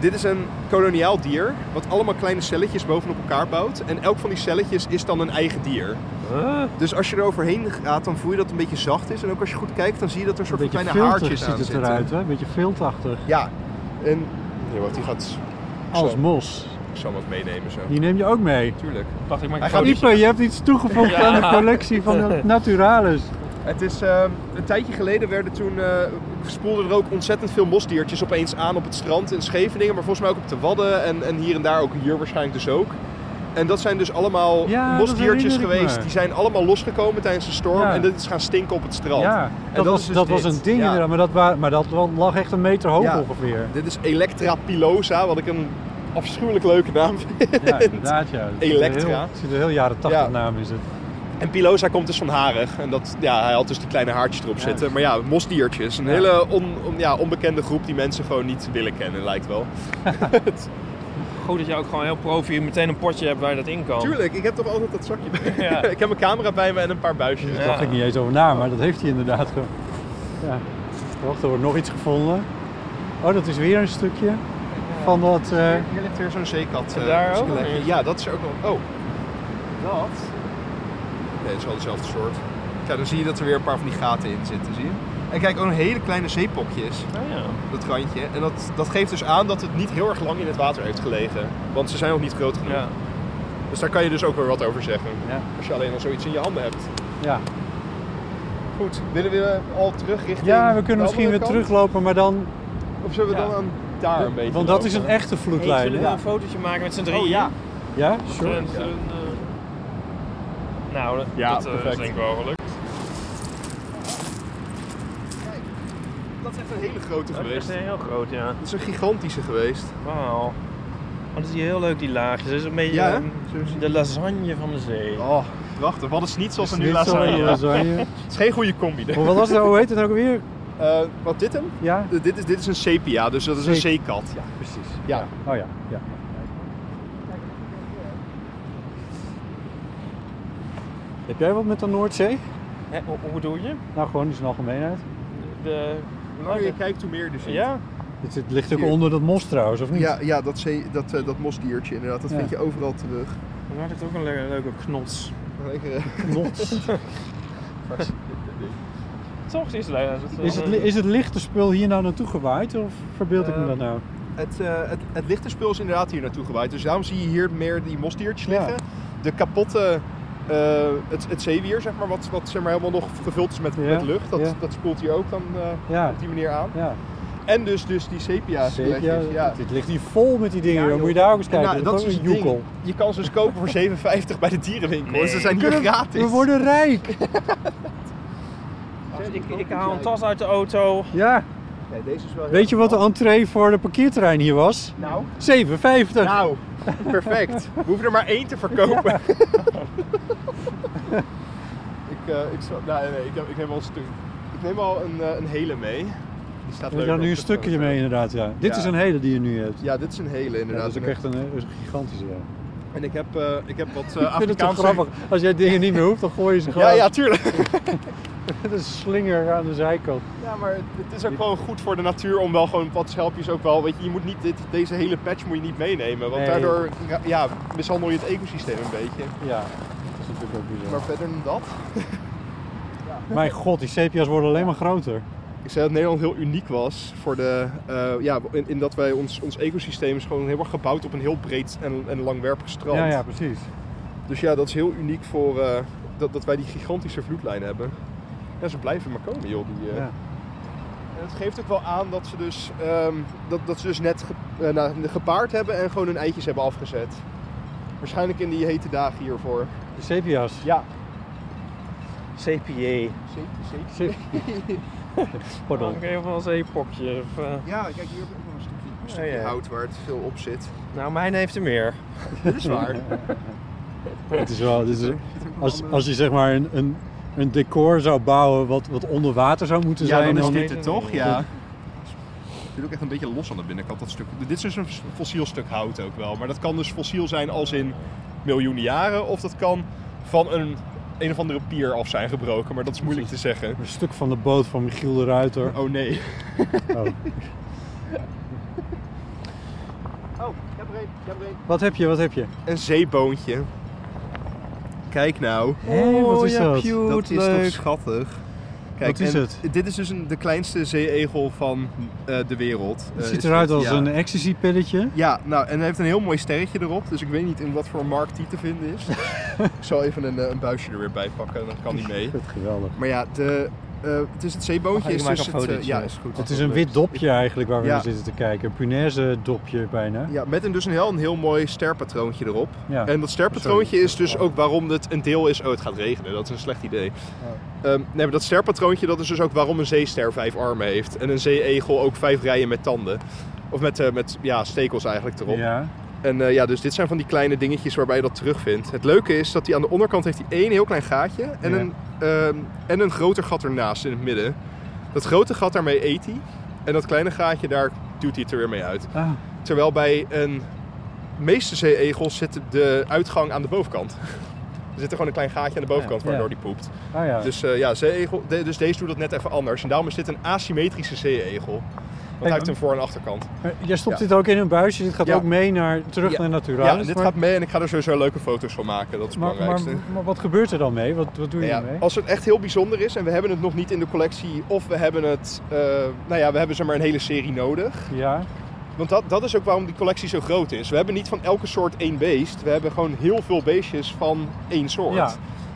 Speaker 4: Dit is een koloniaal dier wat allemaal kleine celletjes bovenop elkaar bouwt. En elk van die celletjes is dan een eigen dier. Dus als je er overheen gaat, dan voel je dat het een beetje zacht is. En ook als je goed kijkt, dan zie je dat er een soort van kleine haartjes aan
Speaker 1: ziet het
Speaker 4: zitten.
Speaker 1: eruit, hè? Een beetje viltachtig.
Speaker 4: Ja. En... Ja, wat die gaat...
Speaker 1: Als
Speaker 4: Zo.
Speaker 1: mos.
Speaker 4: Ik zal hem wat meenemen zo.
Speaker 1: Die neem je ook mee.
Speaker 4: Tuurlijk.
Speaker 2: Dacht ik, maar ik
Speaker 4: Hij
Speaker 2: ga
Speaker 4: gaat
Speaker 2: niet.
Speaker 4: niet-
Speaker 1: Diepe, je hebt iets toegevoegd
Speaker 2: Ja.
Speaker 1: aan de collectie van de Naturalis.
Speaker 4: Het is, ehm, een tijdje geleden werden toen, eh, spoelden er ook ontzettend veel mosdiertjes opeens aan op het strand in Scheveningen. Maar volgens mij ook op de Wadden en, en hier en daar, ook hier waarschijnlijk dus ook. En dat zijn dus allemaal
Speaker 1: Ja, dat
Speaker 4: mosdiertjes
Speaker 1: herinner ik
Speaker 4: geweest.
Speaker 1: me.
Speaker 4: Die zijn allemaal losgekomen tijdens de storm.
Speaker 1: Ja.
Speaker 4: En dit is gaan stinken op het strand.
Speaker 1: Ja, dat,
Speaker 4: dat
Speaker 1: was,
Speaker 4: is dus
Speaker 1: dat was
Speaker 4: dit.
Speaker 1: een ding
Speaker 4: Ja.
Speaker 1: inderdaad, maar dat, wa- maar dat lag echt een meter hoog
Speaker 4: Ja.
Speaker 1: ongeveer.
Speaker 4: Dit is Electra pilosa, wat ik een afschuwelijk leuke naam vind.
Speaker 1: Ja, inderdaad ja. Het is
Speaker 4: Elektra.
Speaker 1: een heel- Het is een heel jaren tachtig
Speaker 4: Ja.
Speaker 1: naam is het.
Speaker 4: En pilosa komt dus van harig. En dat, ja, hij had dus die kleine haartjes erop zitten. Maar ja, mosdiertjes. Een hele on, on- ja, onbekende groep die mensen gewoon niet willen kennen, lijkt wel.
Speaker 2: Goed dat je ook gewoon heel profi meteen een potje hebt waar je dat in kan.
Speaker 4: Tuurlijk, ik heb toch altijd dat zakje bij me.
Speaker 2: Ja.
Speaker 4: ik heb mijn camera bij me en een paar buisjes.
Speaker 1: Daar dacht ik niet eens over na, maar dat heeft hij inderdaad gewoon. Ja. Wacht, er wordt nog iets gevonden. Oh, dat is weer een stukje van dat... eh,
Speaker 4: Hier ligt weer zo'n zeekat. eh,
Speaker 2: daar ook?
Speaker 4: skelet. Ja, dat is er ook nog. Oh. Dat? Nee, het is wel dezelfde soort. Kijk, dan zie je dat er weer een paar van die gaten in zitten, zie je? En kijk, ook nog hele kleine zeepokjes.
Speaker 2: Ah, ja.
Speaker 4: dat randje. En dat, dat geeft dus aan dat het niet heel erg lang in het water heeft gelegen. Want ze zijn nog niet groot genoeg.
Speaker 2: Ja.
Speaker 4: Dus daar kan je dus ook weer wat over zeggen.
Speaker 1: Ja.
Speaker 4: Als je alleen al zoiets in je handen hebt.
Speaker 1: ja.
Speaker 4: Goed, willen we al terug richting
Speaker 1: ja, we kunnen
Speaker 4: de
Speaker 1: misschien
Speaker 4: andere
Speaker 1: weer
Speaker 4: kant?
Speaker 1: teruglopen, maar dan...
Speaker 4: Of zullen we
Speaker 2: Ja.
Speaker 4: dan aan daar een beetje
Speaker 1: Want dat is
Speaker 4: lopen?
Speaker 1: een echte
Speaker 2: Hey, zullen
Speaker 1: vloedlijn.
Speaker 2: we
Speaker 1: hè?
Speaker 2: wel een fotootje maken met z'n drieën?
Speaker 4: Oh ja.
Speaker 1: Ja,
Speaker 2: Zullen
Speaker 1: sure.
Speaker 2: we- zullen we, eh, Nou, dat,
Speaker 4: Ja,
Speaker 2: dat eh, is
Speaker 4: perfect.
Speaker 2: denk ik wel gelukt.
Speaker 4: Dat is echt een hele grote
Speaker 2: Dat is
Speaker 4: geweest.
Speaker 2: heel groot, ja.
Speaker 4: Dat is een gigantische geweest.
Speaker 2: Wauw. Want is hier heel leuk, die laagjes. Het is een beetje
Speaker 4: Ja, hè?
Speaker 2: ehm, de lasagne van de zee.
Speaker 4: Oh, wacht, wat is niet zoals een nu
Speaker 1: Niet zo
Speaker 4: lasagne. Het
Speaker 1: lasagne.
Speaker 4: is geen goede combi.
Speaker 1: Hoe- Wat was het, hoe heet het ook weer? Oh.
Speaker 4: Eh, wat dit hem?
Speaker 1: Ja,
Speaker 4: Eh, dit, is, dit is een sepia, dus dat is een zeekat. Ja.
Speaker 1: precies.
Speaker 4: ja.
Speaker 1: Oh ja, ja. Heb jij wat met de Noordzee?
Speaker 2: Hè, hoe, hoe bedoel je?
Speaker 1: Nou, gewoon in zijn algemeenheid.
Speaker 2: De...
Speaker 4: Hoe langer je kijkt, hoe meer er zit.
Speaker 2: Ja?
Speaker 1: Het, het ligt ook
Speaker 4: Hier.
Speaker 1: onder dat mos trouwens, of niet?
Speaker 4: Ja, ja dat, zee- dat, eh, dat mosdiertje inderdaad, dat
Speaker 1: Ja.
Speaker 4: vind je overal terug.
Speaker 2: Dan maakt het ook een le- leuke knots.
Speaker 4: Lekker, eh,
Speaker 2: Toch is het leuk. dat
Speaker 1: Is het, li- is het lichte spul hier nou naartoe gewaaid of verbeeld ik me
Speaker 4: Eh,
Speaker 1: dat nou?
Speaker 4: Het, eh het, het lichte spul is inderdaad hier naartoe gewaaid. Dus daarom zie je hier meer die mosdiertjes
Speaker 1: Ja.
Speaker 4: liggen. De kapotte, eh, het, het zeewier, zeg maar, wat, wat zeg maar, helemaal nog gevuld is met,
Speaker 1: Ja,
Speaker 4: met lucht. Dat,
Speaker 1: ja.
Speaker 4: dat spoelt hier ook dan eh,
Speaker 1: Ja,
Speaker 4: op die manier aan.
Speaker 1: ja.
Speaker 4: En dus, dus die sepia's.
Speaker 1: Zeker.
Speaker 4: Ja.
Speaker 1: Ja. Dit ligt hier vol met die dingen.
Speaker 4: Ja,
Speaker 1: joh.
Speaker 4: joh.
Speaker 1: Moet je daar ook eens kijken.
Speaker 4: nou, dat is
Speaker 1: ook
Speaker 4: dus
Speaker 1: een
Speaker 4: het ding.
Speaker 1: joekel.
Speaker 4: Je kan ze dus kopen voor 7,50 bij de dierenwinkel.
Speaker 2: Nee.
Speaker 4: Ze zijn hier gratis.
Speaker 1: We worden rijk.
Speaker 2: Ik, ik haal een tas uit de auto.
Speaker 1: Ja.
Speaker 4: Nee, deze is wel heel
Speaker 1: Weet je wat de
Speaker 4: goedkoop.
Speaker 1: entree voor de parkeerterrein hier was?
Speaker 4: Nou,
Speaker 1: 7,50.
Speaker 4: nou, perfect. We hoeven er maar één te verkopen. ik, eh, ik, zal- nou, nee, ik, heb- ik neem al een stuk. Ik neem al een, eh, een hele mee. Die staat
Speaker 1: We
Speaker 4: leuk
Speaker 1: hebben
Speaker 4: op
Speaker 1: nu een
Speaker 4: de
Speaker 1: stukje
Speaker 4: foto.
Speaker 1: mee inderdaad, ja. Dit
Speaker 4: Ja.
Speaker 1: is een hele die je nu hebt.
Speaker 4: Ja, dit is een hele
Speaker 1: Ja, dat
Speaker 4: inderdaad.
Speaker 1: is ook echt een, eh, een gigantische. Ja.
Speaker 4: En ik heb, eh, ik heb wat eh
Speaker 1: Ik vind het toch
Speaker 4: Afrikaanse...
Speaker 1: grappig. Als jij dingen niet meer hoeft, dan gooi je ze gewoon.
Speaker 4: Ja, ja, tuurlijk.
Speaker 1: Het is een slinger aan de zijkant.
Speaker 4: Ja, maar het is ook gewoon goed voor de natuur om wel gewoon wat schelpjes ook wel... Weet je, je moet niet dit, deze hele patch moet je niet meenemen. Want
Speaker 1: Nee.
Speaker 4: daardoor ja, mishandel je het ecosysteem een beetje.
Speaker 1: Ja, dat is natuurlijk ook bizar.
Speaker 4: Maar verder dan dat...
Speaker 1: Mijn god, die sepia's worden alleen maar groter.
Speaker 4: Ik zei dat Nederland heel uniek was voor de, eh, ja, in, in dat wij ons, ons ecosysteem is gewoon heel erg gebouwd op een heel breed en, en langwerpig strand.
Speaker 1: Ja, ja, precies.
Speaker 4: Dus ja, dat is heel uniek voor eh, dat, dat wij die gigantische vloedlijn hebben. Ja, ze blijven maar komen, joh. Die, eh.
Speaker 1: Ja.
Speaker 4: En het geeft ook wel aan dat ze dus, ehm, dat, dat ze dus net ge- eh, nou, gepaard hebben en gewoon hun eitjes hebben afgezet. Waarschijnlijk in die hete dagen hiervoor.
Speaker 1: De sepia's.
Speaker 4: Ja.
Speaker 2: CPA.
Speaker 1: Sep-
Speaker 2: Dan
Speaker 1: Pardon.
Speaker 2: ik even een zeepokje. Of, eh,
Speaker 4: Ja, kijk, hier heb ik nog een stukje, een
Speaker 2: stukje ja. hout
Speaker 4: waar het veel op zit.
Speaker 2: Nou, mijn heeft er meer.
Speaker 4: Dat is waar.
Speaker 1: Het is wel, dit is- als, als je zeg maar een, een, een decor zou bouwen wat, wat onder water zou moeten
Speaker 4: Ja,
Speaker 1: zijn,
Speaker 4: dan is
Speaker 1: dan,
Speaker 4: dit het toch, ja. Het zit ook echt een beetje los aan de binnenkant, dat stuk. Dit is dus een fossiel stuk hout ook wel. Maar dat kan dus fossiel zijn als in miljoenen jaren. Of dat kan van een een of andere pier af zijn gebroken, maar dat is moeilijk te zeggen.
Speaker 1: Een stuk van de boot van Michiel de Ruiter.
Speaker 4: Oh nee.
Speaker 2: Oh,
Speaker 1: Wat heb je, wat heb je?
Speaker 4: Een zeeboontje. Kijk nou.
Speaker 1: Hé,
Speaker 2: Oh,
Speaker 1: wat is dat?
Speaker 4: dat Eh, is toch schattig. Kijk,
Speaker 1: Wat is
Speaker 4: en
Speaker 1: het?
Speaker 4: Dit is dus een, de kleinste zeeegel van eh, de wereld.
Speaker 1: Het
Speaker 4: Eh,
Speaker 1: ziet
Speaker 4: is
Speaker 1: eruit
Speaker 4: dit,
Speaker 1: als
Speaker 4: ja.
Speaker 1: een ecstasy-pilletje.
Speaker 4: Ja, nou, en hij heeft een heel mooi sterretje erop. Dus ik weet niet in wat voor markt die te vinden is. ik zal even een, eh, een buisje er weer bij pakken, dan kan die mee.
Speaker 1: Geweldig.
Speaker 4: Maar ja, de, eh, het is het zeeboontje.
Speaker 2: ik
Speaker 4: is
Speaker 2: maak
Speaker 4: dus
Speaker 2: een
Speaker 4: het, eh,
Speaker 2: fotootje.
Speaker 4: ja, is goed.
Speaker 1: Het is een wit dopje eigenlijk waar we
Speaker 4: Ja.
Speaker 1: naar zitten te kijken. Een punaise dopje bijna.
Speaker 4: Ja, met een, dus een heel, een heel mooi sterpatroontje erop.
Speaker 1: Ja.
Speaker 4: En dat sterpatroontje is dus ook waarom het een deel is... Oh, het gaat regenen. Dat is een slecht idee. Ehm, nee, maar dat sterpatroontje dat is dus ook waarom een zeester vijf armen heeft. En een zeeegel ook vijf rijen met tanden. Of met, eh, met ja, stekels eigenlijk erop.
Speaker 1: Ja.
Speaker 4: En eh, ja, dus dit zijn van die kleine dingetjes waarbij je dat terugvindt. Het leuke is dat hij aan de onderkant heeft hij één heel klein gaatje. En,
Speaker 1: Ja.
Speaker 4: een, ehm, en een groter gat ernaast in het midden. Dat grote gat daarmee eet hij. En dat kleine gaatje daar duwt hij het er weer mee uit.
Speaker 1: Ah,
Speaker 4: Terwijl bij een meeste zeeegels zit de uitgang aan de bovenkant. Er zit er gewoon een klein gaatje aan de bovenkant
Speaker 1: Ja.
Speaker 4: waardoor die poept.
Speaker 1: ah ja.
Speaker 4: Dus eh, ja, zeeegel, de- dus deze doet dat net even anders. En daarom is dit een asymmetrische zeeegel. Want hij heeft een voor- en achterkant.
Speaker 1: Maar Eh, Jij stopt
Speaker 4: Ja.
Speaker 1: dit ook in een buisje. Dit gaat
Speaker 4: Ja.
Speaker 1: ook mee naar, terug
Speaker 4: Ja.
Speaker 1: naar
Speaker 4: Ja,
Speaker 1: Naturalis.
Speaker 4: en dit
Speaker 1: dus maar,
Speaker 4: gaat mee en ik ga er sowieso leuke foto's van maken. Dat is het
Speaker 1: maar, maar,
Speaker 4: belangrijkste.
Speaker 1: maar wat gebeurt er dan mee? Wat, wat doe je
Speaker 4: Nou ja,
Speaker 1: ermee?
Speaker 4: als het echt heel bijzonder is en we hebben het nog niet in de collectie... of we hebben het... eh, nou ja, we hebben zeg maar een hele serie nodig...
Speaker 1: Ja.
Speaker 4: Want dat, dat is ook waarom die collectie zo groot is. We hebben niet van elke soort één beest. We hebben gewoon heel veel beestjes van één soort.
Speaker 1: Ja,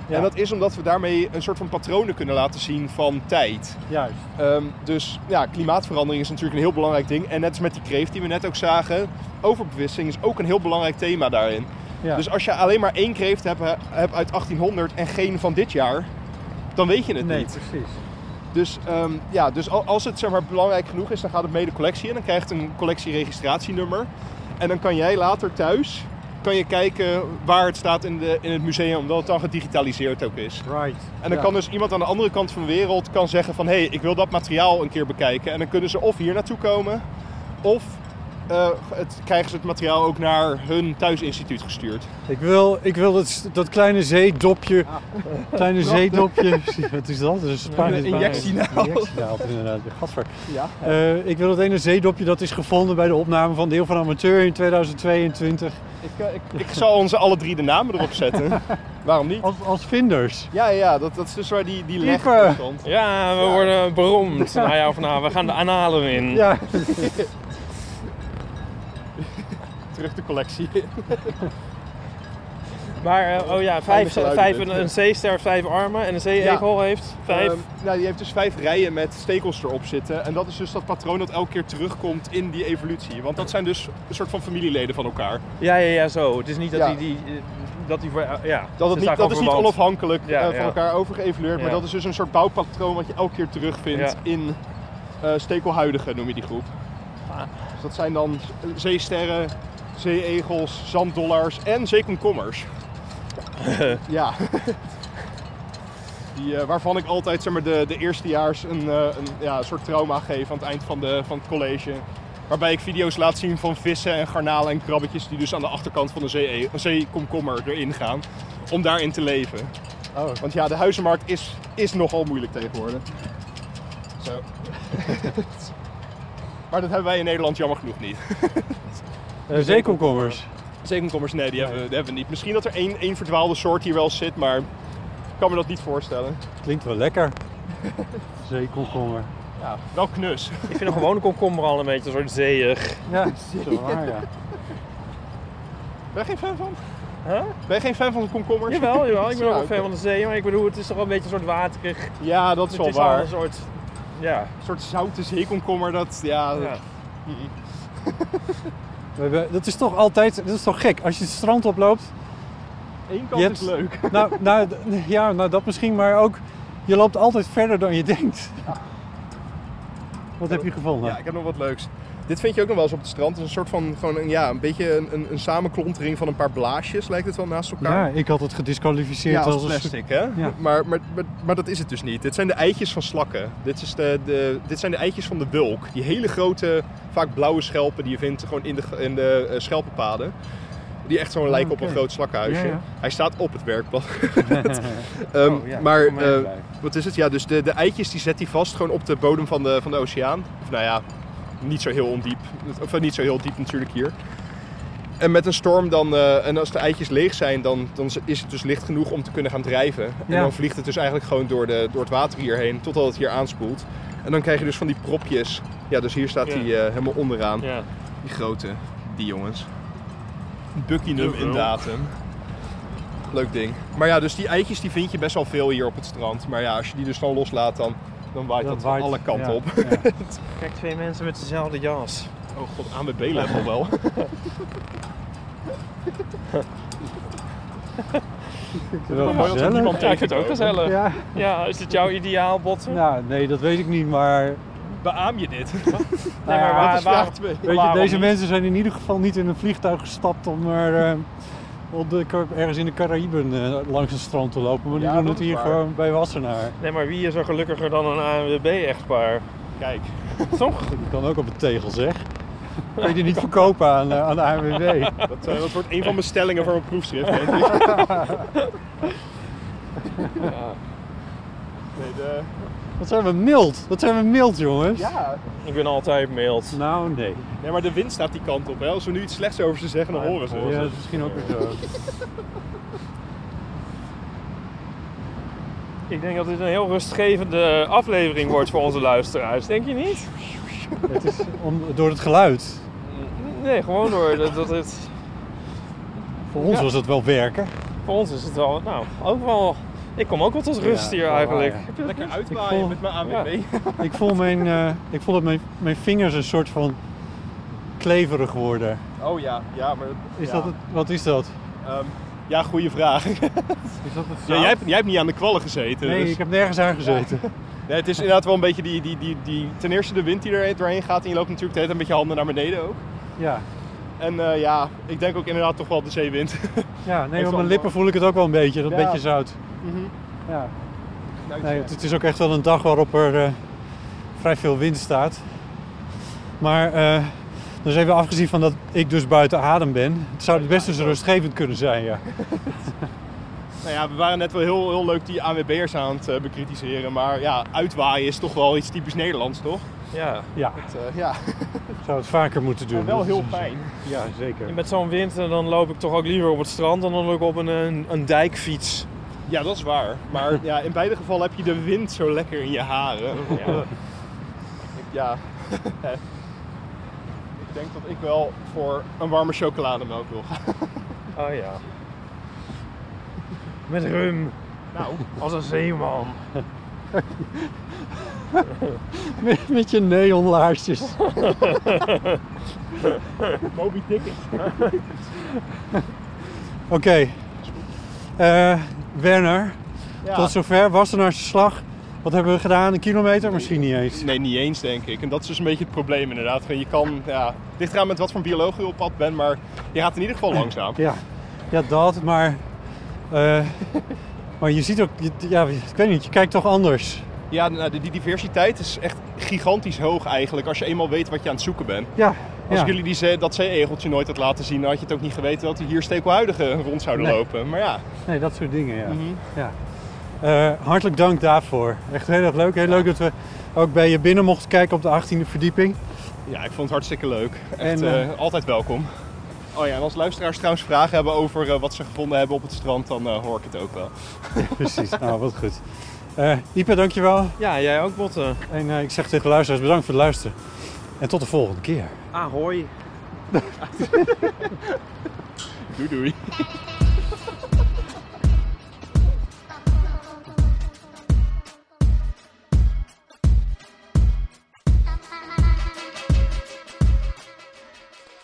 Speaker 1: ja.
Speaker 4: En dat is omdat we daarmee een soort van patronen kunnen laten zien van tijd.
Speaker 1: juist.
Speaker 4: Ehm, dus ja, klimaatverandering is natuurlijk een heel belangrijk ding. En net als met die kreeft die we net ook zagen, overbevissing is ook een heel belangrijk thema daarin.
Speaker 1: Ja.
Speaker 4: Dus als je alleen maar één kreeft hebt, hebt uit 1800 en geen van dit jaar, dan weet je het
Speaker 1: nee,
Speaker 4: niet.
Speaker 1: precies.
Speaker 4: Dus, ehm, ja, dus al- als het zeg maar, belangrijk genoeg is, dan gaat het mee de collectie in. Dan krijgt het een collectieregistratienummer. En dan kan jij later thuis kan je kijken waar het staat in, de, in het museum, omdat het dan gedigitaliseerd ook is.
Speaker 1: Right.
Speaker 4: En dan
Speaker 1: Ja.
Speaker 4: kan dus iemand aan de andere kant van de wereld kan zeggen van... hé, hey, ik wil dat materiaal een keer bekijken. En dan kunnen ze of hier naartoe komen... of eh, het, krijgen ze het materiaal ook naar hun thuisinstituut gestuurd.
Speaker 1: Ik wil, ik wil dat, dat kleine zeedopje. eh, Kleine zeedopje. Wat is dat? Dat is Ah. een nou. Spaans-
Speaker 4: Een injectienaald.
Speaker 1: Een injectienaald, inderdaad. Gadver.
Speaker 4: Ja.
Speaker 1: Eh, ik wil dat ene zeedopje dat is gevonden bij de opname van Deel van Amateur in 2022.
Speaker 4: Ik, eh, ik Oh. zal onze alle drie de namen erop zetten. Waarom niet?
Speaker 1: Als, als vinders.
Speaker 4: Ja, ja, dat, dat is dus waar die, die leg
Speaker 1: Ieper.
Speaker 4: op stond.
Speaker 2: Ja, we worden beroemd. Nou ja, of nou, we gaan de analen in.
Speaker 1: Ja.
Speaker 4: Terug de collectie.
Speaker 2: Maar, eh, oh ja, vijf,
Speaker 4: geluiden
Speaker 2: vijf,
Speaker 4: dit.
Speaker 2: een, een zeester heeft vijf armen en een zeeegel heeft vijf.
Speaker 4: Ehm, nou, die heeft dus vijf rijen met stekels erop zitten. En dat is dus dat patroon dat elke keer terugkomt in die evolutie. Want dat zijn dus een soort van familieleden van elkaar.
Speaker 2: ja, ja, ja, zo. Het is niet dat
Speaker 4: Ja.
Speaker 2: die, die, eh, dat die voor, eh, ja.
Speaker 4: Dat, het
Speaker 2: is
Speaker 4: niet, dat is niet onafhankelijk
Speaker 2: Ja,
Speaker 4: eh, van
Speaker 2: ja.
Speaker 4: elkaar overgeëvalueerd. Maar
Speaker 2: Ja.
Speaker 4: dat is dus een soort bouwpatroon wat je elke keer terugvindt
Speaker 2: Ja.
Speaker 4: in eh, stekelhuidigen, noem je die groep. Dus dat zijn dan zeesterren, zeeegels, zanddollars en zeekomkommers. ja. Die, eh, waarvan ik altijd zeg maar, de, de eerstejaars een, eh, een ja, een soort trauma geef aan het eind van, de, van het college. Waarbij ik video's laat zien van vissen en garnalen en krabbetjes die dus aan de achterkant van de zee, zeekomkommer erin gaan. Om daarin te leven. Want ja, de huizenmarkt is, is nogal moeilijk tegenwoordig. Zo. maar dat hebben wij in Nederland jammer genoeg niet.
Speaker 1: Eh, zeekomkommers.
Speaker 4: Zeekomkommers, nee, die hebben, we- die hebben we niet. Misschien dat er één, één verdwaalde soort hier wel zit, maar ik kan me dat niet voorstellen.
Speaker 1: Klinkt wel lekker. Zeekomkommer.
Speaker 4: Ja, wel knus.
Speaker 2: Ik vind een gewone komkommer al een beetje een soort zeeig.
Speaker 1: Ja, zo waar, ja.
Speaker 4: Ben jij geen fan van?
Speaker 2: Huh?
Speaker 4: Ben je geen fan van komkommers?
Speaker 2: Jawel, jawel. Ik ben ook
Speaker 4: Ja,
Speaker 2: wel fan van de zee, maar ik bedoel, het is toch wel een beetje een soort waterig.
Speaker 4: Ja, dat is
Speaker 2: het
Speaker 4: wel
Speaker 2: is al
Speaker 4: waar.
Speaker 2: een soort, ja.
Speaker 4: Een soort zoute zeekomkommer, dat, ja...
Speaker 2: ja.
Speaker 4: dat-
Speaker 1: We hebben- Dat is toch altijd, dat is toch gek. Als je het strand oploopt,
Speaker 4: Eén kant
Speaker 1: Je
Speaker 4: is
Speaker 1: hebt-
Speaker 4: leuk.
Speaker 1: Nou, nou, d- ja, nou dat misschien, maar ook je loopt altijd verder dan je denkt. Wat heb je gevonden?
Speaker 4: Ja, ik heb nog wat leuks. Dit vind je ook nog wel eens op het strand. Het is een soort van, gewoon een, ja, een beetje een, een, een samenklontering van een paar blaasjes lijkt het wel naast elkaar.
Speaker 1: Ja, ik had het gedisqualificeerd
Speaker 4: Ja,
Speaker 1: als,
Speaker 4: als
Speaker 1: een stuk-
Speaker 4: plastic, hè? Maar, maar, maar, maar dat is het dus niet. Dit zijn de eitjes van slakken. Dit, is de, de, dit zijn de eitjes van de wulk. Die hele grote, vaak blauwe schelpen die je vindt gewoon in de, in de eh, schelpenpaden. Die echt zo'n lijken op een
Speaker 1: Ah, oké.
Speaker 4: groot slakkenhuisje.
Speaker 1: Ja, Oh, ja.
Speaker 4: Hij staat op het werkblad. Ehm,
Speaker 2: Oh,
Speaker 4: maar eh, wat is het? Ja, dus de, de eitjes die zet hij vast gewoon op de bodem van de, van de oceaan. Of nou ja, niet zo heel ondiep. Of eh, niet zo heel diep natuurlijk hier. En met een storm dan, eh, en als de eitjes leeg zijn, dan, dan is het dus licht genoeg om te kunnen gaan drijven. En
Speaker 1: Ja.
Speaker 4: dan vliegt het dus eigenlijk gewoon door, de, door het water hierheen, totdat het hier aanspoelt. En dan krijg je dus van die propjes. Ja, dus hier staat
Speaker 2: Ja.
Speaker 4: hij eh, helemaal onderaan.
Speaker 2: Ja.
Speaker 4: Die grote, die jongens. Buckingham
Speaker 2: Jawel.
Speaker 4: in datum. Leuk ding. Maar ja, dus die eitjes die vind je best wel veel hier op het strand. Maar ja, als je die dus dan loslaat, dan, dan waait
Speaker 1: Dan
Speaker 4: dat
Speaker 1: waait-
Speaker 4: alle kanten
Speaker 1: ja,
Speaker 4: op.
Speaker 1: ja.
Speaker 2: Kijk, twee mensen met dezelfde jas.
Speaker 4: Oh god, AMB-level wel.
Speaker 1: Wel
Speaker 4: dat er niemand-
Speaker 1: gezellig.
Speaker 2: Ja, ik vind het ook gezellig. Ja.
Speaker 1: Ja,
Speaker 2: is dit jouw ideaal bot?
Speaker 1: nou, nee, dat weet ik niet, maar...
Speaker 4: Beaam je dit?
Speaker 1: Nou ja,
Speaker 4: dat is vraag 2.
Speaker 1: Weet je,
Speaker 2: Waarom
Speaker 1: deze
Speaker 2: niet?
Speaker 1: mensen zijn in ieder geval niet in een vliegtuig gestapt om er, eh, op de, Car- ergens in de Caraïben eh, langs een strand te lopen. Maar die
Speaker 4: Ja,
Speaker 1: doen
Speaker 4: dat
Speaker 1: het
Speaker 4: is
Speaker 1: hier
Speaker 4: waar.
Speaker 1: gewoon bij Wassenaar.
Speaker 2: Nee, maar wie is er gelukkiger dan een ANWB-echtpaar?
Speaker 4: Kijk,
Speaker 2: Toch?
Speaker 1: Dat kan ook op een tegel, zeg. Kun je die niet verkopen aan, eh, aan de ANWB?
Speaker 4: dat, eh, dat wordt een van mijn stellingen voor mijn proefschrift, denk ik. Nee, de...
Speaker 1: Wat zijn we mild? Wat zijn we mild, jongens?
Speaker 4: Ja.
Speaker 2: Ik ben altijd mild.
Speaker 1: Nou, nee.
Speaker 4: Nee, maar de wind staat die kant op. Hè. Als we nu iets slechts over ze zeggen, dan horen ze.
Speaker 1: Ja, dat is misschien ook weer zo.
Speaker 2: Ik denk dat dit een heel rustgevende aflevering wordt voor onze luisteraars. Denk je niet?
Speaker 1: Het is om, door het geluid.
Speaker 2: Nee, gewoon door dat, dat het...
Speaker 1: Voor ons
Speaker 2: Ja.
Speaker 1: was het wel werken.
Speaker 2: Voor ons is het wel... Nou, ook wel... Ik kom ook wel tot rust
Speaker 1: Ja,
Speaker 2: hier
Speaker 1: wel
Speaker 2: eigenlijk.
Speaker 1: waar, ja.
Speaker 2: Heb je dat
Speaker 4: Lekker
Speaker 2: niet?
Speaker 1: Ik
Speaker 4: uitwaaien
Speaker 1: voel-
Speaker 4: met mijn AWB.
Speaker 1: Ik voel, mijn, eh, ik voel dat mijn, mijn vingers een soort van kleverig worden.
Speaker 4: Oh ja, ja, maar...
Speaker 1: Is
Speaker 4: ja.
Speaker 1: dat het, wat is dat?
Speaker 4: Ehm, ja, goede vraag.
Speaker 1: Is dat het
Speaker 4: Ja, jij, hebt, jij hebt niet aan de kwallen gezeten.
Speaker 1: Nee,
Speaker 4: dus-
Speaker 1: ik heb nergens aan gezeten.
Speaker 4: nee, het is inderdaad wel een beetje die, die, die, die... Ten eerste de wind die er doorheen gaat. En je loopt natuurlijk de hele tijd met je handen naar beneden ook.
Speaker 1: Ja,
Speaker 4: En eh, ja, ik denk ook inderdaad toch wel de zeewind.
Speaker 1: ja nee,
Speaker 4: Heeft
Speaker 1: op
Speaker 4: wel-
Speaker 1: mijn lippen voel ik het ook wel een beetje, dat
Speaker 4: Ja. Mhm.
Speaker 1: beetje zout. Ja.
Speaker 4: Nou,
Speaker 1: Nee,
Speaker 4: ja.
Speaker 1: het, het is ook echt wel een dag waarop er eh, vrij veel wind staat. Maar eh dus even afgezien van dat ik dus buiten adem ben, het zou het best dus rustgevend kunnen zijn, ja.
Speaker 4: Nou ja, we waren net wel heel, heel leuk die AWB'ers aan het eh, bekritiseren. Maar ja, uitwaaien is toch wel iets typisch Nederlands, toch?
Speaker 2: Ja.
Speaker 1: Ja,
Speaker 4: Het, eh, ja,
Speaker 1: ik zou het vaker moeten doen.
Speaker 4: maar wel
Speaker 1: Dat is-
Speaker 4: heel fijn.
Speaker 1: Ja, zeker.
Speaker 2: Met zo'n wind eh, dan loop ik toch ook liever op het strand dan dan ook op een, een, een dijkfiets.
Speaker 4: Ja, dat is waar. Maar ja, in beide gevallen heb je de wind zo lekker in je haren. Ja. ja. ik denk dat ik wel voor een warme chocolademelk wil gaan.
Speaker 2: Oh ja. Met rum.
Speaker 4: Nou,
Speaker 2: Als een zeeman.
Speaker 1: Met, met je neonlaarsjes.
Speaker 4: Moby Dick.
Speaker 1: Oké. Eh, Werner,
Speaker 4: Ja.
Speaker 1: tot zover. Wassenaarse slag. Wat hebben we gedaan? Een kilometer? Misschien niet eens.
Speaker 4: Nee, niet eens denk ik. En dat is dus een beetje het probleem inderdaad. Gewoon, Je kan, ja, het ligt eraan met wat voor bioloog je op pad bent, maar je gaat in ieder geval langzaam.
Speaker 1: Ja, ja dat, maar. eh, maar je ziet ook, je- ja, ik weet niet, je kijkt toch anders.
Speaker 4: Ja, nou, die die diversiteit is echt gigantisch hoog eigenlijk als je eenmaal weet wat je aan het zoeken bent.
Speaker 1: Ja,
Speaker 4: Als
Speaker 1: ja.
Speaker 4: ik jullie die, zee- dat zeeegeltje nooit had laten zien, dan had je het ook niet geweten dat er hier stekelhuidigen rond zouden
Speaker 1: Nee.
Speaker 4: lopen. Maar ja,
Speaker 1: nee, dat soort dingen, ja. ja. Eh, hartelijk dank daarvoor. Echt heel erg leuk. Heel leuk dat we ook bij je binnen mochten kijken op de 18e verdieping.
Speaker 4: Ja, ik vond het hartstikke leuk. Echt
Speaker 1: En,
Speaker 4: eh, altijd welkom. Oh ja, en als luisteraars trouwens vragen hebben over eh, wat ze gevonden hebben op het strand, dan eh, hoor ik het ook wel.
Speaker 1: Precies, nou wat goed. Eh Ipe, dankjewel.
Speaker 2: Ja, jij ook botten.
Speaker 1: En eh, ik zeg tegen de luisteraars bedankt voor het luisteren. En tot de volgende keer.
Speaker 2: Ahoy.
Speaker 4: Doei doei.